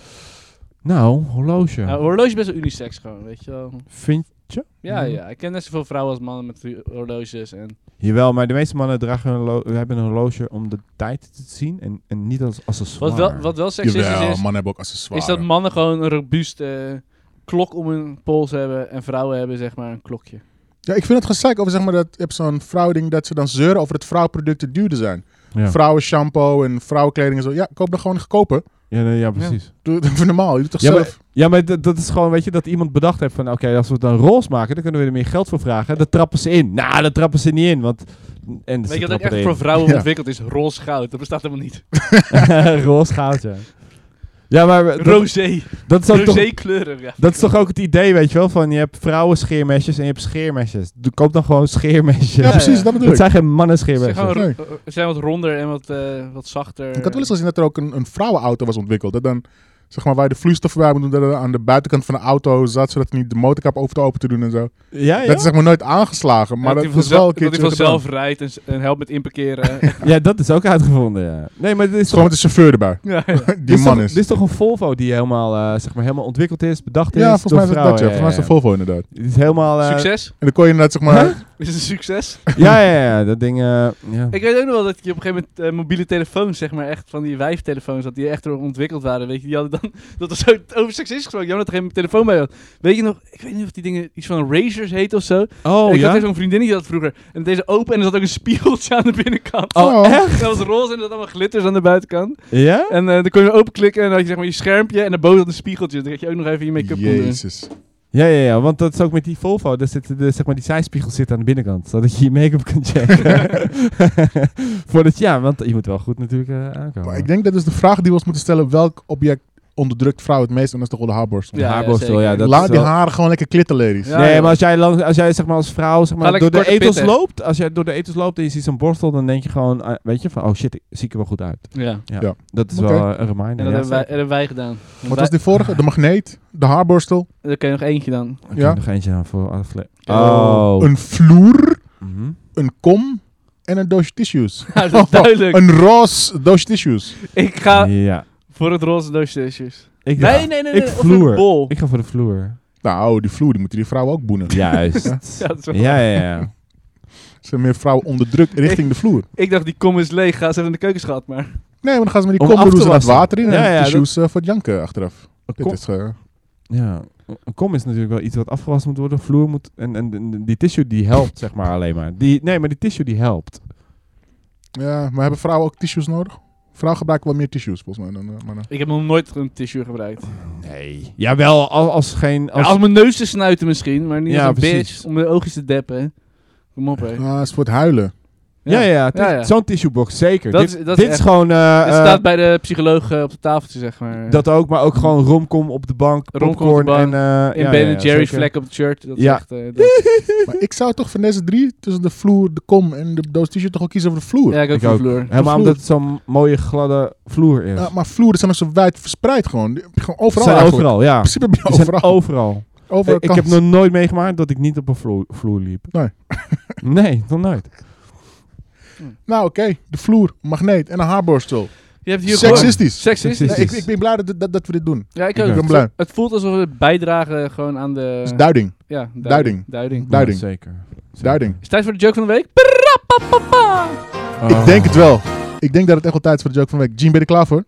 [SPEAKER 3] Nou, horloge.
[SPEAKER 1] Ja, horloge is best wel unisex gewoon, weet je wel.
[SPEAKER 3] Vind je?
[SPEAKER 1] Ja,
[SPEAKER 3] Mhm.
[SPEAKER 1] ja. Ik ken net zoveel vrouwen als mannen met hu- horloges. En
[SPEAKER 3] Jawel, maar de meeste mannen dragen een horlo- hebben een horloge om de tijd te zien en, en niet als accessoire.
[SPEAKER 1] wat, wel, wat wel seksistisch
[SPEAKER 2] Jawel,
[SPEAKER 1] is,
[SPEAKER 2] mannen hebben ook accessoires.
[SPEAKER 1] is dat mannen gewoon een robuuste klok om hun pols hebben. En vrouwen hebben zeg maar een klokje.
[SPEAKER 2] Ja, ik vind het gezeik over zeg maar, dat je hebt zo'n vrouwding dat ze dan zeuren over dat vrouwproducten duurder zijn.
[SPEAKER 3] Ja,
[SPEAKER 2] Vrouwen shampoo en vrouwenkleding en zo. Ja, koop dan gewoon een goedkope.
[SPEAKER 3] ja, nee, ja precies.
[SPEAKER 2] Doe het even normaal. Je doet het toch
[SPEAKER 3] Ja, maar,
[SPEAKER 2] zelf.
[SPEAKER 3] ja, maar dat, dat is gewoon, weet je, dat iemand bedacht heeft van... Oké, als we het dan roze maken, dan kunnen we er meer geld voor vragen. Dat trappen ze in. Nou, dat trappen ze niet in, want... En
[SPEAKER 1] Weet
[SPEAKER 3] ze
[SPEAKER 1] je wat ook
[SPEAKER 3] trappen
[SPEAKER 1] echt
[SPEAKER 3] erin.
[SPEAKER 1] voor vrouwen
[SPEAKER 2] Ja.
[SPEAKER 1] ontwikkeld is? Roze goud. Dat bestaat helemaal niet.
[SPEAKER 3] roze goud, ja. Ja, maar dat,
[SPEAKER 1] Rosé.
[SPEAKER 3] dat, is ook toch,
[SPEAKER 1] Rosé kleuren. Ja.
[SPEAKER 3] dat is toch ook het idee, weet je wel? Van je hebt vrouwen scheermesjes en je hebt scheermesjes. Doe- Koop dan gewoon scheermesjes.
[SPEAKER 2] Ja, precies.
[SPEAKER 1] ja.
[SPEAKER 2] Dat bedoel
[SPEAKER 3] Dat
[SPEAKER 2] ik.
[SPEAKER 3] zijn geen mannen
[SPEAKER 1] Ze zijn,
[SPEAKER 3] scheermesjes.
[SPEAKER 1] gewoon
[SPEAKER 2] Nee.
[SPEAKER 1] ro- eh, ze zijn wat ronder en wat, eh, wat zachter.
[SPEAKER 2] Ik had wel eens gezien dat er ook een, een vrouwenauto was ontwikkeld. Dat dan, zeg maar, waar je de vloeistof bij moet doen, dat er aan de buitenkant van de auto zat, zodat hij niet de motorkap over te open te doen en zo.
[SPEAKER 3] Ja,
[SPEAKER 2] Dat is
[SPEAKER 3] ja?
[SPEAKER 2] zeg maar nooit aangeslagen, maar
[SPEAKER 1] Ja,
[SPEAKER 2] dat,
[SPEAKER 1] hij
[SPEAKER 2] is
[SPEAKER 1] vanzelf-
[SPEAKER 2] wel een keertje
[SPEAKER 1] Dat hij
[SPEAKER 2] gedaan.
[SPEAKER 1] vanzelf rijdt en, s- en helpt met inparkeren. ja,
[SPEAKER 3] ja, dat is ook uitgevonden, ja. Nee, maar dit is
[SPEAKER 2] Gewoon
[SPEAKER 3] toch...
[SPEAKER 2] met de chauffeur erbij.
[SPEAKER 1] ja.
[SPEAKER 2] Die
[SPEAKER 3] dit is
[SPEAKER 2] man
[SPEAKER 3] toch-
[SPEAKER 2] is.
[SPEAKER 3] Dit is toch een Volvo die helemaal, eh, zeg maar, helemaal ontwikkeld is, bedacht is
[SPEAKER 2] Ja, volgens mij is
[SPEAKER 3] door
[SPEAKER 2] het dat, ja.
[SPEAKER 3] vrouwen.
[SPEAKER 2] Volgens mij is het Volvo inderdaad.
[SPEAKER 3] Dit is helemaal... eh,
[SPEAKER 1] Succes?
[SPEAKER 2] En dan kon je inderdaad, zeg maar...
[SPEAKER 1] Is het een succes?
[SPEAKER 3] ja, ja, ja, dat ding. eh, ja.
[SPEAKER 1] Ik weet ook nog wel dat je op een gegeven moment eh, mobiele telefoons, zeg maar, echt van die wijftelefoons had, die echt door ontwikkeld waren, weet je, die hadden dan, dat was zo over seksistisch gesproken, jammer dat er geen telefoon bij had. Weet je nog, ik weet niet of die dingen iets van Razers heet of zo.
[SPEAKER 3] Oh,
[SPEAKER 1] ik
[SPEAKER 3] ja.
[SPEAKER 1] had eens zo'n vriendin die dat vroeger, en deze open en er zat ook een spiegeltje aan de binnenkant.
[SPEAKER 3] Oh,
[SPEAKER 2] Oh.
[SPEAKER 3] echt?
[SPEAKER 1] En Dat was roze en er zat allemaal glitters aan de buitenkant.
[SPEAKER 3] Ja?
[SPEAKER 1] En eh, dan kon je open klikken en dan had je zeg maar je schermpje en daarboven had een spiegeltje. Dus Dan had je ook nog even je make-up kon doen.
[SPEAKER 2] Jezus.
[SPEAKER 3] Ja, ja, ja. Want dat is ook met die Volvo. Daar zit, de, zeg maar, die zijspiegel zit aan de binnenkant. Zodat je je make-up kunt checken. Voordat, ja, want je moet wel goed natuurlijk eh, aankomen.
[SPEAKER 2] Maar ik denk dat is de vraag die we ons moeten stellen, welk object onderdrukt vrouwen het meest? En dat is toch wel de haarborstel.
[SPEAKER 1] Ja,
[SPEAKER 3] Haarborstel,
[SPEAKER 1] zeker.
[SPEAKER 3] ja. dat
[SPEAKER 2] Laat
[SPEAKER 3] is
[SPEAKER 2] die
[SPEAKER 3] wel-
[SPEAKER 2] haren gewoon lekker klitten, ladies.
[SPEAKER 1] Ja.
[SPEAKER 3] nee, maar als jij, lang, als jij zeg maar als vrouw zeg maar, door
[SPEAKER 1] lekker
[SPEAKER 3] de
[SPEAKER 1] korte
[SPEAKER 3] etels
[SPEAKER 1] pitten.
[SPEAKER 3] loopt, als jij door de etels loopt en je ziet zo'n borstel, dan denk je gewoon, ah, weet je, van oh shit, ik zie ik er wel goed uit.
[SPEAKER 1] Ja, en
[SPEAKER 3] Ja,
[SPEAKER 2] Ja.
[SPEAKER 3] dat is
[SPEAKER 2] Oké.
[SPEAKER 3] wel eh, een reminder.
[SPEAKER 1] dat
[SPEAKER 3] ja,
[SPEAKER 1] hebben, wij,
[SPEAKER 3] zeker.
[SPEAKER 1] dat hebben wij gedaan.
[SPEAKER 2] Wat was die vorige? De magneet, de haarborstel,
[SPEAKER 1] Dan kan je nog eentje dan.
[SPEAKER 3] Oké,
[SPEAKER 2] Ja.
[SPEAKER 3] nog eentje aan voor afle-
[SPEAKER 1] Oh.
[SPEAKER 3] Oh.
[SPEAKER 2] een vloer,
[SPEAKER 3] Mhm.
[SPEAKER 2] een kom en een doosje tissues.
[SPEAKER 1] Ja, dat is
[SPEAKER 3] Oh,
[SPEAKER 1] duidelijk.
[SPEAKER 2] een roze doosje tissues.
[SPEAKER 1] Ik ga
[SPEAKER 3] Ja.
[SPEAKER 1] voor het roze doosje tissues.
[SPEAKER 3] Ik
[SPEAKER 1] Nee, nee, nee.
[SPEAKER 3] Ik
[SPEAKER 1] nee. Of
[SPEAKER 3] vloer.
[SPEAKER 1] een bol.
[SPEAKER 3] Ik ga voor de vloer.
[SPEAKER 2] Nou, die vloer, die moeten die vrouwen ook boenen.
[SPEAKER 3] Juist.
[SPEAKER 1] Ja, dat is wel-
[SPEAKER 3] ja, ja, ja.
[SPEAKER 2] Ze zijn meer vrouwen onderdrukt richting de vloer.
[SPEAKER 1] Ik dacht, die kom is leeg. Ga eens even in de keuken schat, maar...
[SPEAKER 2] Nee, maar dan gaan ze met die
[SPEAKER 3] Om af
[SPEAKER 2] kom
[SPEAKER 3] te
[SPEAKER 2] doen ze dat
[SPEAKER 3] wassen.
[SPEAKER 2] water in
[SPEAKER 3] Ja,
[SPEAKER 2] en
[SPEAKER 3] ja,
[SPEAKER 2] tissues eh, voor het janken achteraf.
[SPEAKER 3] Kom,
[SPEAKER 2] Dit is, eh,
[SPEAKER 3] ja. Een kom is natuurlijk wel iets wat afgewassen moet worden. Vloer moet... En, en, en die tissue die helpt, zeg maar, alleen maar. Die, nee, maar die tissue die helpt.
[SPEAKER 2] ja, maar hebben vrouwen ook tissues nodig? Vrouwen gebruiken wel meer tissues, volgens mij. Dan, eh, mannen.
[SPEAKER 1] Ik heb nog nooit een tissue gebruikt.
[SPEAKER 3] Nee. Jawel, als, als geen...
[SPEAKER 1] Als,
[SPEAKER 3] Als,
[SPEAKER 1] mijn neus te snuiten misschien, maar niet
[SPEAKER 3] Ja,
[SPEAKER 1] als een
[SPEAKER 3] precies.
[SPEAKER 1] bitch. Om mijn oogjes te deppen. Kom op, hè.
[SPEAKER 2] Ah, het is voor het huilen.
[SPEAKER 3] ja, ja, ja, tis-
[SPEAKER 1] Ja, ja.
[SPEAKER 3] Zo'n tissuebox, zeker.
[SPEAKER 1] Dat
[SPEAKER 3] dit
[SPEAKER 1] is- dat is
[SPEAKER 3] dit is
[SPEAKER 1] echt-
[SPEAKER 3] gewoon... eh,
[SPEAKER 1] Dit
[SPEAKER 3] eh,
[SPEAKER 1] staat bij de psycholoog eh, op het tafeltje, zeg maar.
[SPEAKER 3] dat ook, maar ook gewoon romcom op de bank,
[SPEAKER 1] Romcom op de
[SPEAKER 3] popcorn
[SPEAKER 1] bank,
[SPEAKER 3] en... eh
[SPEAKER 1] in
[SPEAKER 3] ja,
[SPEAKER 1] Ben
[SPEAKER 3] ja, ja,
[SPEAKER 1] Jerry's
[SPEAKER 3] zeker.
[SPEAKER 1] vlek op het shirt. Dat
[SPEAKER 3] Ja.
[SPEAKER 1] is echt... eh, dat-
[SPEAKER 2] maar ik zou toch van deze drie, tussen de vloer, de kom en de doos t-shirt, toch ook kiezen voor de vloer?
[SPEAKER 1] ja, ik ook
[SPEAKER 3] Ik
[SPEAKER 1] voor
[SPEAKER 3] ook.
[SPEAKER 1] vloer.
[SPEAKER 3] Helemaal
[SPEAKER 2] vloer.
[SPEAKER 3] omdat het zo'n mooie gladde vloer is.
[SPEAKER 2] Ja, maar vloeren zijn ook zo wijd verspreid gewoon. Die heb je gewoon
[SPEAKER 3] Ze
[SPEAKER 2] overal
[SPEAKER 3] zijn
[SPEAKER 2] eigenlijk.
[SPEAKER 3] overal, ja.
[SPEAKER 2] In principe heb
[SPEAKER 3] Ze
[SPEAKER 2] je
[SPEAKER 3] zijn
[SPEAKER 2] overal.
[SPEAKER 3] overal.
[SPEAKER 2] overal
[SPEAKER 3] Eh, ik heb
[SPEAKER 2] kans.
[SPEAKER 3] nog nooit meegemaakt dat ik niet op een vloer, vloer liep.
[SPEAKER 2] Nee.
[SPEAKER 3] nee, nog nooit.
[SPEAKER 2] Nou oké, de vloer, magneet en een haarborstel.
[SPEAKER 1] Je hebt hier gewoon...
[SPEAKER 2] Seksistisch.
[SPEAKER 1] Seksistisch.
[SPEAKER 2] Nee, ik, ik ben blij dat, dat, dat we dit doen.
[SPEAKER 1] Ja, ik
[SPEAKER 3] Ik
[SPEAKER 1] ook.
[SPEAKER 2] ben
[SPEAKER 1] Het-
[SPEAKER 2] blij.
[SPEAKER 1] Het voelt alsof we bijdragen gewoon aan de...
[SPEAKER 2] Dus duiding.
[SPEAKER 1] ja, duiding.
[SPEAKER 2] duiding.
[SPEAKER 1] Duiding.
[SPEAKER 2] Duiding.
[SPEAKER 3] Zeker. Zeker.
[SPEAKER 2] Duiding.
[SPEAKER 1] Is het tijd voor de joke van de week? Prapapapa.
[SPEAKER 3] Oh.
[SPEAKER 2] Ik denk het wel. Ik denk dat het echt wel tijd is voor de joke van de week. Gene, ben je er klaar voor?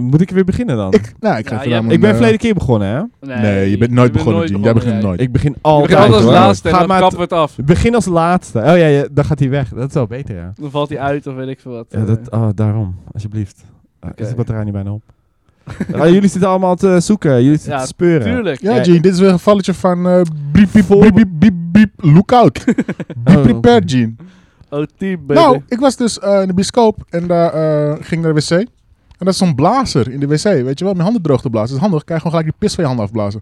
[SPEAKER 3] Moet ik weer beginnen dan?
[SPEAKER 2] Ik, nou, ik
[SPEAKER 1] Ja,
[SPEAKER 2] ga
[SPEAKER 1] ja.
[SPEAKER 2] even
[SPEAKER 3] Ik ben verleden keer begonnen, hè?
[SPEAKER 2] Nee, je bent nooit begonnen, Gene. Jij begint nooit.
[SPEAKER 3] Ik begin
[SPEAKER 1] Je
[SPEAKER 3] altijd.
[SPEAKER 1] begint altijd als
[SPEAKER 3] hoor.
[SPEAKER 1] laatste en
[SPEAKER 3] Ga
[SPEAKER 1] dan
[SPEAKER 3] maar
[SPEAKER 1] kappen we het af.
[SPEAKER 3] t- Begin als laatste. Oh ja, ja, dan gaat hij weg. Dat is wel beter, ja.
[SPEAKER 1] Dan valt hij uit of weet ik veel wat.
[SPEAKER 2] Eh,
[SPEAKER 3] Ja, dat, oh, daarom, alsjeblieft. Ah,
[SPEAKER 1] Oké.
[SPEAKER 3] Is de batterij niet bijna op? Ah, jullie zitten allemaal te zoeken, jullie zitten
[SPEAKER 1] Ja,
[SPEAKER 3] te speuren.
[SPEAKER 1] Tuurlijk.
[SPEAKER 2] Ja,
[SPEAKER 3] Ja,
[SPEAKER 2] Gene, dit is weer een gevalletje van eh beep, beep,
[SPEAKER 3] Vol-
[SPEAKER 2] beep, beep, beep, beep, look out. Be
[SPEAKER 3] Oh,
[SPEAKER 2] prepared, Gene.
[SPEAKER 1] OT, baby.
[SPEAKER 2] Nou, ik was dus eh, in de bioscoop en daar eh, ging naar de wc. En dat is zo'n blazer in de wc, weet je wel, om je handen droog te blazen. Dat is handig, kan je gewoon gelijk die pis van je handen afblazen.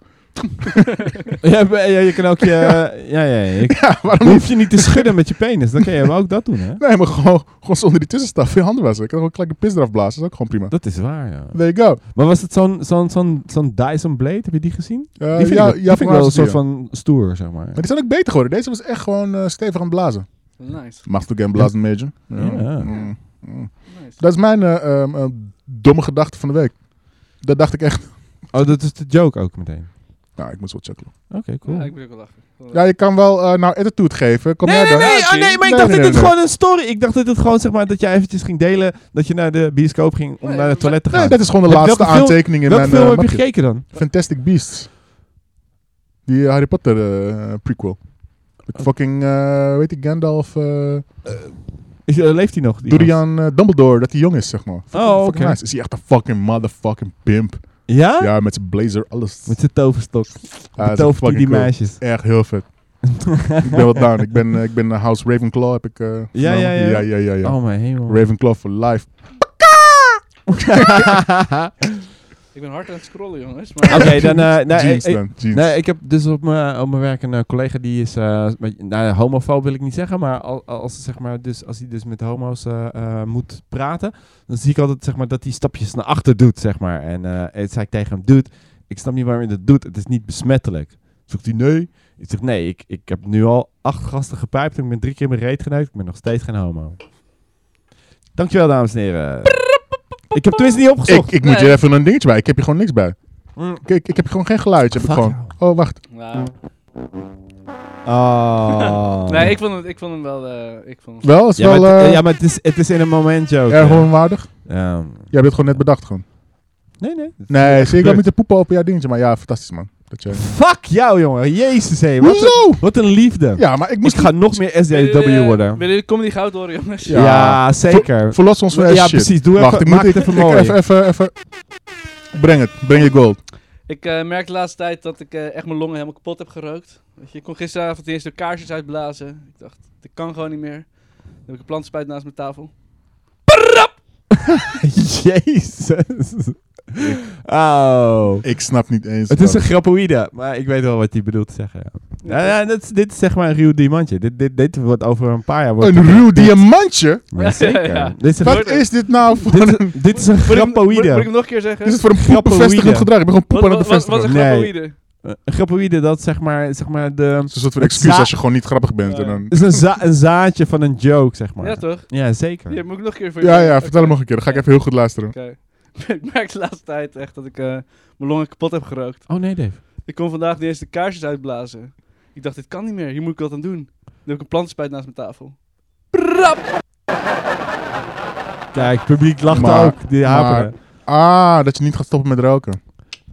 [SPEAKER 3] Ja, maar- ja, je kan ook je... ja, ja, ja. Je,
[SPEAKER 2] Ja, waarom
[SPEAKER 3] dan
[SPEAKER 2] niet?
[SPEAKER 3] hoef je niet te schudden met je penis. Dan kan je wel ook dat doen, hè?
[SPEAKER 2] Nee, maar gewoon, gewoon zonder die tussenstaf je handen wassen. Ik kan gewoon gelijk de pis eraf blazen, dat is ook gewoon prima.
[SPEAKER 3] Dat is waar, ja.
[SPEAKER 2] There you go.
[SPEAKER 3] Maar was het zo'n zo'n zo'n zo'n Dyson Blade? Heb je die gezien?
[SPEAKER 2] Eh,
[SPEAKER 3] die vind
[SPEAKER 2] ja,
[SPEAKER 3] ik, wel- die
[SPEAKER 2] ja,
[SPEAKER 3] vind ik wel een soort
[SPEAKER 2] van...
[SPEAKER 3] van stoer, zeg maar.
[SPEAKER 2] Maar die zijn ook beter geworden. Deze was echt gewoon eh, stevig aan het blazen.
[SPEAKER 1] Nice.
[SPEAKER 2] Mag toch geen blazen, major?
[SPEAKER 3] Ja.
[SPEAKER 2] Mm, mm.
[SPEAKER 1] nice.
[SPEAKER 2] Dat is mijn eh, ehm, eh, domme gedachte van de week. Dat dacht ik echt.
[SPEAKER 3] Oh, dat is de joke ook meteen.
[SPEAKER 2] Nou, ik moet zo checken.
[SPEAKER 3] Oké, cool.
[SPEAKER 1] Ja, ik moet ook wel lachen.
[SPEAKER 2] Ja, je kan wel eh, nou attitude geven. Kom jij
[SPEAKER 3] Nee, nee,
[SPEAKER 2] dan?
[SPEAKER 3] nee,
[SPEAKER 1] Ja,
[SPEAKER 3] oh, nee, maar ik
[SPEAKER 2] nee,
[SPEAKER 3] dacht
[SPEAKER 2] nee,
[SPEAKER 3] dat het
[SPEAKER 2] nee.
[SPEAKER 3] gewoon een story... Ik dacht dat het gewoon, zeg maar, dat jij eventjes ging delen... dat je naar de bioscoop ging om
[SPEAKER 1] Nee,
[SPEAKER 3] naar het toilet te gaan.
[SPEAKER 2] Nee, dat is gewoon de
[SPEAKER 3] Welke
[SPEAKER 2] laatste
[SPEAKER 3] film-
[SPEAKER 2] aantekening in
[SPEAKER 3] Welke
[SPEAKER 2] mijn
[SPEAKER 3] film
[SPEAKER 2] eh,
[SPEAKER 3] heb je
[SPEAKER 2] mapje.
[SPEAKER 3] gekeken dan?
[SPEAKER 2] Fantastic Beasts. Die eh, Harry Potter eh, prequel. Met
[SPEAKER 3] Oh.
[SPEAKER 2] fucking, eh, weet ik, Gandalf, eh
[SPEAKER 3] Is, eh, leeft hij nog? die gast?
[SPEAKER 2] Durian eh, Dumbledore, dat hij jong is, zeg maar. Fucking-
[SPEAKER 3] Oh,
[SPEAKER 2] fucking
[SPEAKER 3] oké.
[SPEAKER 2] nice. Is hij echt een fucking motherfucking pimp.
[SPEAKER 3] Ja?
[SPEAKER 2] Ja, met zijn blazer, alles.
[SPEAKER 3] Met zijn toverstok.
[SPEAKER 2] Ja, dat is
[SPEAKER 3] Betovert hij
[SPEAKER 2] fucking
[SPEAKER 3] die
[SPEAKER 2] cool.
[SPEAKER 3] meisjes.
[SPEAKER 2] Echt heel vet. ik ben wat down. Ik ben, eh, ik ben eh, House Ravenclaw, heb ik eh, genomen.
[SPEAKER 3] ja, ja.
[SPEAKER 2] ja, ja, ja, ja.
[SPEAKER 3] Oh mijn hemel.
[SPEAKER 2] Ravenclaw for life.
[SPEAKER 1] Ik ben hard aan het scrollen, jongens. Maar
[SPEAKER 3] Oké, dan... eh, nee,
[SPEAKER 2] jeans
[SPEAKER 3] ik-
[SPEAKER 2] dan, jeans.
[SPEAKER 3] Nee, ik heb dus op mijn op mijn werk een eh, collega die is, eh, een beetje- nou, homofoob wil ik niet zeggen, maar al- al- als, zeg maar, dus, als hij dus met homo's eh, eh, moet praten, dan zie ik altijd zeg maar, dat hij stapjes naar achter doet, zeg maar. En eh en zei ik tegen hem, dude, ik snap niet waarom je dat doet, het is niet besmettelijk. Zoekt hij, nee. Ik zeg, nee, ik, ik heb nu al acht gasten gepijpt en ik ben drie keer in mijn reet geneukt, ik ben nog steeds geen homo. Dankjewel, dames en heren. Ik heb tenminste niet
[SPEAKER 2] ik,
[SPEAKER 3] opgezocht.
[SPEAKER 2] ik moet
[SPEAKER 1] Nee.
[SPEAKER 2] je even een dingetje bij. Ik heb hier gewoon niks bij.
[SPEAKER 3] Mm.
[SPEAKER 2] Kijk, ik heb gewoon geen geluidje. Heb ik
[SPEAKER 3] Fuck
[SPEAKER 2] gewoon. Oh, wacht.
[SPEAKER 1] Nou.
[SPEAKER 3] Oh.
[SPEAKER 1] Nee, ik vond, hem, ik vond hem wel... eh, ik vond hem-
[SPEAKER 2] Wel, is
[SPEAKER 3] Ja,
[SPEAKER 2] wel
[SPEAKER 3] maar, het-
[SPEAKER 2] eh,
[SPEAKER 3] ja, maar het is, het is in een moment joke.
[SPEAKER 2] erg onwaardig.
[SPEAKER 3] Ja. Ehm.
[SPEAKER 2] Jij hebt het gewoon net bedacht gewoon.
[SPEAKER 3] Nee, nee.
[SPEAKER 2] Nee, zie ik wel
[SPEAKER 3] gebeurd.
[SPEAKER 2] met de poepen op jouw dingetje. Maar ja, fantastisch man. Dat jij...
[SPEAKER 3] Fuck jou, jongen. Jezus, hé. Wat, een-
[SPEAKER 2] Hoezo?
[SPEAKER 3] wat een liefde.
[SPEAKER 2] Ja, maar ik
[SPEAKER 3] ik
[SPEAKER 2] moest...
[SPEAKER 3] ga nog meer
[SPEAKER 1] Willen jullie,
[SPEAKER 3] SJW
[SPEAKER 1] eh,
[SPEAKER 3] worden.
[SPEAKER 1] Willen jullie comedy goud horen, jongens?
[SPEAKER 3] Ja,
[SPEAKER 2] Ja.
[SPEAKER 3] zeker.
[SPEAKER 2] Verlos ons van
[SPEAKER 3] Ja,
[SPEAKER 2] eh, shit.
[SPEAKER 3] precies. Doe
[SPEAKER 2] Wacht,
[SPEAKER 3] even-
[SPEAKER 2] ik moet
[SPEAKER 3] maak het
[SPEAKER 2] ik-
[SPEAKER 3] even
[SPEAKER 2] ik-
[SPEAKER 3] mooi.
[SPEAKER 2] Even, even, even. Breng het. Breng je gold.
[SPEAKER 1] Ik eh, merk de laatste tijd dat ik eh, echt mijn longen helemaal kapot heb gerookt. Weet je, ik kon gisteravond eerst de kaarsjes uitblazen. Ik dacht, dit kan gewoon niet meer. Dan heb ik een plantspuit naast mijn tafel.
[SPEAKER 3] Jezus. Oh.
[SPEAKER 2] Ik snap niet eens.
[SPEAKER 3] Het is een
[SPEAKER 2] wat-
[SPEAKER 3] grapoïde, maar ik weet wel wat hij bedoelt te zeggen. Ja. Ja, ja, dit, is- dit is zeg maar een ruw diamantje. Dit, dit, dit wordt over een paar jaar... Wordt
[SPEAKER 2] Een ruw diamantje?
[SPEAKER 3] Ja, zeker.
[SPEAKER 1] Ja.
[SPEAKER 3] Dit is een,
[SPEAKER 1] Wordt
[SPEAKER 2] Wat
[SPEAKER 1] het.
[SPEAKER 2] is dit nou voor
[SPEAKER 3] dit,
[SPEAKER 2] een...
[SPEAKER 3] is- dit is een
[SPEAKER 1] Moet ik, moet, moet ik
[SPEAKER 3] grapoïde.
[SPEAKER 1] hem nog een keer zeggen?
[SPEAKER 2] Is het voor een poepbevestigend
[SPEAKER 3] Grapoïde.
[SPEAKER 2] gedrag? Ik ben gewoon poep
[SPEAKER 1] wat,
[SPEAKER 2] aan het
[SPEAKER 1] wat, wat,
[SPEAKER 2] bevestigen.
[SPEAKER 1] wat is een
[SPEAKER 3] Nee.
[SPEAKER 1] grapoïde?
[SPEAKER 3] Een grapoïde, dat zeg maar, zeg maar de...
[SPEAKER 2] Het is een soort van
[SPEAKER 3] Het
[SPEAKER 2] excuus
[SPEAKER 3] za-
[SPEAKER 2] als je gewoon niet grappig bent.
[SPEAKER 1] Ja.
[SPEAKER 2] En dan...
[SPEAKER 3] is een, za- een zaadje van een joke, zeg maar.
[SPEAKER 1] Ja, toch?
[SPEAKER 3] Ja, zeker.
[SPEAKER 1] Hier, moet ik nog een keer voor
[SPEAKER 2] Ja,
[SPEAKER 1] zeggen?
[SPEAKER 2] ja, vertel
[SPEAKER 1] Oké.
[SPEAKER 2] hem nog een keer. Dan ga ik even heel goed luisteren.
[SPEAKER 1] Oké. ik merk de laatste tijd echt dat ik eh, mijn longen kapot heb gerookt.
[SPEAKER 3] Oh nee, Dave.
[SPEAKER 1] Ik kon vandaag de eerste kaarsjes uitblazen. Ik dacht, dit kan niet meer. Hier moet ik wat aan doen. Dan heb ik een plantspuit naast mijn tafel. Prap!
[SPEAKER 3] Kijk, het publiek lacht
[SPEAKER 2] Maar-
[SPEAKER 3] ook. Die haperen.
[SPEAKER 2] Ah, dat je niet gaat stoppen met roken.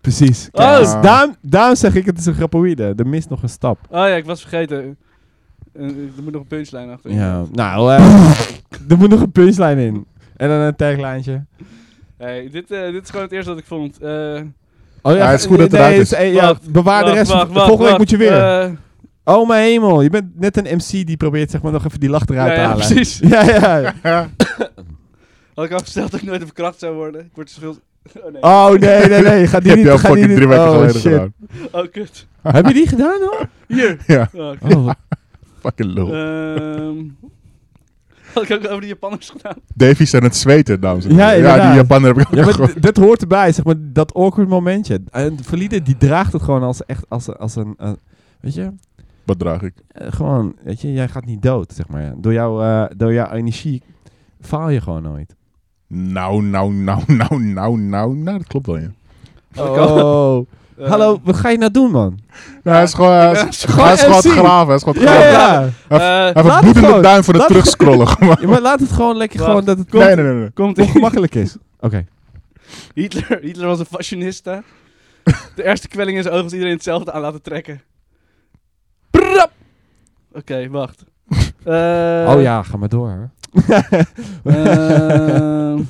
[SPEAKER 3] Precies.
[SPEAKER 1] Oh.
[SPEAKER 3] Kijk, dus daarom, daarom zeg ik, het is een grapoïde. Er mist nog een stap.
[SPEAKER 1] Oh ja, ik was vergeten. Eh, er moet nog een punchline achter.
[SPEAKER 3] Ja. Nou, eh, er moet nog een punchline in. En dan een taglijntje.
[SPEAKER 1] Hey, dit, eh, dit is gewoon het eerste wat ik vond. Eh,
[SPEAKER 3] Oh
[SPEAKER 2] Ja, het is goed dat het
[SPEAKER 3] nee,
[SPEAKER 2] eruit
[SPEAKER 3] het
[SPEAKER 2] is.
[SPEAKER 3] eh, ja,
[SPEAKER 1] Wacht,
[SPEAKER 3] bewaar de
[SPEAKER 1] wacht,
[SPEAKER 3] rest.
[SPEAKER 1] wacht, wacht,
[SPEAKER 3] Volgende
[SPEAKER 1] wacht.
[SPEAKER 3] week moet je weer.
[SPEAKER 1] Eh,
[SPEAKER 3] oh mijn hemel, je bent net een MC die probeert zeg maar nog even die lach eruit
[SPEAKER 1] ja,
[SPEAKER 3] te
[SPEAKER 1] ja,
[SPEAKER 3] halen.
[SPEAKER 1] precies.
[SPEAKER 3] Ja, ja.
[SPEAKER 1] Had ik al gesteld dat ik nooit verkracht zou worden. Ik word schuld. Oh nee.
[SPEAKER 3] Oh nee, nee, nee. Gaat
[SPEAKER 2] Die heb
[SPEAKER 3] die niet,
[SPEAKER 2] je al
[SPEAKER 3] gaat die
[SPEAKER 2] fucking
[SPEAKER 3] niet-
[SPEAKER 2] drie weken
[SPEAKER 3] oh,
[SPEAKER 2] geleden
[SPEAKER 3] shit.
[SPEAKER 2] gedaan.
[SPEAKER 1] Oh kut.
[SPEAKER 3] Heb je die gedaan hoor?
[SPEAKER 1] Hier.
[SPEAKER 2] Ja,
[SPEAKER 1] Oh, kut.
[SPEAKER 3] Oh,
[SPEAKER 2] fucking lul.
[SPEAKER 1] Ehm, had ik ook over de Japanners gedaan.
[SPEAKER 2] Davy zijn aan het zweten, dames en heren.
[SPEAKER 3] Ja,
[SPEAKER 2] Ja,
[SPEAKER 3] inderdaad.
[SPEAKER 2] die Japaner heb ik ook
[SPEAKER 3] Ja, maar
[SPEAKER 2] gewoon-
[SPEAKER 3] d- dat hoort erbij, zeg maar, dat awkward momentje. En Valide, die draagt het gewoon als echt, als, als een, eh, weet je,
[SPEAKER 2] Wat draag ik?
[SPEAKER 3] Eh, gewoon, weet je, jij gaat niet dood, zeg maar. Door, jouw eh, door jouw energie faal je gewoon nooit.
[SPEAKER 2] Nou, nou, nou, nou, nou, nou. Nou, dat klopt wel, ja.
[SPEAKER 3] Oh.
[SPEAKER 1] Eh,
[SPEAKER 2] Eh.
[SPEAKER 3] Hallo, wat ga je nou doen, man?
[SPEAKER 2] Ja, hij is gewoon, hij is,
[SPEAKER 3] gewoon
[SPEAKER 2] hij is gewoon aan het
[SPEAKER 3] MC.
[SPEAKER 2] graven. Hij is gewoon aan het
[SPEAKER 3] Ja,
[SPEAKER 2] graven.
[SPEAKER 3] ja.
[SPEAKER 1] Eh,
[SPEAKER 2] Hij heeft
[SPEAKER 3] Laat
[SPEAKER 2] een
[SPEAKER 3] het
[SPEAKER 2] bloedende
[SPEAKER 3] gewoon.
[SPEAKER 2] duim voor het
[SPEAKER 3] Laat-
[SPEAKER 2] terugscrollen.
[SPEAKER 3] ja maar laat het gewoon lekker
[SPEAKER 1] Wacht.
[SPEAKER 3] gewoon dat het
[SPEAKER 2] nee, nee, nee. nee.
[SPEAKER 1] Komt
[SPEAKER 3] ongemakkelijk is. Oké.
[SPEAKER 1] Hitler, Hitler was een fascinista. De eerste kwelling in zijn ogen was iedereen hetzelfde aan laten trekken. Prap! Oké, wacht. Eh,
[SPEAKER 3] oh ja, ga maar door.
[SPEAKER 1] ehm.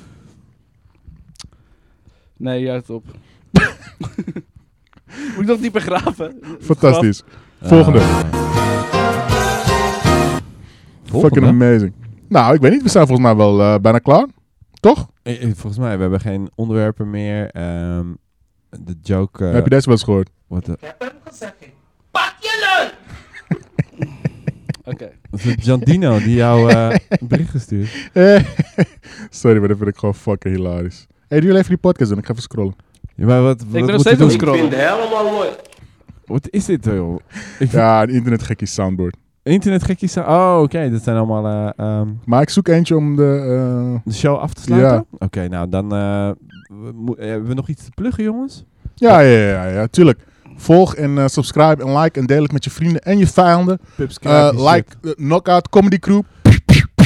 [SPEAKER 1] nee, juist op. Moet ik nog dieper graven?
[SPEAKER 2] Fantastisch. Volgende.
[SPEAKER 3] Eh.
[SPEAKER 2] Fucking
[SPEAKER 3] Volgende.
[SPEAKER 2] amazing. Nou, ik weet niet. We zijn volgens mij wel eh, bijna klaar. Toch?
[SPEAKER 3] Eh, eh, Volgens mij, we hebben geen onderwerpen meer. ehm, de joke... eh,
[SPEAKER 2] Heb je deze wel eens gehoord?
[SPEAKER 3] what the-
[SPEAKER 4] Pak je leuk!
[SPEAKER 1] Oké.
[SPEAKER 3] Dat is Giandino die jou eh, een bericht gestuurd.
[SPEAKER 2] Eh, Sorry, maar dat vind ik gewoon fucking hilarisch. hey, doe jullie even die podcast doen. Ik ga even scrollen.
[SPEAKER 3] Ja, maar wat, wat
[SPEAKER 1] ben nog
[SPEAKER 3] moet
[SPEAKER 1] steeds
[SPEAKER 3] je
[SPEAKER 1] aan
[SPEAKER 3] doen?
[SPEAKER 1] het scrollen.
[SPEAKER 5] vind het helemaal mooi.
[SPEAKER 3] Wat is dit, joh? Ik
[SPEAKER 2] Ja, een internetgekkie soundboard.
[SPEAKER 3] Internetgekkies zijn... Oh, oké. Dat zijn allemaal eh, ehm,
[SPEAKER 2] Maar ik zoek eentje om de... eh,
[SPEAKER 3] de show af te sluiten. Oké, nou dan... eh, we mo- eh, hebben we nog iets te pluggen, jongens?
[SPEAKER 2] Ja, ja, ja, ja, ja, tuurlijk. Volg en eh, subscribe en like en deel het met je vrienden en je vijanden.
[SPEAKER 3] Pips,
[SPEAKER 2] Eh, like de Knockout Comedy Crew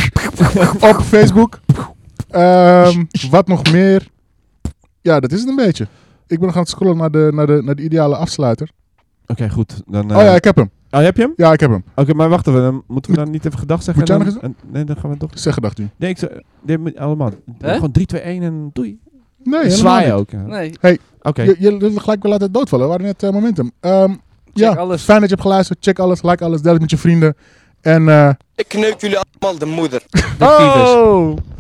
[SPEAKER 2] op Facebook. Ehm, wat nog meer? Ja, dat is het een beetje. Ik ben nog aan het scrollen naar de, naar de, naar de ideale afsluiter.
[SPEAKER 3] Oké, goed. Dan, eh,
[SPEAKER 2] Oh ja, ik heb hem.
[SPEAKER 3] oh, heb je hem?
[SPEAKER 2] Ja, ik heb hem.
[SPEAKER 3] Oké, maar wachten we. Dan moeten we dan niet even gedag zeggen?
[SPEAKER 2] moet jij
[SPEAKER 3] en
[SPEAKER 2] nog
[SPEAKER 3] dan- en- Nee, dan gaan we toch...
[SPEAKER 2] Zeg gedacht u.
[SPEAKER 3] Nee, ik zou... Nee, moet- allemaal.
[SPEAKER 1] Hè?
[SPEAKER 3] Gewoon 3, 2, 1 en doei.
[SPEAKER 2] Nee, helemaal
[SPEAKER 3] Zwaaien
[SPEAKER 2] niet.
[SPEAKER 3] ook. ja.
[SPEAKER 1] Nee.
[SPEAKER 3] Oké.
[SPEAKER 2] Je, je wil gelijk wel laten doodvallen. We waren net eh, momentum. Ehm, ja,
[SPEAKER 1] alles.
[SPEAKER 2] fijn dat je hebt geluisterd. Check alles, like alles, deel het met je vrienden. En eh,
[SPEAKER 5] Ik kneuk jullie allemaal de moeder.
[SPEAKER 1] Oh!